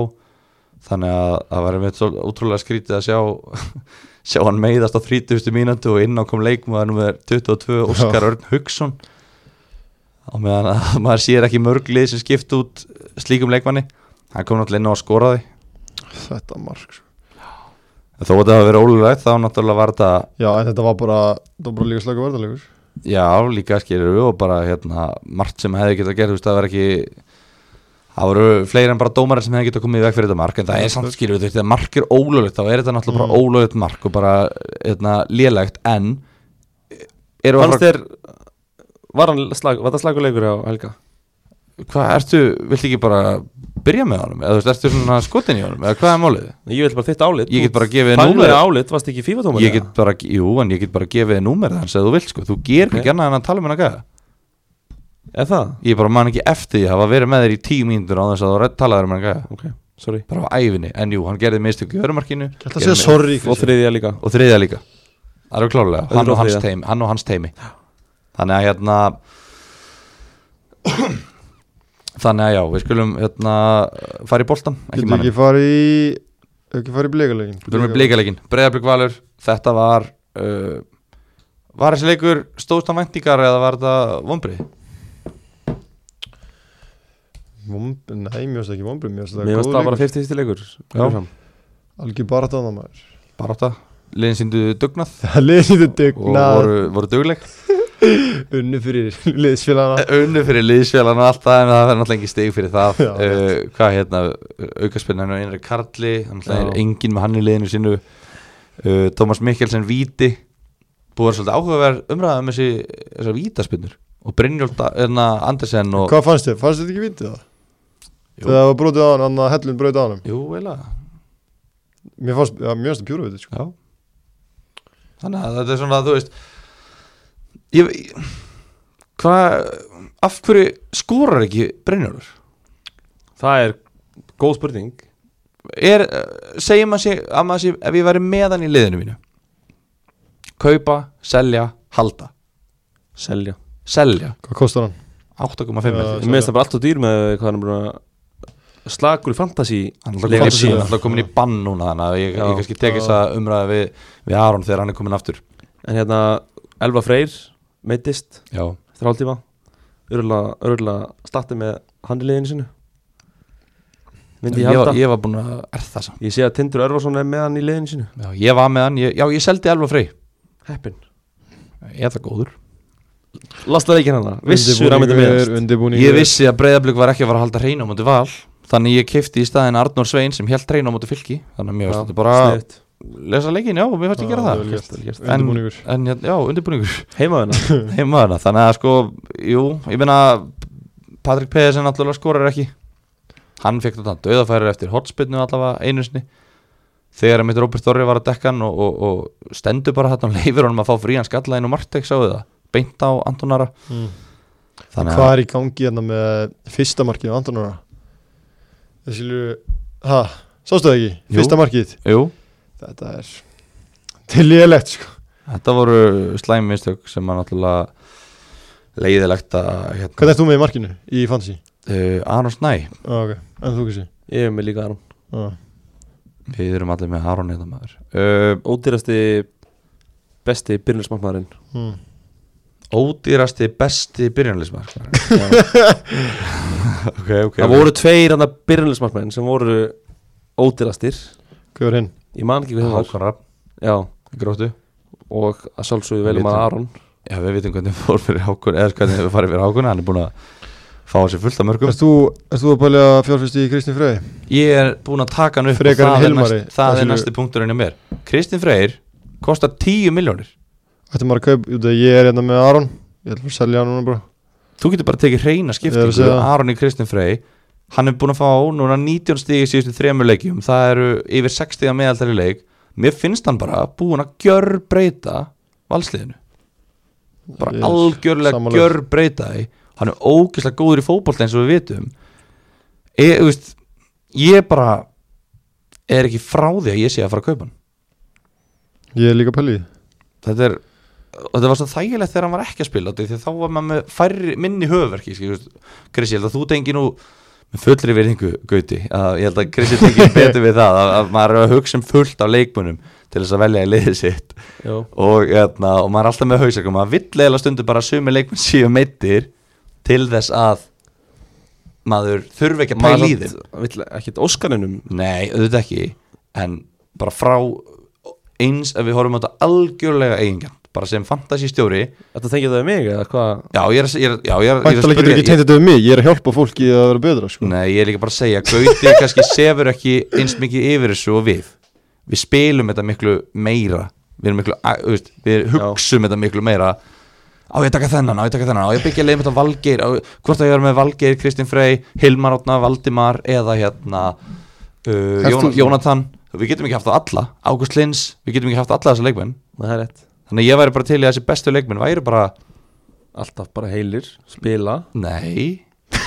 þannig að það verður mitt svo útrúlega skrítið að sjá sjá hann meiðast á 30. mínútu og inn á kom leikmaður nummer 22 Óskar Örn Hugson á meðan að maður sér ekki mörglið sem skipt út slíkum leikmanni hann kom náttúrulega inn á að skora því þetta mark sko. en þó að það hafa verið ólulegt þá náttúrulega var þetta já en þetta var bara það var bara líka slagur verðalegur Já, líka skilur og bara hérna, margt sem hefði getað gert, þú veist, það var ekki það voru fleiri en bara dómarar sem hefði getað komið í veg fyrir þetta mark, en það er samt skilur þú veist, þegar mark er ólöglegt, þá er þetta náttúrulega Mm. bara ólöglegt mark og bara, hérna, lélegt en eru að fannst fara, þér var hann slag var það slaguleikur á Helga hvað ertu, viltu ekki bara byrja með honum, eða þú veist, ertu svona skotin í honum, eða hvað er málið? ég vil bara þitt álit Ég get bara gefið númer númerið. álit varst ekki fífa tómar Ég get bara, jú, en ég get bara gefið þér númerið hans eða þú vilt, sko, þú ger Ok. ekki annað en að tala um hennar gæða Er það? Ég bara man ekki eftir því, hafa verið með þér í tíu mínútur á þess að þú talaður um hann gæja Ok, sorry bara á æfinni, en jú, hann gerði mistök í örumarkinu Ég ætla að segja sorry Og Kristján. þriðja líka og þriðja líka það eru klálega, Öðru hann og og, hans þriðja. teimi, hann og hans teimi þannig að hérna þannig að já, við skulum hérna, fara í boltan ekki Getur manni, ekki farið í ekki farið í blíkalegin við erum með blíkalegin breyðarblik valur, þetta var uh, var þessi leikur stóðst á væntingar eða var þetta vombrið? Vomb, nei, mér finnst það ekki vombrið, mér finnst það Mér varst góð það bara leikur 50-50 leikur Já. Áfram. Algjör bara það maður bara átta, liðin síndu dugnað Það leiði þetta og degna voru, voru dugleg unnu fyrir liðsfélagana unnu fyrir liðsfélan og allt það en það er náttúrulega engin stig fyrir það Já, uh, hvað hérna, aukaspinnan og einri Karli, hann náttúrulega Já. er engin með hann í liðinu sínu uh, Tómas Mikkelsen Víti búið að vera svolítið áhugaverð umræða um þessi þessar vítaspinnur og Brynjólf hérna, Andersen og Hvað fannst þér? Fannst þér þetta ekki vitið það? Jú. Þegar það var brotið á hann, hann að hellun brotið á hann jú, eiginlega, Mér fannst, já, mér fannst það pjúra vitið sko. já þannig að þetta er svona, þú veist ég, ég hvað, af hverju skorar ekki Brynjólfur? Það er góð spurning er, eh, segjum að, sé, að maður sé ef ég væri með hann í liðinu mínu kaupa, selja, halda Selja selja, Hvað kostar hann? 8,5 held ég. Mér finnst það bara allt og dýr með hvað hann er búin að slagur í fantasy hann Leifur er síðan. alltaf komin í bann núna þannig að ég, Já. ég kannski tek Já. þess að umræða við, við Aron þegar hann er komin aftur En hérna Elva Freyr meittist já, eftir hálftíma Örgulega, örgulega startið með handiliðinu sinu Myndi ég, ég var, halda ég var búin að er það samt Ég sé að Tindur Örvarsson er með hann í liðinu sinu já, ég var með hann, ég, já ég seldi Elva Frey Heppin ég er það góður Lasta leikin hana Vissur að hann myndi meðast Undirbúningur ég vissi að Breiðablík var ekki að fara að halda hreina á móti val þannig ég kefti í staðin Arnór Svein sem held hreina á móti fylki þannig að mér varst þetta bara að Sniðut lesa leikin, já, mér varst ég gera það En- Undirbúningur En hérna, já, undirbúningur Heima hérna heimaðurna, þannig að sko, jú, ég meina Patrik Pedersen náttúrulega skorar ekki hann fekk þetta döðafærir eftir hotspinnu allavega einu sinni þegar mitt Róbert Þorri var að dekka hann og, og, og stendur bara þetta og leifir honum að fá frían skalla inn og Martek sáðu það, beint á Antonara Mm. þannig Hvað að er í gangi hérna með fyrsta markið á Antonora? Það skilju, hæ, sástu það ekki? Jú. Fyrsta markið, jú, þetta er til lélegt sko þetta voru slæmi mistök sem að náttúrulega leiðilegt að hérna, Hvað er þú með í markinu í fantasy? uh, Aron Snæ, Á, Ah, ok, Ah. en þú kannski Ég er með líka hann Á. við erum allir með Aron eða maður uh, Ódýrasti besti byrjunarsmarkmaðurinn mm. ódýrasti besti byrjunalismar ok, ok Það voru tveir hann að byrjunarsmarkmaðurinn sem voru ódýrastir Hvað var hinn? Ég man ekki hvað það var Hákon Rapp, Já gróttu Og að sjálfsögðu velum að Vitum. Aron já, við vitum hvernig fór fyrir Hákon eða hvernig við farið fyrir Hákon, hann er búin að fá sér fullt af mörgum Erst þú, erst þú að pælja fjárfyrst í Kristján Frey? ég er búin að taka hann upp og Frekar en það, er Hilmari. næst, það er Þessu- næsti punkturinn hjá mér Kristinn Freyr kostar 10 miljónir Ætti maður að kaup, út að ég er hérna með Aron Ég ætlum að selja hann núna bara þú getur bara tekið hreina Ég er að skiptingu segja það. Aron í Kristinn Frey hann er búin að fá núna 19 stíg í síðustu þremur leikjum, það eru yfir 60 meðaltæri leik, mér finnst hann bara búin að gjörbreyta valsliðinu bara Ég er algjörlega sammála. gjör breyta því hann er ógeðslega góður í fótbolta eins og við vitum ég, þú veist, ég bara er ekki frá því að ég sé að fara að kaupa hann Ég er líka að pælja í því. þetta er og þetta var svo þægilegt þegar hann var ekki að spila því að þá var maður með færri, minni höfverki Chris, ég held að þú tengi nú með fullri verðingu, Gauti að ég held að Chris tengi betur við það að, að maður er að hugsa um fullt af leikmunum til þess að velja í liðið sitt Já og, jæna, og maður er alltaf með hausverk og maður vill eiginlega stundu bara að sumi leikmenn síðan meittir til þess að maður þurfi ekki að pæla í þeim Vill ekkert Óskarinum nei, auðvitað ekki en bara frá eins að við horfum á þetta algjörlega eigingjarn bara sem fantasístjóri já, Þetta tengið það við mig eða hvað ég er að, ég er, já, ég er, ég er að Væntalega getur ekki ég, tengt þetta um mig, ég er að hjálpa fólki að vera betra sko nei, ég er líka bara að segja Gauti kannski sefur ekki eins mikið yfir þessu og við við spilum þetta miklu meira við, erum miklu, a- þú veist, við hugsum þetta miklu meira á ég að taka þennan, á ég að taka þennan á ég að byggja leið með þetta Valgeir á, hvort að ég er með Valgeir, Kristinn Frey, Hilmar Átna Valdimar eða hérna uh, Hefst Jón, þú- Jónatan við getum ekki haft það alla, Ágúst Lins við getum ekki haft alla þessa leikmenn Nei, það er rétt þannig að ég væri bara til í að þessi bestu leikmenn væri bara alltaf bara heilir, spila Nei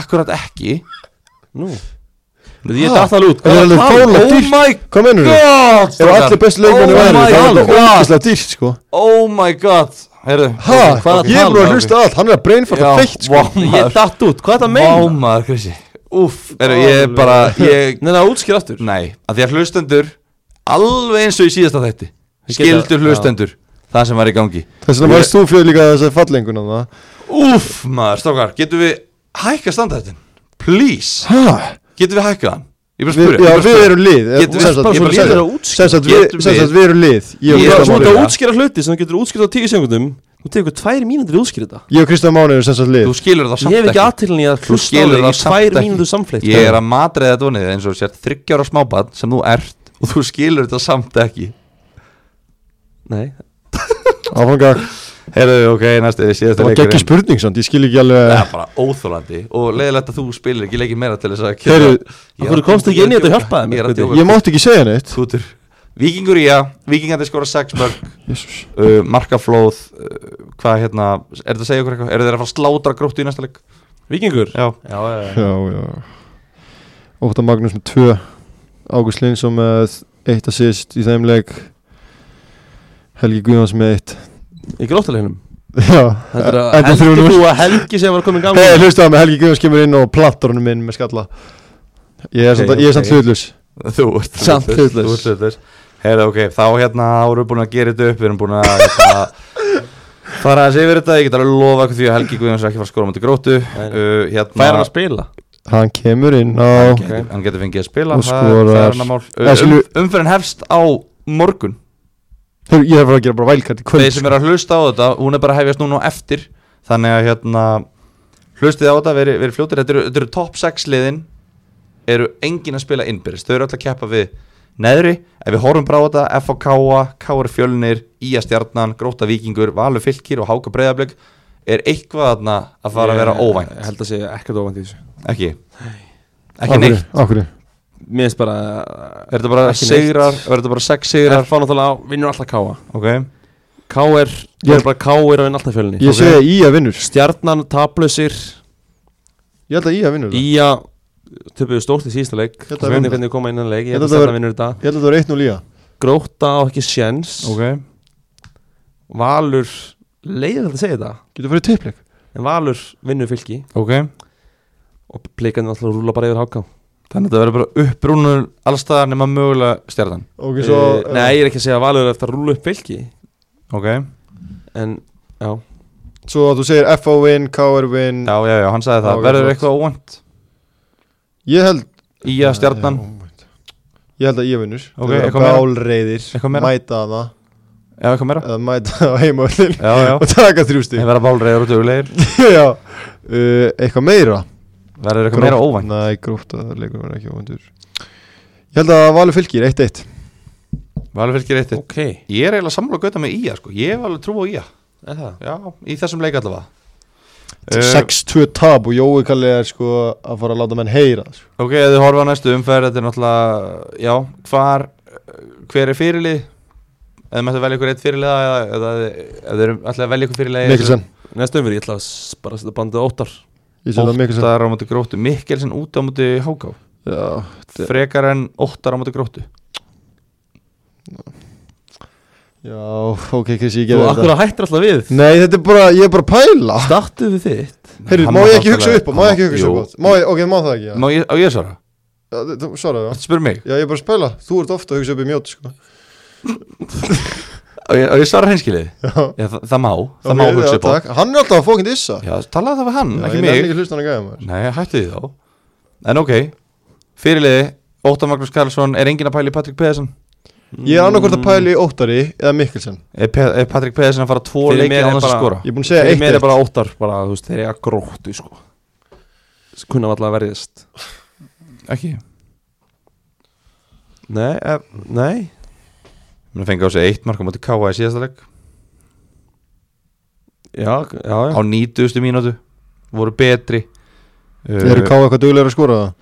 Akkurat ekki Nú, Ég Ha? er alltaf lút Það er alveg fáránlega Oh dýrt. my Hvað mennur þú? god Ef allir bestu Oh leikmennu væri my Það er god. alveg ógislega dýrt sko Oh my god Herðu Ha, hvað tala ég er búin að maður? hlusta allt, hann er að brainfarta Já, feitt sko vá, maður. ég datt út, hvað er það að meina? Vá maður, Krissi Úff Herðu, ég er bara ég, Nei, það útskýr aftur Nei, að því að hlustendur Alveg eins og í síðasta þætti Ég geta- Skildur hlustendur Það sem var í gangi Þess vegna varst þú fljóð líka þess að fallenguna það Úff maður, strákar Getum við hækka standartin? Please Hæ? Getum við hækka hann? Ég bara Við, spurði já, við erum lið eh, Getum við- sem sagt, bara ég svo bara lið segi er það. að Sem sagt, við- Getum sem við- sagt, við erum lið Ég og Ég er bara Kristján Þú ert Máni. að sammála. útskýra hluti sem þú getur útskýrt á tíu sekundum Þú tekur tvær mínútur í að útskýra þetta Ég og Kristján Máni erum sem sagt lið Þú skilur það samt Ég hef ekki aðtilin í að Þú hlusta á skilur þig það í samt tvær ekki. mínútur samfleitt Ég er að matreiða þetta vonið eins og sér þryggjára smábann sem þú ert og þú skilur þetta samt ekki Nei, Áfanga, Herðu, ok, næstu, það síðasta var geggjur leikurinn spurning samt, ég skil ekki alveg Það er bara óþólandi og leiðilegt að þú spilir ekki leikið meira til þess að Ég Heyrðu, er af hverju að- komstu ekki ég er inn í þetta og djóka, hjálpaði mér, Ég er að Gutti? djóka Ég mátti ekki segja neitt Tútur Víkingur í að, vikingandi skora 6 mörg Jesús. uh, Markaflóð uh, Hvað hérna, er þetta að segja okkur eitthvað? Er þeir að fara að slátra gróttu í næsta leik? vikingur Já, Já, já, já Já, já Óta Magnús með tvö Ágúst Lindsson með eitt assist í þeim leik Helgi Guðjóns með eitt Í grótaleginum Já, Þetta er að enda helgi 3-0 þú að helgi sem var komin Hei, gaman hlustaðu mig, Helgi Guðjóns kemur inn og plantar honum inn með skalla Ég er Ok, samt, ég er samt ok. hlutlus Þú ert Samt hlutlaus. Þú ert hlutlaus Herra ok, þá hérna árum við búin að gera þetta upp Við erum búin að hérna, fara aðeins yfir þetta Ég get alveg lofa ykkur því að Helgi Guðjóns er ekki að fara að skora á móti gróttu uh, Nei, hérna, Fær hann að spila Hann kemur inn á hann, getur, hann getur fengið að spila Og það- það skorar. er hennar mál. Eða um, skilur- Umferðin hefst á morgun Hör, Ég hef bara að gera bara vælkart í kvöld Þeir sem eru að hlusta á þetta, hún er bara að hefjast núna á eftir Þannig að hérna Hlustið á þetta, verið veri fljótir Þetta eru, þetta eru top 6 liðin Eru engin að spila innbyrðis, þau eru alltaf að keppa við Neðri, ef við horfum bara á þetta FHK, KR Fjölnir, IA Stjarnan Gróta Víkingur, Valur Fylkir og Háka Breiðablögg Er eitthvað þarna að fara að vera óvænt Ég held að segja ekkert óvænt í þessu Ekki Ekki neitt Akkur Mér finnst bara Er þetta bara Ekki neitt. sigrar, er þetta bara 6 Þegar sigrar fá náttúrulega á, vinnur alltaf káa Ok, K.R. Ég- Ég er bara K.R. að vinna alltaf fjölni Ég segi að Ía vinnur Stjarnan, Tablausir, Ég held að Ía vinnur það Ía Töpuðu stórt í síðasta leik Þetta Þetta vinnur vinnur. hvernig þau koma inn í leik Ég Þetta held að var- Stjarnan vinnur þetta Ég held að það var 1-0 Ía Gróta á ekki sjens ok Valur Leiðir þetta að segja þetta Getur farið í tippleik En Valur vinnur fylki Ok, Og pleikarnir alltaf rúla bara yfir háká þannig að þetta verður bara upprúnur allstaðar nema mögulega stjarnan Ok, svo Eh, Nei, ég er ekki að segja að Valur er eftir að rúla upp fylki Ok En, já Svo að þú segir FO win, KR win Já, já, já, hann sagði Já, það, ok, verður flott. eitthvað óvænt Ég held í að stjarnan Já, óvænt. Ég held að ég vinnur Ok, Þeir eitthvað eru meira? bálreiðir Eitthvað meira? Mæta hana Já, eitthvað meira Eða mæta á heimavöllin Já, já, Og taka þrjústi þeir verða bálreiður og dögulegir Já Uh, Eitthvað meira Verður eitthvað meira óvænt Nei, gróft að leikur verður ekki óvæntur Ég held að Valur fylgir 1-1 Valur fylgir eitt Ok Er Ég er eiginlega sammála að gauta með ía, sko Ég hef alveg trú á ía það? Já, í þessum leik allavega Eh, 6-2 tab og Jói Kalli er sko að fara að láta menn heyra sko. Ok, ef þið horfa á næstu umferð Þetta er náttúrulega, já, hvar Hver er fyrirlið? Eða mættu velja ykkur eitt fyrirliða eða, eða, eða þið eru alltaf að velja ykkur fyrirliða í þessu- Mikkelsen, Næstu umfyrir, ég ætla að s- bara að setja bandið á óttar ég sé það Mikkelsen Óttar á móti gróttu Mikkelsen út á móti háká Já, Þetta- Frekar en óttar á móti gróttu já, ok, Chris, ég Þú gerði akkur þetta að hættir alltaf við Nei, þetta er bara, ég er bara að pæla Startu við þitt Heyrðu, Hann má var ég ekki náttúrulega- hugsa upp á, má ég ekki hugsa Jú. upp á Má ég, ok, má það ekki, já Má ég, á ég að svara? Já, þú- Svaraðu það Þetta spyrir mig Já, ég er bara að spæla, þú ert ofta að hugsa upp í mjóti, sko Á ég, á ég svara hreinskilið? Já, Já, það, það má Það Ok, má hugsa já, upp á takk. Hann er alltaf að fókind issa Já, talaðu það við hann, Já, ekki Ég nefnir mig ekki hlusta hann að gæða maður Nei, hættu því þá En ok, fyrirliði Óttar Magnús Karlsson Er engin að pæla í Patrik Pedersen? Ég er annarkvort Mm. að pæla í Óttari eða Mikkelsen Er, Pe er Patrik Pedersen að fara tvo Fyrir leiki mér á er þess að bara- skora? Ég er búin að segja Þeir eitt meira eitt bara óttar bara, þú veist, þeir eiga gróttu sko S- kunna alltaf að verðist Ekki Nei, uh, nei Mér fengi á sig eitt marka móti K.A. í síðasta leik Já, já, já Á 90. mínútu Voru betri Eru Ká eitthvað duglegur að skora það?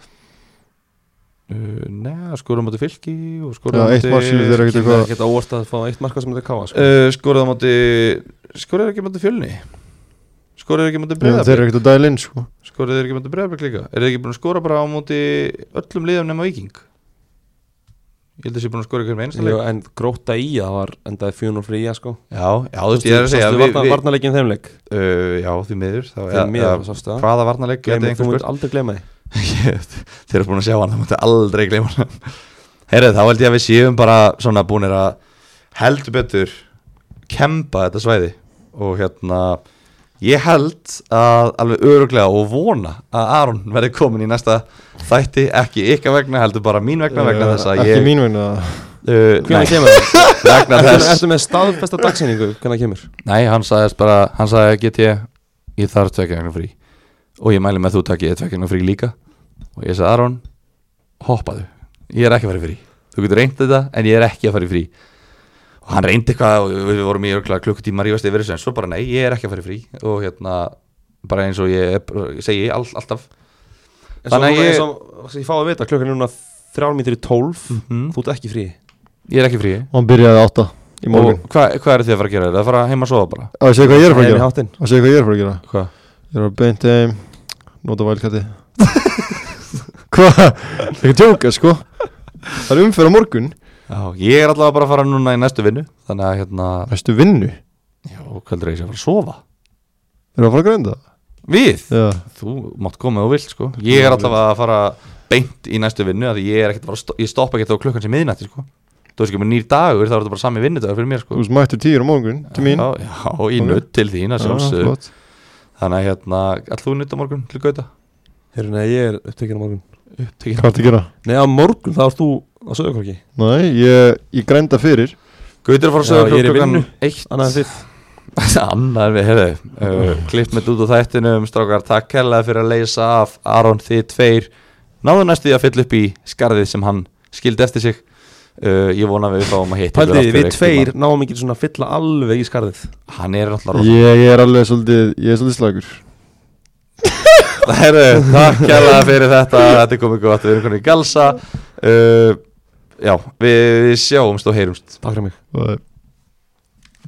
Uh, Nei, skorum átti fylki og skorum Já, eitt mark skilur þeir ekkert Kemur eitthvað ekkert á óvart að fá eitt marka sem þetta káa sko. uh, skoruðu á móti skoruðu þeir ekki á móti fjölni skoruðu þeir ekki á móti Já, Þeir breyðablik eru ekkert að dæla inn sko skoruðu þeir ekki á móti breyðablik líka eru þeir ekki búin að skora bara á móti öllum liðum nema viking ég held að þessi búin að skora ykkur með Jú, einstaleg já, en gróta í að það var endaði 4-0 fyrir í að sko já, þú veist ég er að segja Sástu við, varna, við, varnarleikin þeim leik uh, já, því miður þá, Þeim mér, ja, sástu það hvaða varnarleik gæti Gleymir- einhver Þú munt aldrei gleyma því spurt þeir eru búin að sjá hann, það mútti aldrei gleyma hann herrið, þá held ég að við séum bara svona búinir að heldur betur kempa þetta svæði og hérna Ég held að alveg öruglega og vona að Aron verði komin í næsta þætti, ekki ykkar vegna, heldur bara mín vegna vegna Eh, þess að Ekki ég... mín vegna Uh, nei, Hvernig kemur það? vegna Ertu- þess... Ertu með staðfesta dagsýningu hvernig það kemur? Nei, hann sagðist bara, hann sagði get ég, ég þarf tvekja vegna frí og ég mæli með að þú takk ég tvekja vegna frí líka og ég sagði Aron, hoppaðu, ég er ekki að fara í frí þú getur reynd þetta en ég er ekki að fara í frí og hann reyndi eitthvað og við vorum í örugglega klukkutíma að rífast yfir þessu en svo bara nei, ég er ekki að fara í frí og hérna, bara eins og ég, er- segi all, alltaf Þannig að Þannig að ég- ég Ég fá að vita, klukkan er núna þrjármítur í tólf mm. Þú ert ekki frí ég er ekki í frí Og hann byrjaði átta í og morgun hvað hva er þið að fara að gera, er það að fara heima að sofa bara Á, ég segi hvað ég er að fara að Það í gera háttinn Á, ég segi hvað ég er að fara að gera hvað? Ég er að beint heim Nota vælkatti Hvað? Ekki tjóka sko Það er umferð á morgun Já, ég er allavega bara að fara núna í næstu vinnu þannig að hérna, Næstu vinnu já, hvað heldur ég sé að fara að sofa Erum við að fara að grænda? Við? Já Þú mátt koma og vilt sko Ég er allavega að fara beint í næstu vinnu af Því ég er ekkert að fara að sto- Ég stoppa ekkert á klukkan sem miðnætti sko Þú veist ekki með nýr dagur þá er þetta bara sami vinnudagur fyrir mér Þú sko veist mættur tíur á morgun Til mín Já, já í Ok. nutt til þín að Já, sjálfsögðu flott. Þannig að hérna, all þú nutt á morgun til gauta Hérna, ég er upptekinn á morgun Hvað ertu að gera? Nei, á morgun þá ert þú á söðukorki Nei, ég, ég grænda fyrir Gauta er að fara að Já, sögja ég er í vinnu. eitt Annað fyrr Annar við, heyrðu uh, Klipp með út á þættinum, strákar Takk hella fyrir að leysa af Aron þið tveir Náðu næstu því að fylla upp í skarðið sem hann skildi eftir sig uh, Ég vona að við fáum að hitta ykkur Paldið, aftur við einhvern tímann. tveir náum ekki svona að fylla alveg í skarðið Hann er alltaf rosa Ég er alveg svolítið, ég er svolítið slagur Herru, takk kærlega fyrir þetta Þetta er komið gott, við erum konið í galsa uh, Já, við sjáumst og heyrumst Takk fyrir mig Það er